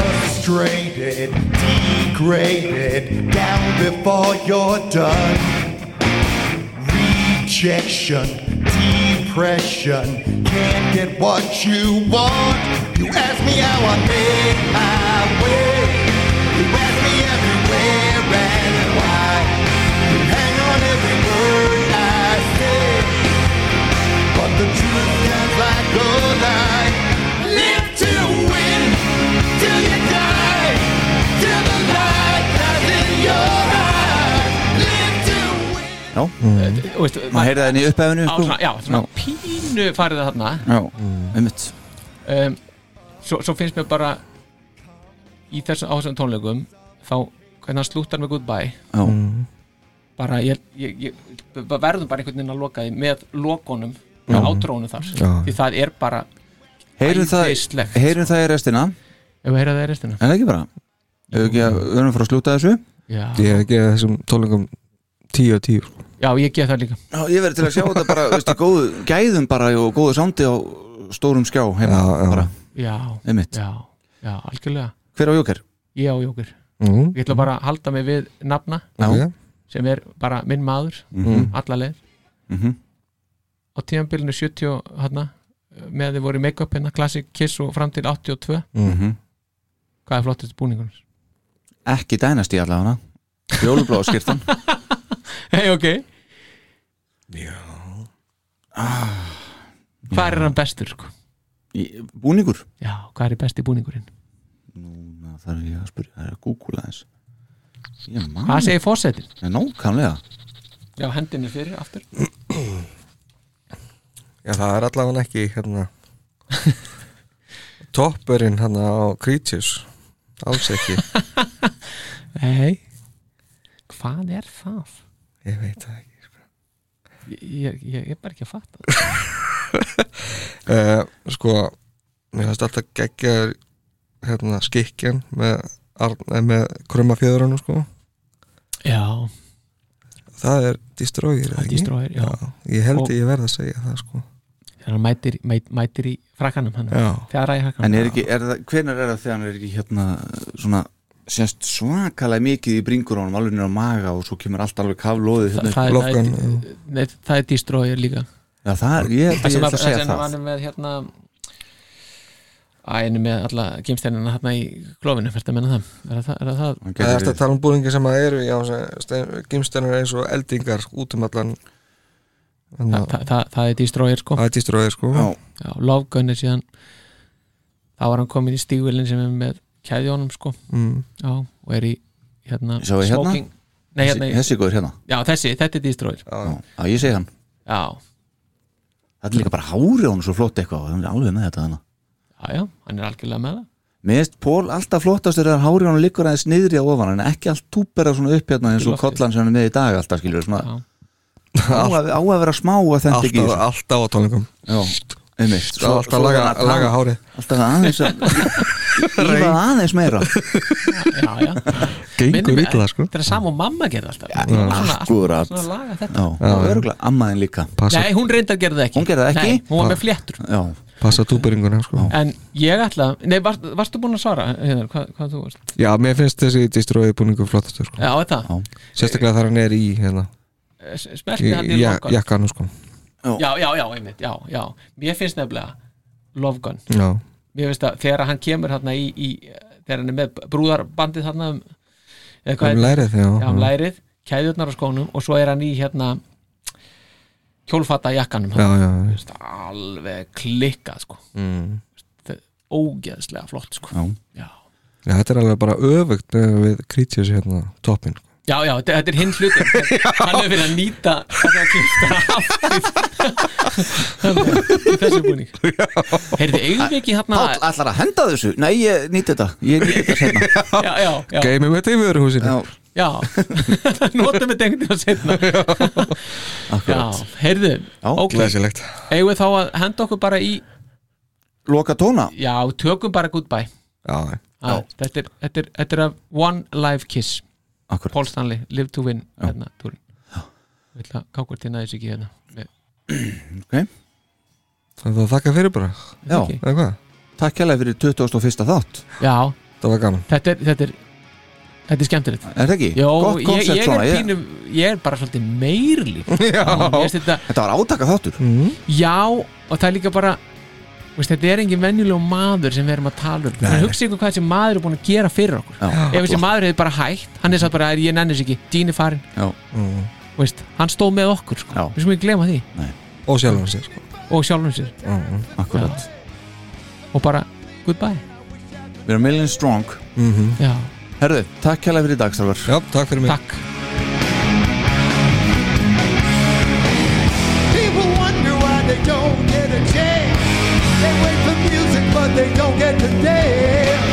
frustrated, degraded, down before you're done. Rejection, depression, can't get what you want. You ask me how I made my way. You ask me everywhere and why. You hang on every word I say, but the truth sounds like a lie. Live to win. Till you die, till the light dies in your eyes. Live to win. Já, Eh, Þú veist, maður heyrði það henni í upphefinu á, sko. svona, já, svona pínu farið það þarna Já, einmitt um, svo, svo finnst mér bara í þessum á þessum tónleikum þá hvernig hann slúttar með goodbye Já, bara ég, ég, ég við verðum bara einhvern veginn að loka því með lokonum með átrónu þar Já. því það er bara heyrum það, Æðislegt. heyrum það í restina ef við heyra það í restina En ekki bara Ef ekki að við erum frá að slúta þessu já. ég hef gefið þessum tólingum 10 og 10 sko. já, ég gef það líka Já, ég verði til að sjá þetta bara, veistu, góðu gæðum bara og góðu sándi á stórum skjá heima Já, já. bara. já, Einmitt. já, já, algjörlega Hver á Jóker? ég á Jóker Mhm. ég ætla bara að halda mig við nafna Já. sem er bara minn maður Mhm. alla leið Mhm. á tíðanbylunu 70 hana, með að þið voru í make-up hérna Classic Kiss og fram til 82 Mhm. hvað er flottist búningun? Ekki dænast í allavega Fjólubláa skirtan hei ok hvað Ah. er hann bestur sko? Í- Búningur? já, hvað er besti búningurinn? Núna þarf ég að spyrja, það er að googla þess Hvað segir fórsetin? Nókanlega já, hendinni fyrir aftur Já, það er allavega ekki hérna toppurinn hérna á Creatures alls ekki hei hvað er það? ég veit það ekki sko. ég, ég, ég er bara ekki að fatta það. uh, sko mér finnst alltaf geggjaður hérna skikkin með, Arn- eh, með krummafjöðurinn sko já, það er Destroyer það eða er ekki? distróðir já. ég held Og- ég verð að segja það sko þegar hann mætir, mæt, mætir í frakkanum hann Já. fjara í frakkanum En er ekki, er það, hvenær er það þegar hann er ekki hérna svona sérst svakalega mikið í bringur á hann alveg nýra maga og svo kemur allt alveg kaflóðið Þa, hérna. það, Lock er, Gun, það, er, nei, það er distróðir líka Já það er, ég held það að ég sem ætla að, að það segja sem hann það er með hérna að einu með alla gemsteinina hérna í klófinu fyrir að menna það er það, er Hann það það er gæti þetta verið- að tala um búningi sem að eru já, gimstenur eins og eldingar út um allan það, þannig það, það, það er distróðir sko að Destroyer sko Já, já, lofgönni síðan þá var hann komin í stígvilin sem er með kæðjónum sko mm. já, og er í hérna Sjáðu hérna? smoking nei, hérna, þessi- þessi góður hérna já þessi, þetta er distróðir Já, Já, ég segi hann já, Það er líka bara hárið á hann svo flott eitthvað hann er alveg með þetta þannig já, já, hann er algjörlega með það Mér finnst Pól alltaf flottastur þegar hárið á hann liggur aðeins niðri á ofan en ekki allt túpera svona upp hérna eins og Loftið. kollan sem hann er með í dag alltaf skilur svona Já. á að, á að vera smá að þetta ekki í alltaf, þessu. alltaf á tónleikum Já, einmitt Svo- alltaf svo laga- hann að tala- laga hárið. Alltaf aðeins að Ífa aðeins meira já, já gengur Minnir- illa sko Þetta er sama og mamma gerði alltaf já, svona, Akkurat svona laga þetta Já, og örgulega ammaðin líka passa, Nei, hún reyndar gerði það ekki Hún gerði það ekki? Nei, hún var með fléttur Já, passa túberinguna sko En ég ætla, nei, var, varstu búin að svara hérna, hvað, hvað þú varst? já, mér finnst þessi Destroyer búningu flottastur sko Já, þetta, Já. sérstaklega þar hann er í hérna í smerti hann í jak- Lofgun jakkanum sko Já, já, já, einmitt, já, já Mér finnst nefnilega Lofgun já, Mér finnst að þegar hann kemur hérna í, í þegar hann er með brúðarbandið hérna um, eða hvað um heitir- lærið já, Já, um lærið, kæðurnar á skónum og svo er hann í hérna kjólfata jakkanum já, já, já. Veist, alveg klikkað sko. Mm. Þetta er ógeðslega flott sko. já, já. já, þetta er alveg bara öfugt með við Creatures hérna, toppin já, já, þetta þetta er hinn hlutin hann er fyrir að nýta hann er að klifta þessu búning heyrðu, eigum við ekki hérna Páll ætlar að henda þessu Nei, ég nýtti þetta Ég nýtti þetta hérna já, já, já, geimum þetta í vöruhúsinu Já, já notum við dengt á setna já, akkurat heyrðu, Já, ok glæsilegt eigum við þá að henda okkur bara í Loka tóna já, tökum bara goodbye já, Ah, þetta, er, þetta, er, þetta er af One Live Kiss Akkurat Paul Stanley, Live to Win hérna, túrin Ég ætla að kákvart hérna þessu ekki hérna Með- það var þakka fyrir bara Já, ekki. eða hvað, takk hérlega fyrir 2001. þátt Já, það var gaman þetta er þetta er, þetta er skemmtilegt Er það ekki? Jó, Gott ég, koncept ég, svona er ég- pínum, ég er bara svolítið meirlíf Já, þetta, Þetta var átaka þáttur Mm. já og það er líka bara veist, þetta er engin venjuleg maður sem við erum að tala um Þannig hugsa ykkur hvað þessi maður er búin að gera fyrir okkur Ef þessi maður hefði bara hægt hann er satt bara, ég nenni þessi ekki, dýni farin Já, veist, Hann stóð með okkur, sko. Já. við sem ekki glema því og sjálfum sér sko. og sjálfum sér akkurat og bara, goodbye Við erum million strong Já, Herðu, takk hérlega fyrir í dag, Starfar já, takk fyrir mig takk People wonder why they don't get a chance. They wait for music, but they don't get to dance. Oh,